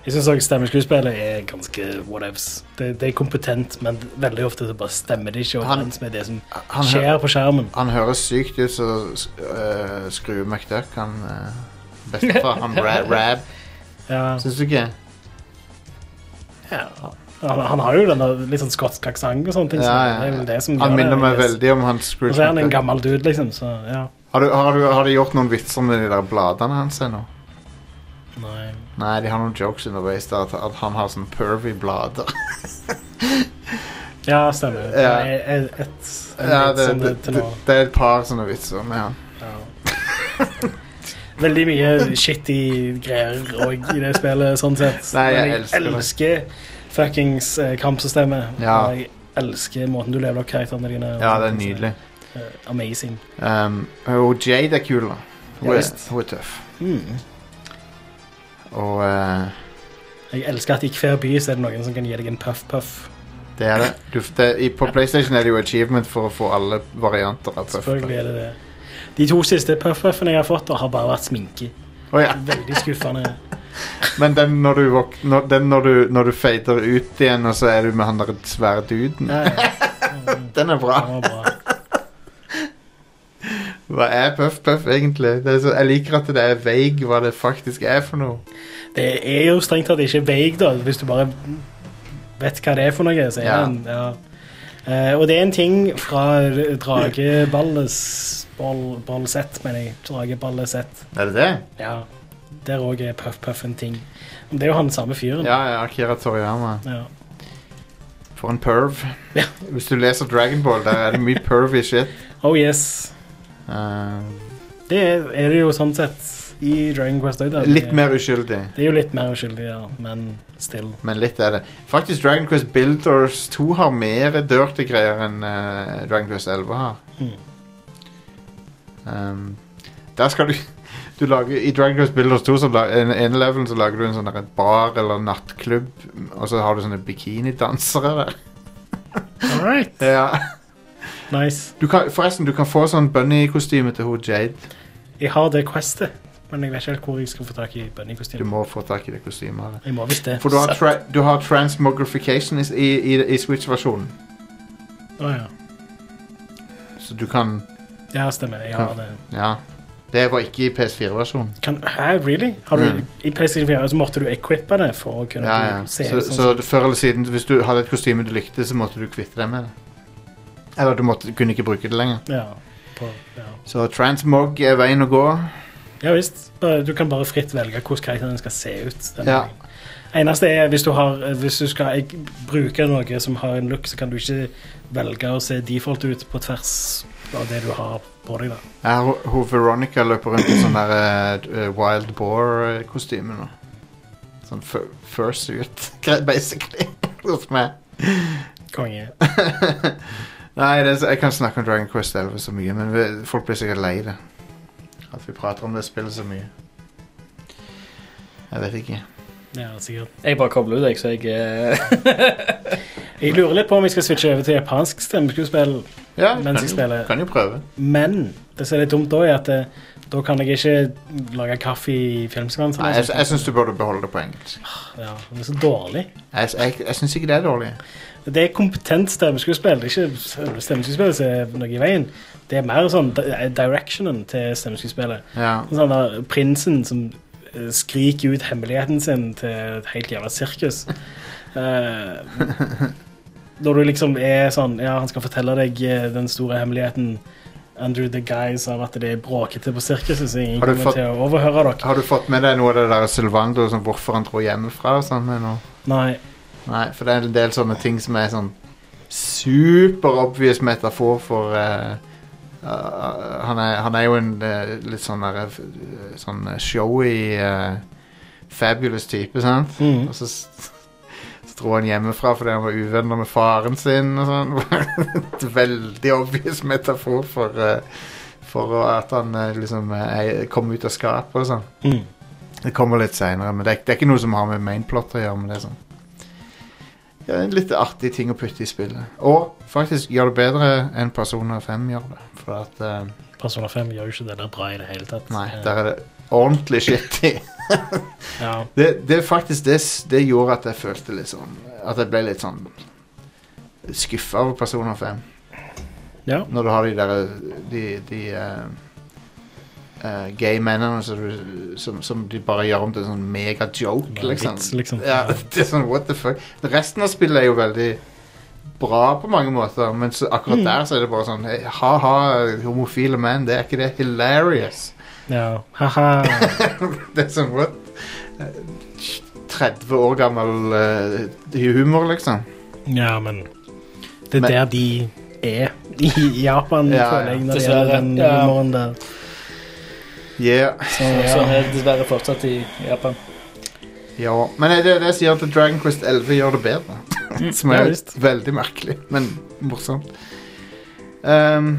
Speaker 2: Jeg syns også stemmeskuespillet er ganske whatevs. Det, det er kompetent, men veldig ofte så bare stemmer det ikke
Speaker 1: Han-
Speaker 2: overens med det som
Speaker 1: han, hø
Speaker 2: skjer på skjermen.
Speaker 1: han høres sykt ut, eh, så uh, skru McDuck, han uh, bestefar, han eh, Ra- Rab.
Speaker 2: Ja.
Speaker 1: Syns du ikke?
Speaker 2: Ja. Han, han har jo denne litt sånn skotsk aksent og sånne ting. så
Speaker 1: Ja, ja.
Speaker 2: det er vel det som
Speaker 1: Han
Speaker 2: gjør
Speaker 1: minner
Speaker 2: det,
Speaker 1: meg
Speaker 2: I guess.
Speaker 1: veldig om han Scrooge
Speaker 2: Og så er han en
Speaker 1: McDuck.
Speaker 2: gammel dude, liksom, så ja.
Speaker 1: Har, du, har, du, har de gjort noen vitser med de der bladene hans ennå?
Speaker 2: Nei.
Speaker 1: Nei, de har noen jokes underveis der at, at han har sånn pervy blader.
Speaker 2: Ja, stemmer.
Speaker 1: Ja.
Speaker 2: Det er et, et, en
Speaker 1: ja,
Speaker 2: litt
Speaker 1: det,
Speaker 2: sånn
Speaker 1: det,
Speaker 2: til
Speaker 1: det,
Speaker 2: nå.
Speaker 1: det er et par sånne vitser med han.
Speaker 2: Veldig mye shitty greier og, i det spillet, sånn sett.
Speaker 1: Nei, jeg
Speaker 2: Men
Speaker 1: elsker
Speaker 2: elsker fuckings eh, kampsystemet.
Speaker 1: Ja.
Speaker 2: Og Jeg elsker måten du lever opp karakterene dine og
Speaker 1: Ja, det er
Speaker 2: sånne ting,
Speaker 1: nydelig.
Speaker 2: så, eh, amazing.
Speaker 1: Um, og Jade er kul, da. Hun
Speaker 2: Ja,
Speaker 1: er,
Speaker 2: visst.
Speaker 1: hun er tøff.
Speaker 2: Mm.
Speaker 1: Og eh,
Speaker 2: Jeg elsker at i hver by så er det noen som kan gi deg en puff-puff.
Speaker 1: det er det. Du, f- det i, på PlayStation er det jo achievement for å få alle varianter av tøff.
Speaker 2: Selvfølgelig er det det. De to siste puff-puffene jeg har fått, har bare vært sminke.
Speaker 1: Å, ja.
Speaker 2: Veldig skuffende.
Speaker 1: Men den når du, våk, når, den når du, når du fader ut igjen, og så er du med han der svære duden
Speaker 2: Ja, ja.
Speaker 1: Den er bra.
Speaker 2: Den var bra.
Speaker 1: Hva er Puff Puff egentlig? Det er så, jeg liker at det er vague hva det faktisk er for noe.
Speaker 2: Det er jo strengt tatt ikke vague, da, hvis du bare vet hva det er for noe. Så er
Speaker 1: Ja.
Speaker 2: den, ja. Eh, og det er en ting fra Drageballesett, mener jeg. Drageballesett.
Speaker 1: Er det det?
Speaker 2: Ja. Der òg er Puff Puff en ting. Men Det er jo han samme fyren.
Speaker 1: Ja, ja, Akira Toriyama.
Speaker 2: Ja.
Speaker 1: For en perv. Hvis du leser Dragonball, der er det mye pervy shit.
Speaker 2: Oh yes.
Speaker 1: Eh,
Speaker 2: Det er, er det jo sånn sett i Dragon Quest òg.
Speaker 1: litt mer uskyldig,
Speaker 2: Det er jo litt mer uskyldig, ja. Men still.
Speaker 1: men litt er det. Faktisk Dragon Quest Builders 2 har mer dirty greier enn eh, Dragon Quest 11 har.
Speaker 2: Mm.
Speaker 1: Um, der skal du, du lager, I Dragon Quest Builders 2 så la, en, en level så lager du en sånn der bar eller nattklubb, og så har du sånne bikinidansere der.
Speaker 2: All right.
Speaker 1: Ja.
Speaker 2: Nice.
Speaker 1: Du kan, forresten, du kan få sånn bunny-kostyme til hun Jade.
Speaker 2: Jeg har det questet, men jeg vet ikke helt hvor jeg skal få tak i
Speaker 1: Du
Speaker 2: bunnykostymet.
Speaker 1: må få tak i det kostymet.
Speaker 2: Jeg må visst det.
Speaker 1: For du har, tra du har transmogrification i, i, i, i Switch-versjonen,
Speaker 2: Å, ja.
Speaker 1: så du kan
Speaker 2: Ja, stemmer. Jeg har det.
Speaker 1: Ja. Det var ikke i PS4-versjonen.
Speaker 2: Kan, hæ, really? Har du,
Speaker 1: Mm.
Speaker 2: I PlayStation 4 så måtte du equippe det for å kunne
Speaker 1: Ja, ja.
Speaker 2: se
Speaker 1: Så,
Speaker 2: sånn.
Speaker 1: så før eller siden, hvis du hadde et kostyme du likte, så måtte du kvitte deg med det. Eller du måtte, kunne ikke bruke det lenger.
Speaker 2: Ja, på, ja.
Speaker 1: Så transmog er veien å gå.
Speaker 2: ja visst. Bare- Du kan bare fritt velge hvordan karakteren skal se ut. denne
Speaker 1: Ja.
Speaker 2: gangen. Eneste er hvis du, har, hvis du skal jeg, bruke noe som har en look, så kan du ikke velge å se default ut på tvers av det du har på deg. da.
Speaker 1: Ja, ho- ho Veronica løper rundt i sånn der eh, eh, Wild Boar-kostyme nå. Sånn fur- fursuit, gre- basically, hos meg.
Speaker 2: Konge.
Speaker 1: Nei, det er, så- jeg kan snakke om Dragon Quest 11 så mye, men vi, folk blir sikkert lei det. At vi prater om det spillet så mye. Jeg vet ikke.
Speaker 2: Ja, sikkert.
Speaker 3: Jeg bare kobler ut, jeg, så jeg eh,
Speaker 2: Jeg lurer litt på om jeg skal switche over til japansk stemmeskuespill
Speaker 1: Ja,
Speaker 2: mens
Speaker 1: kan
Speaker 2: jeg
Speaker 1: jo-
Speaker 2: spiller.
Speaker 1: Kan jo prøve.
Speaker 2: Men det som er litt dumt da, er at eh, da kan jeg ikke lage kaffe i filmsekvenser.
Speaker 1: Nei, jeg, jeg syns du burde beholde det på engelsk.
Speaker 2: sånn- Ja, det er så dårlig.
Speaker 1: Jeg, jeg, jeg syns ikke det er dårlig.
Speaker 2: Det er kompetent stemmeskuespill. Det er ikke selve stemmeskuespillet som er noe i veien. Det er mer sånn di- directionen til stemmeskuespillet.
Speaker 1: Ja.
Speaker 2: Sånn der prinsen som eh, skriker ut hemmeligheten sin til et helt jævla sirkus. Eh, når du liksom er sånn Ja, han skal fortelle deg eh, den store hemmeligheten under the guise av at det er bråkete på sirkuset, så ingen
Speaker 1: Har du
Speaker 2: kommer
Speaker 1: fått-
Speaker 2: til å overhøre dere.
Speaker 1: Har du fått med deg noe av det der Sylvando, sånn, hvorfor han dro hjemmefra og sånn? Med noe?
Speaker 2: Nei.
Speaker 1: Nei, for det er en del sånne ting som er sånn super obvious metafor for eh, eh, han, er, han er jo en eh, litt sånn der, eh, sånn eh, showy, eh, fabulous type, sant?
Speaker 2: Mhm.
Speaker 1: Og så, s- så dro han hjemmefra fordi han var uvenner med faren sin og sånn. Et Veldig obvious metafor for, eh, for at han eh, liksom eh, kom ut av skapet og sånn.
Speaker 2: Mm.
Speaker 1: Det kommer litt seinere, men det er, det er ikke noe som har med mainplot å gjøre. Men det er sånn ja, en litt artig ting å putte i spillet. Og faktisk gjør det bedre enn Persona 5 gjør det. For at eh,
Speaker 2: Persona 5 gjør jo ikke det der bra i det hele tatt.
Speaker 1: Nei,
Speaker 2: Eh,
Speaker 1: der er det ordentlig shitty.
Speaker 2: ja.
Speaker 1: Det, det er faktisk det, s- det gjorde at jeg følte litt sånn At jeg ble litt sånn skuffa over Persona 5.
Speaker 2: Ja.
Speaker 1: Når du har de derre De, de eh, eh, gay-mennene som, du- som, som de bare gjør om til en sånn mega-joke,
Speaker 2: Bare
Speaker 1: liksom.
Speaker 2: vits, liksom.
Speaker 1: Ja, det er sånn, what the fuck. Resten av spillet er jo veldig bra på mange måter, men så akkurat
Speaker 2: Mm.
Speaker 1: der så er det bare sånn eh, ha-ha, homofile menn, det er ikke det hilarious?
Speaker 2: Ja. Haha.
Speaker 1: det er sånn, what? Eh, 30 år gammel eh, humor, liksom.
Speaker 2: ja, men Det er
Speaker 1: Men-
Speaker 2: der de er i Japan,
Speaker 1: Ja, ja.
Speaker 2: føler jeg, når det
Speaker 3: Dessverre,
Speaker 2: gjelder den
Speaker 3: ja.
Speaker 2: humoren der.
Speaker 1: Yeah.
Speaker 3: Så, Sånn er det dessverre fortsatt i Japan.
Speaker 1: Ja, men det er det jeg sier at Dragon Quest 11 gjør det bedre.
Speaker 3: Mm,
Speaker 1: Som
Speaker 2: ja,
Speaker 1: er
Speaker 2: visst.
Speaker 1: veldig merkelig, men morsomt. Ehm,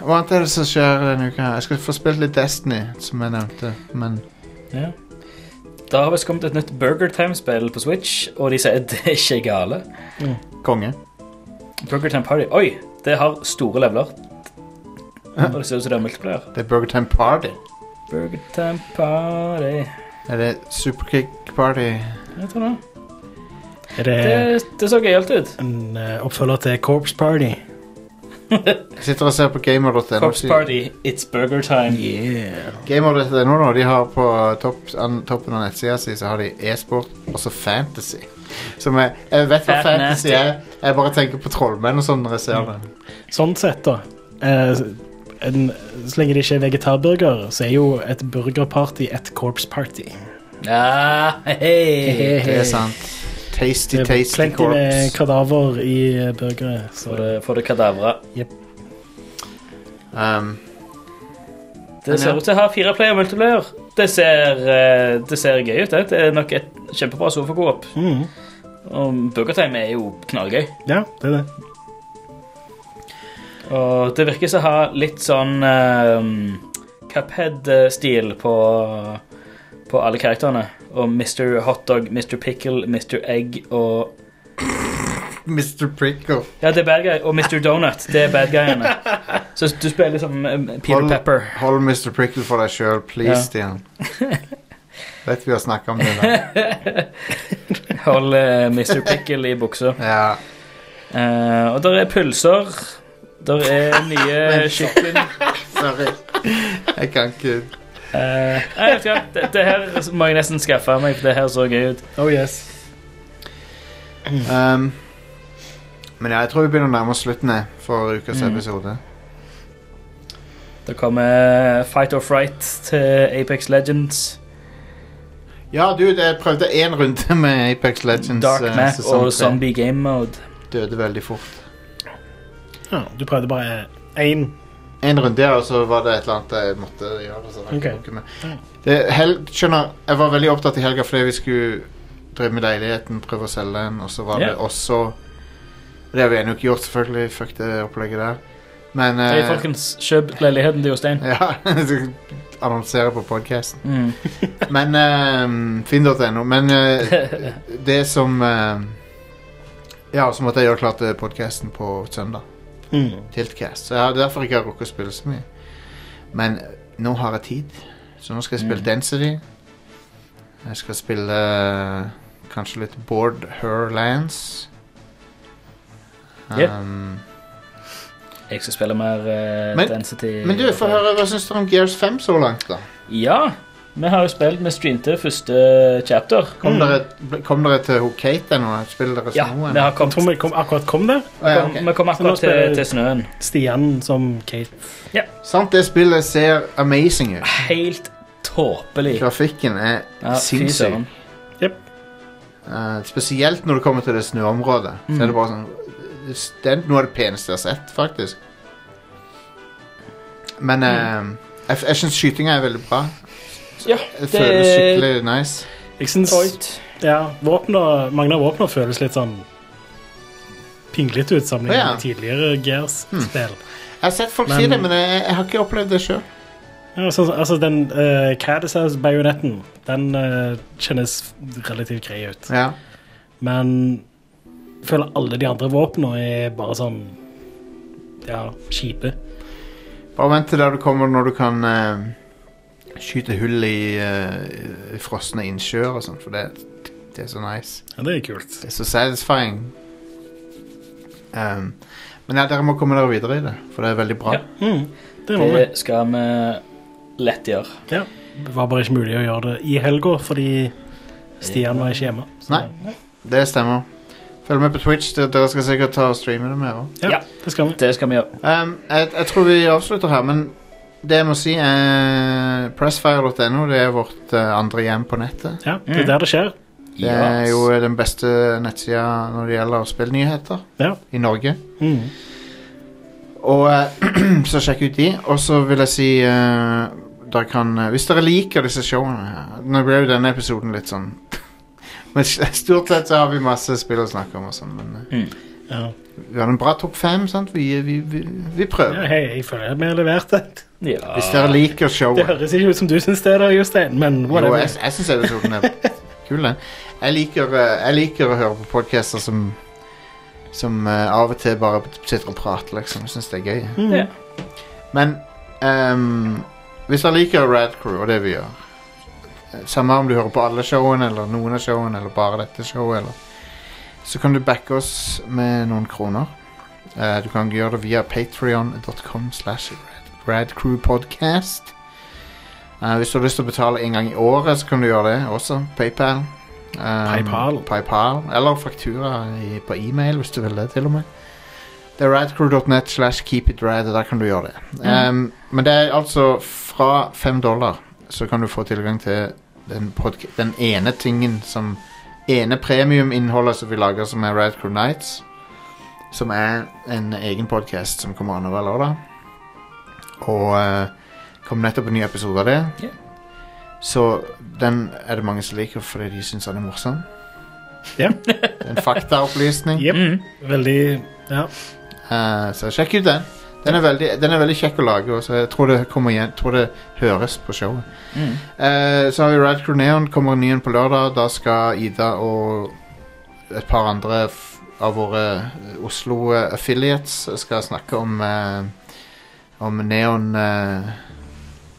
Speaker 1: hva annet er det som skjer denne uka? her? Jeg skal få spilt litt Destiny, som jeg nevnte. Men
Speaker 3: Ja. Da har visst kommet et nytt Burger Time-spill på Switch, og de sier det er ikke gale.
Speaker 1: konge.
Speaker 3: Burger Time Party Oi, det har store leveler. Og det ser ut som det er multiplayer.
Speaker 1: Det er Burger Time Party.
Speaker 3: Burger Time Party
Speaker 1: Er det Superkick Party?
Speaker 3: Jeg tror det.
Speaker 2: Er det
Speaker 3: Det, det så gøyalt ut.
Speaker 2: en eh, oppfølger til Corpse Party?
Speaker 1: Jeg sitter og ser på gamer.no.
Speaker 3: Corps Party, it's burger time.
Speaker 2: Yeah.
Speaker 1: Gamer.no nå, de har på topp, an, toppen av nettsida si så har de e-sport og så fantasy. Som er, jeg vet hva
Speaker 3: Fat
Speaker 1: fantasy
Speaker 3: nasty. Mm.
Speaker 1: er. Jeg bare tenker på trollmenn og sånn når jeg ser det.
Speaker 2: Sånn sett, da. eh, en, så lenge det ikke er vegetarburger, så er jo et burgerparty et corpse party.
Speaker 3: Ja, hei.
Speaker 1: Det er sant. Tasty,
Speaker 2: Det er
Speaker 1: tasty
Speaker 2: plenty med
Speaker 1: corps.
Speaker 2: kadaver i eh, burgere. Så
Speaker 3: Får det, får det kadavra.
Speaker 1: Um,
Speaker 3: Det ser
Speaker 1: Ja.
Speaker 3: ut til å ha fire player multiplayer. Det ser, eh, det ser gøy ut. Det Det er nok et kjempebra sofakoop.
Speaker 2: Mhm.
Speaker 3: Og Burger Time er jo knallgøy.
Speaker 2: Ja, det er det.
Speaker 3: Og det virker som å ha litt sånn eh, Cuphead-stil på, på alle karakterene. Og Mr. Hotdog, Mr. Pickle, Mr. Egg og
Speaker 1: Mr. Prickle.
Speaker 3: Ja, det er bad guy. Og Mr. Donut. Det er bad guyene. Så du spiller som eh, Peter
Speaker 1: Hold-
Speaker 3: Pepper.
Speaker 1: Hold Mr. Prickle for deg sjøl, please,
Speaker 3: Ja.
Speaker 1: Stian. Vet vi har snakka om det. Der.
Speaker 3: Hold eh, Mr. Pickle i buksa.
Speaker 1: Ja.
Speaker 3: Eh, og der er pølser. Der er nye kylling.
Speaker 1: Sorry. Jeg kan ikke
Speaker 3: Eh, nei, vet du hva, det, det her må jeg nesten skaffe meg, for det her så gøy ut.
Speaker 2: Oh yes.
Speaker 1: um, Men ja, jeg tror vi begynner å nærme oss slutten jeg, for ukas
Speaker 3: Mm.
Speaker 1: episode.
Speaker 3: Det kommer Fight or Fright til Apex Legends.
Speaker 1: Ja, du, jeg prøvde én runde med Apex Legends.
Speaker 3: Dark
Speaker 1: eh,
Speaker 3: Map
Speaker 1: sesong
Speaker 3: og
Speaker 1: tre.
Speaker 3: Zombie Game Mode.
Speaker 1: Døde veldig fort.
Speaker 2: Ja, du prøvde bare én.
Speaker 1: En runde, ja, og så var det et eller annet jeg måtte gjøre. Så jeg
Speaker 2: Ok.
Speaker 1: orker med. det, hel, skjønner, jeg var veldig opptatt i helga fordi vi skulle drive med leiligheten, prøve å selge den, og så var
Speaker 3: Ja.
Speaker 1: det også Det har vi ennå ikke gjort, selvfølgelig. Fuck det opplegget der. Men
Speaker 3: Hei,
Speaker 1: eh,
Speaker 3: folkens, kjøp leiligheten til Jostein.
Speaker 1: Ja, annonsere på podkasten.
Speaker 3: Mm.
Speaker 1: Men eh, Finn.no. Men eh, det som eh, Ja, så måtte jeg gjøre klart podkasten på søndag.
Speaker 2: Mm.
Speaker 1: Tiltcast. Så jeg har derfor ikke har rukket å spille så mye. Men eh, nå har jeg tid, så nå skal jeg spille
Speaker 3: Mm.
Speaker 1: Density. Jeg skal spille eh, kanskje litt Board Herlands. Um,
Speaker 3: Ja. Jeg skal spille mer eh,
Speaker 1: Men-
Speaker 3: Density.
Speaker 1: Men du, få høre hva syns du om Gears 5 så langt, da?
Speaker 3: Ja, vi har jo spilt med streamte første eh, chapter.
Speaker 1: Kom, dere, kom dere til hun Kate ennå? Spiller dere
Speaker 3: Mm. Ja,
Speaker 1: snøen?
Speaker 3: vi har kommet
Speaker 2: Tror vi kom, akkurat kom der.
Speaker 1: Å, ja, ok.
Speaker 3: Vi kom
Speaker 2: Så nå
Speaker 3: akkurat
Speaker 2: spiller-
Speaker 3: til, til snøen.
Speaker 2: Stian som Kate.
Speaker 1: Sant, det spillet ser amazing ut.
Speaker 3: Helt tåpelig.
Speaker 1: Grafikken er
Speaker 3: Ja, fy
Speaker 1: sinnssyk.
Speaker 3: søren.
Speaker 1: Eh, spesielt når det kommer til det snøområdet. Så er det bare sånn Det er noe av det peneste jeg har sett, faktisk. Men eh, jeg, jeg syns skytinga er veldig bra.
Speaker 3: Ja,
Speaker 1: Det
Speaker 3: det
Speaker 1: føles
Speaker 3: er
Speaker 1: skikkelig nice.
Speaker 2: Jeg syns
Speaker 3: Detroit.
Speaker 2: ja, våpna, mange av våpnene føles litt sånn pinglete ut sammenlignet
Speaker 1: Ja.
Speaker 2: med tidligere Gears-spill.
Speaker 1: Jeg har sett folk si
Speaker 2: Men-
Speaker 1: det, men jeg, jeg har ikke opplevd det sjøl.
Speaker 2: Ja, sånn- altså, den uh, Cadisas-bajonetten, den eh, kjennes relativt grei ut.
Speaker 1: Ja.
Speaker 2: Men jeg føler alle de andre våpnene er bare sånn ja, kjipe.
Speaker 1: Bare vent til der du kommer når du kan eh, skyte hull i, eh, i frosne innsjøer og sånn, for det, det er så nice.
Speaker 2: Ja, det er kult.
Speaker 1: Det er så satisfying. Um, men ja, dere må komme dere videre i det, for det er veldig bra.
Speaker 3: Ja.
Speaker 2: Mm, det må vi.
Speaker 3: Det skal vi lett gjøre.
Speaker 2: Ja. Det var bare ikke mulig å gjøre det i helga fordi Stian var ikke hjemme. Så-
Speaker 1: Nei. Det stemmer. Følg med på Twitch. der- Dere skal sikkert ta og streame det mer òg.
Speaker 2: Ja, det skal vi.
Speaker 3: Det skal vi gjøre.
Speaker 1: Um, jeg, jeg tror vi avslutter her, men det jeg må si er Pressfire.no det er vårt eh, andre hjem på nettet.
Speaker 2: Ja, det er der det skjer.
Speaker 1: Det er jo den beste nettsida når det gjelder spillnyheter
Speaker 2: Ja.
Speaker 1: i Norge.
Speaker 2: Mm.
Speaker 1: Og eh, Så sjekk ut de. Og så vil jeg si eh, dere kan, eh, Hvis dere liker disse showene her Nå ble jo denne episoden litt sånn Men stort sett så har vi masse spill å snakke om og sånn, men eh,
Speaker 3: Mm.
Speaker 2: Ja.
Speaker 1: vi har en bra topp fem, sant? Vi, vi, vi, vi prøver.
Speaker 2: Ja, hei, jeg føler at vi har levert det.
Speaker 3: Ja.
Speaker 1: Hvis dere liker
Speaker 2: Det
Speaker 1: showet
Speaker 2: høres ikke ut som du syns det, da, Jostein, men
Speaker 1: Jo,
Speaker 2: whatever.
Speaker 1: jeg, jeg syns episoden er kul, den. Jeg liker, eh, jeg liker å høre på podcaster som Som eh, av og til bare sitter og prater, liksom. Jeg syns det er gøy.
Speaker 2: Mm.
Speaker 3: Ja.
Speaker 1: Men ehm, hvis dere liker Rad Crew, og det vi gjør eh, Samme om du hører på alle showene, eller noen av showene, eller bare dette showet, eller Så kan du backe oss med noen kroner. Eh, du kan gjøre det via patreon.com slash radcrewpodcast. Eh, hvis du har lyst til å betale en gang i året, så kan du gjøre det også. PayPal. Ehm,
Speaker 2: PayPal.
Speaker 1: PayPal. Eller faktura i, på e-mail, hvis du vil det, til og med. Det er radcrew.net slash keepitrad, og der kan du gjøre det. Ehm, men det er altså fra 5 dollar så kan du få tilgang til den, podca- den ene tingen som ene premiuminnholdet som vi lager, som er Radcrew Nights. Som er en egen podkast som kommer annenhver lørdag. Og eh, kom nettopp en ny episode av det.
Speaker 3: Ja.
Speaker 1: Så den er det mange som liker fordi de syns den er morsom.
Speaker 2: Ja.
Speaker 1: En faktaopplysning.
Speaker 2: Jep. Veldig Ja.
Speaker 1: Eh, så sjekk ut den. Den er, veldig, den er veldig kjekk å lage, og så jeg tror det, kommer igjen, tror det høres på showet.
Speaker 3: Mm.
Speaker 1: Eh, så har vi Rad Crew Neon, kommer ny en på lørdag. Da skal Ida og et par andre f av våre eh, Oslo eh, affiliates skal snakke om, eh, om Neon eh,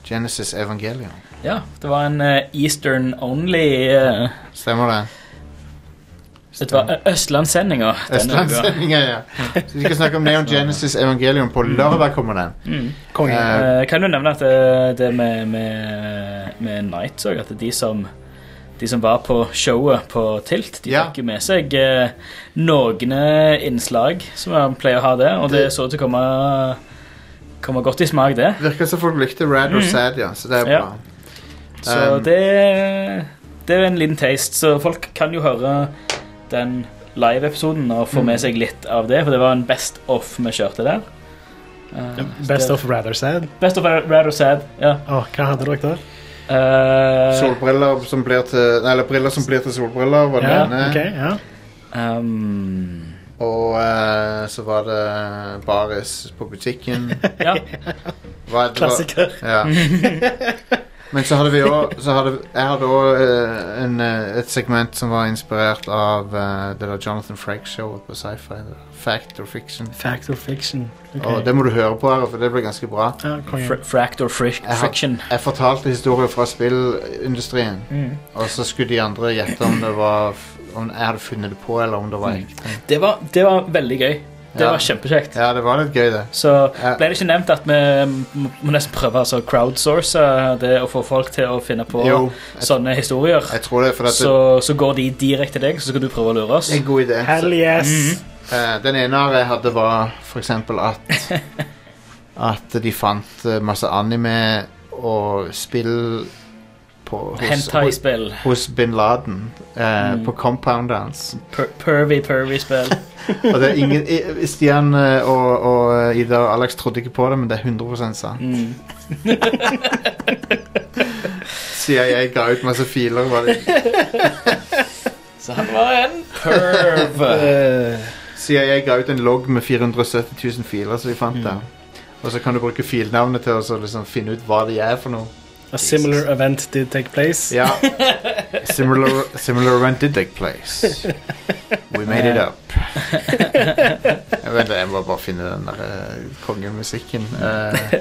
Speaker 1: Genesis Evangelion.
Speaker 3: ja. Det var en eh, Eastern Only eh,
Speaker 1: Stemmer det?
Speaker 3: Vet du hva, eh, Østlandssendinga. denne uka.
Speaker 1: Østlandssendinga, ja. Så vi skal snakke om Neon Genesis Evangelion. På lørdag kommer den.
Speaker 3: Mm.
Speaker 2: Konge.
Speaker 1: Eh,
Speaker 3: Eh, kan du nevne at det, det med, med, med Nights òg, at de som de som var på showet på Tilt, de
Speaker 1: Ja.
Speaker 3: fikk jo med seg eh, noen eh, innslag som man pleier å ha det, og det,
Speaker 1: Det-
Speaker 3: så ut til å komme, komme godt i smak, det.
Speaker 1: Virker som folk likte Rad og
Speaker 3: Mm.
Speaker 1: Sad, ja. Så det er
Speaker 3: Ja.
Speaker 1: bra.
Speaker 3: Så
Speaker 1: Um,
Speaker 3: det, det er en liten taste, så folk kan jo høre den live-episoden og få
Speaker 1: Mm.
Speaker 3: med seg litt av det, for det var en best off vi kjørte der. Eh,
Speaker 2: Best
Speaker 3: det-
Speaker 2: of rather sad.
Speaker 3: Best of Rad og Sad, ja.
Speaker 2: Åh, hva hadde dere der?
Speaker 3: Eh,
Speaker 1: Solbriller som blir til Nei, eller briller som blir til solbriller, var det
Speaker 2: Ja,
Speaker 1: ene.
Speaker 2: ok, ja.
Speaker 3: ehm,
Speaker 1: Um, Og eh, så var det baris på butikken.
Speaker 3: ja.
Speaker 1: Hva er det-
Speaker 2: Klassiker.
Speaker 1: Ja. Men så hadde vi òg Jeg hadde òg eh, en, eh, et segment som var inspirert av eh, det der Jonathan Frake-showet på sci-fi. det der Fact or fiction.
Speaker 2: Fact or fiction. Ok.
Speaker 1: Og det må du høre på, her, for det ble ganske bra.
Speaker 2: Ja, konge.
Speaker 3: Fr fract or fric
Speaker 1: Jeg har-
Speaker 3: friction.
Speaker 1: Jeg fortalte historier fra spillindustrien,
Speaker 2: Mm.
Speaker 1: og så skulle de andre gjette om det var f- Om jeg hadde funnet det på, eller om det var
Speaker 2: Mm.
Speaker 1: ekte.
Speaker 3: Det var, det var veldig gøy. Det
Speaker 1: Ja.
Speaker 3: var kjempekjekt.
Speaker 1: Ja, det var litt gøy, det.
Speaker 3: Så
Speaker 1: Ja.
Speaker 3: ble det ikke nevnt at vi må- må nesten prøve altså, crowdsource eh, det å få folk til å finne på
Speaker 1: Jo,
Speaker 3: sånne historier.
Speaker 1: jeg tror det, for at det
Speaker 3: Så, så går de direkte til deg, så skal du prøve å lure oss.
Speaker 1: det er en god idé.
Speaker 2: Hell yes!
Speaker 1: Eh, den ene her jeg hadde var for eksempel at At de fant eh, masse anime og spill på, hos, hos,
Speaker 3: Hentai-spill.
Speaker 1: hos bin Laden eh,
Speaker 3: Mm.
Speaker 1: på compound dance.
Speaker 3: Per pervy, pervy spill.
Speaker 1: Og det er ingen i- i- Stian eh, og, og Ida og Alex trodde ikke på det, men det er 100 sant.
Speaker 3: Mm.
Speaker 1: Siden jeg ga ut masse filer. Var det,
Speaker 3: Så han var en perv.
Speaker 1: siden jeg ga ut en logg med 470 000 filer som vi fant der. Og så kan du bruke filnavnet til å så liksom finne ut hva de er for noe.
Speaker 2: A similar event did take place.
Speaker 1: Ja. Similar, similar event did take place. We made it up. Jeg, vet, det, jeg må bare finne den der eh, kongemusikken. Eh,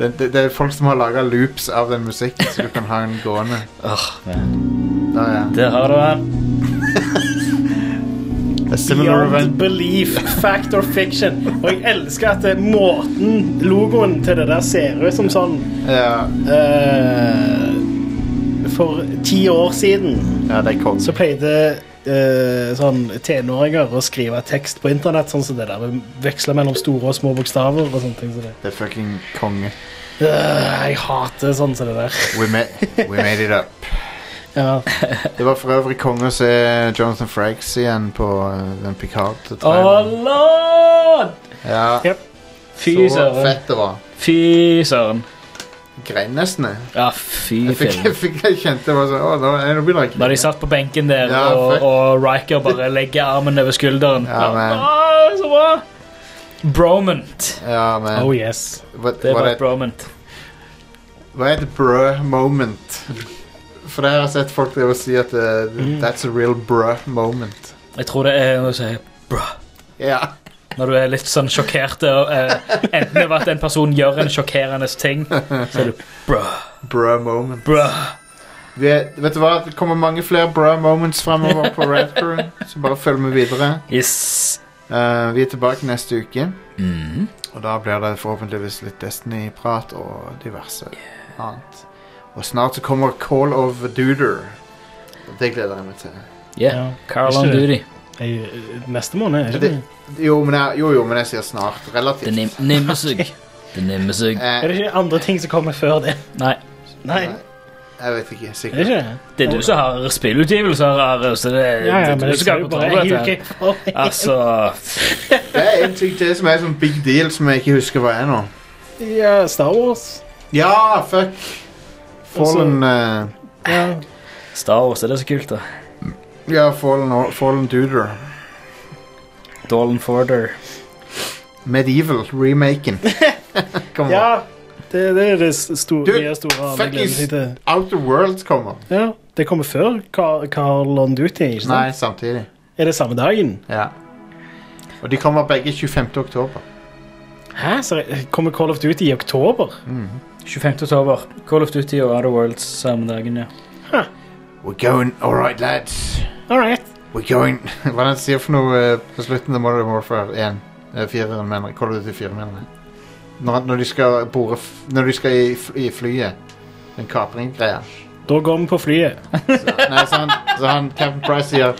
Speaker 1: det, det, det er folk som har laga loops av den musikken, så du kan ha den gående.
Speaker 3: Åh, man.
Speaker 1: Da, ja.
Speaker 3: Der har du han.
Speaker 1: A similar
Speaker 2: Beyond
Speaker 1: event.
Speaker 2: belief, fact or fiction. Og jeg elsker at det, måten logoen til det der ser ut som sånn
Speaker 1: Ja.
Speaker 2: eh, For ti år siden så pleide eh, sånn tenåringer å skrive tekst på internett, sånn som det der. Veksle mellom store og små bokstaver og sånne ting. som det.
Speaker 1: Det er fucking konge.
Speaker 2: Øh, jeg hater sånn som det der.
Speaker 1: We, ma we made it up.
Speaker 2: Ja.
Speaker 1: Det var for øvrig konge å se Jonathan Frakes igjen på eh, den Picard.
Speaker 3: Oh lord!
Speaker 1: Ja.
Speaker 3: Fy
Speaker 1: Så
Speaker 3: søren.
Speaker 1: fett det var.
Speaker 3: Fy søren.
Speaker 1: Grein nesten, jeg.
Speaker 3: Ja, fy
Speaker 1: Jeg, fikk, jeg,
Speaker 3: fillen.
Speaker 1: fikk, jeg kjente det var sånn Å, nå, nå begynner jeg å
Speaker 3: Da de
Speaker 1: grine.
Speaker 3: satt på benken der,
Speaker 1: Ja,
Speaker 3: og,
Speaker 1: fuck.
Speaker 3: og Riker bare legger armen over skulderen.
Speaker 1: Ja, men,
Speaker 3: Å, så bra! Bromant.
Speaker 1: ja, men.
Speaker 2: Oh yes.
Speaker 1: Hva,
Speaker 3: Det
Speaker 1: var
Speaker 3: var
Speaker 1: det,
Speaker 3: et bromant.
Speaker 1: hva er et brø moment? For det har jeg sett folk drive og si at eh,
Speaker 3: Mm.
Speaker 1: That's a real brø moment.
Speaker 3: Jeg tror det er noe som er
Speaker 1: Ja.
Speaker 3: Når du er litt sånn sjokkert og, eh, Enten over at en person gjør en sjokkerende ting Så er du
Speaker 1: Brø moment.
Speaker 3: Bruh.
Speaker 1: Vi er, vet du hva? Det kommer mange flere brø moments fremover på Red Crew, så bare følg med videre.
Speaker 3: Yes
Speaker 1: Eh, vi er tilbake neste uke,
Speaker 3: mm.
Speaker 1: og da blir det forhåpentligvis litt Destiny-prat og diverse annet. Og snart så kommer Call of Duder. Og Det gleder jeg meg til.
Speaker 3: Yeah, Carl
Speaker 2: Ikke
Speaker 3: on
Speaker 2: det.
Speaker 3: duty
Speaker 2: Jeg, øh, neste måned, er
Speaker 1: Men
Speaker 2: ikke det?
Speaker 1: det- Jo, men jeg, jo, jo, men jeg sier snart.
Speaker 3: Det
Speaker 1: Relativt.
Speaker 3: nim- nimmer seg Det nimmer seg
Speaker 1: Eh,
Speaker 2: Er det ikke andre ting som kommer før det?
Speaker 3: Nei,
Speaker 2: Nei,
Speaker 1: jeg vet ikke.
Speaker 2: er det
Speaker 1: Sikkert.
Speaker 2: ikke det?
Speaker 3: det er du som har spillutgivelser Are, Så det,
Speaker 2: Ja, ja, men
Speaker 3: det er
Speaker 2: jeg
Speaker 3: du som
Speaker 2: skal
Speaker 3: har
Speaker 2: jo bare
Speaker 3: kontroll
Speaker 2: en
Speaker 3: over
Speaker 2: uke
Speaker 3: dette
Speaker 2: for
Speaker 3: Altså
Speaker 1: Det er en ting til som er sånn big deal som jeg ikke husker hva er nå.
Speaker 2: Ja, Star Wars.
Speaker 1: Ja, fuck! Fallen eh,
Speaker 2: Ja.
Speaker 3: Star Wars, er det så kult da
Speaker 1: Ja, Fallen, Fallen Duder.
Speaker 3: Dolan Forder
Speaker 1: Medieval remaken. Kommer.
Speaker 2: ja. Det, det er det store,
Speaker 1: Du,
Speaker 2: det store alle
Speaker 1: fucking
Speaker 2: gleder seg til.
Speaker 1: Outer Worlds kommer.
Speaker 2: Ja, det kommer før Car Carl on Duty, ikke sant?
Speaker 1: Nei, samtidig.
Speaker 2: Er det samme dagen?
Speaker 1: Ja. Og de kommer begge 25. oktober.
Speaker 2: Hæ? Så kommer Call of Duty i oktober?
Speaker 3: 25. oktober Call of Duty og Other Worlds samme dagen, ja
Speaker 1: We're going All right, lads.
Speaker 2: All right.
Speaker 1: We're going Hva er det han sier for noe eh, på slutten av Modern Warfare 1? Eh, Fireren, mener jeg. Call of Duty 4, mener jeg. Når, når de skal bore f- Når de skal i, f- i flyet. Den kapringgreia.
Speaker 2: Da går vi på flyet.
Speaker 1: Så, nei, så han, så han Captain Price sier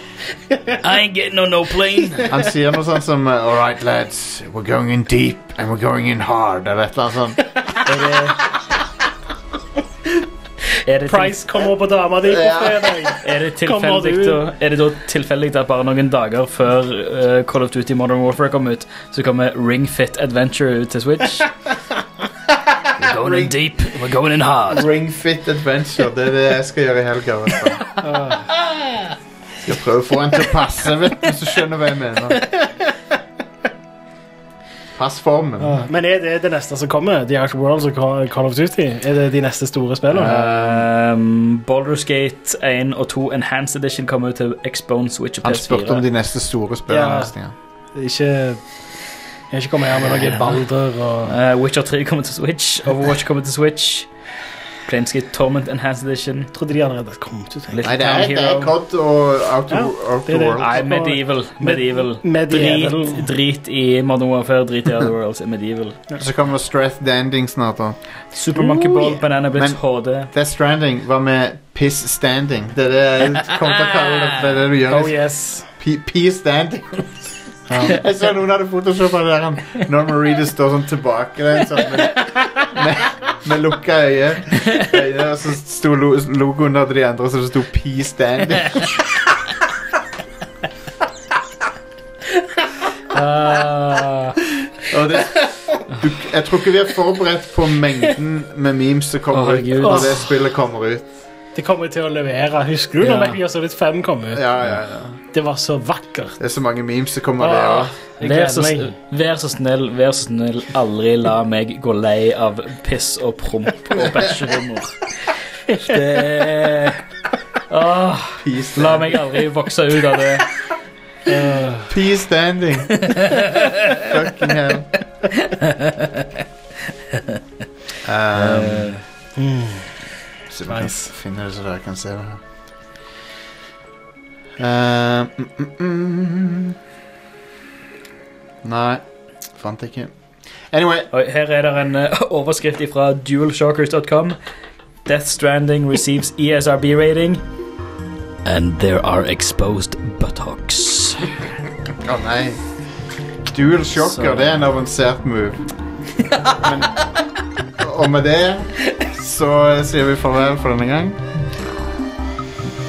Speaker 3: I ain't getting on no plane
Speaker 1: Han sier noe sånt som eh, All right, lads. We're going in deep and we're going in hard. Eller et eller annet sånt.
Speaker 3: Er det
Speaker 2: Price kommer på dama di på
Speaker 1: Ja.
Speaker 2: fredag.
Speaker 3: Er det,
Speaker 2: Kommer du?
Speaker 3: tilfeldig, da- er det da tilfeldig at bare noen dager før eh, Call of Duty Modern Warfare kom ut, så kommer Ring Fit Adventure ut til Switch? We're going in deep, we're going in hard.
Speaker 1: Ring Fit Adventure. Det er det jeg skal gjøre i helga. i hvert fall. Ah. Skal prøve å få en til å passe, vet du, så skjønner du hva jeg mener. Pass formen.
Speaker 2: Men er det det neste som kommer? The Outer Worlds og Ca- Call of Duty? Er det de neste store spillene?
Speaker 3: Um, Baldur's Gate 1 og 2 Enhanced Edition kommer ut til Xbone Switch og
Speaker 1: Han spurte om
Speaker 3: PS4.
Speaker 1: de neste store spillerløsningene.
Speaker 2: Ikke Jeg har ikke kommet her med noe Balder og
Speaker 3: Eh, Witcher 3 kommer til Switch, Overwatch kommer til Switch. Planescape Torment Enhanced Edition.
Speaker 2: Jeg trodde de allerede hadde kommet ut. jeg.
Speaker 1: Nei, det er, det er COD og Outer,
Speaker 2: Ja, det er
Speaker 1: Outer
Speaker 2: det.
Speaker 1: World.
Speaker 3: Nei, medieval. Medieval.
Speaker 2: Medieval.
Speaker 3: Drit, drit i Modern Warfare, drit i Other Worlds. Medieval.
Speaker 1: Så kommer Strath Danding snart. da.
Speaker 3: Super Monkey Ball,
Speaker 2: yeah.
Speaker 3: Banana Blitz,
Speaker 1: Men-
Speaker 3: HD.
Speaker 1: Death Stranding var med Piss Standing. Det er det jeg kommer til å kalle det. Det er det du gjør.
Speaker 2: Oh yes.
Speaker 1: P- Pee Standing. Jeg så noen hadde photoshoppet det der han Norman Reedus står sånn tilbake der, sånn, med, med, med lukka øye. øyne. Og så sto lo logoen der til de andre, så det sto Pee Standing.
Speaker 3: Ah,
Speaker 1: Og det, du, jeg tror ikke vi er forberedt på mengden med memes som kommer ut
Speaker 3: Herregud.
Speaker 1: når det spillet kommer ut.
Speaker 2: Det kommer til å levere. Husker du
Speaker 3: Ja.
Speaker 2: da Metal Gear Solid 5 kom ut?
Speaker 1: Ja, ja, ja.
Speaker 2: Det var så vakkert. Ah,
Speaker 1: Det er så mange memes som kommer der òg.
Speaker 2: Jeg
Speaker 3: vær, så,
Speaker 2: gleder meg.
Speaker 3: vær så snill, vær så snill, aldri la meg gå lei av piss og promp og bæsjerommer. Det er Åh, La meg aldri vokse ut av det.
Speaker 1: Pee standing. Fucking hell. Um, så vi kan
Speaker 2: Nice.
Speaker 1: finne det så dere kan se det her. Eh, mm, mm, mm. Nei, fant ikke. Anyway.
Speaker 3: Oi, her er det en eh, overskrift fra dualshockers.com. Death Stranding receives E ESRB rating. And there are exposed buttocks.
Speaker 1: Å nei. Dual shocker,
Speaker 3: Så-
Speaker 1: det er en avansert move. Men, og med det så sier vi farvel for denne gang.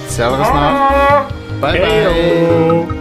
Speaker 1: Ser dere snart. Bye, bye.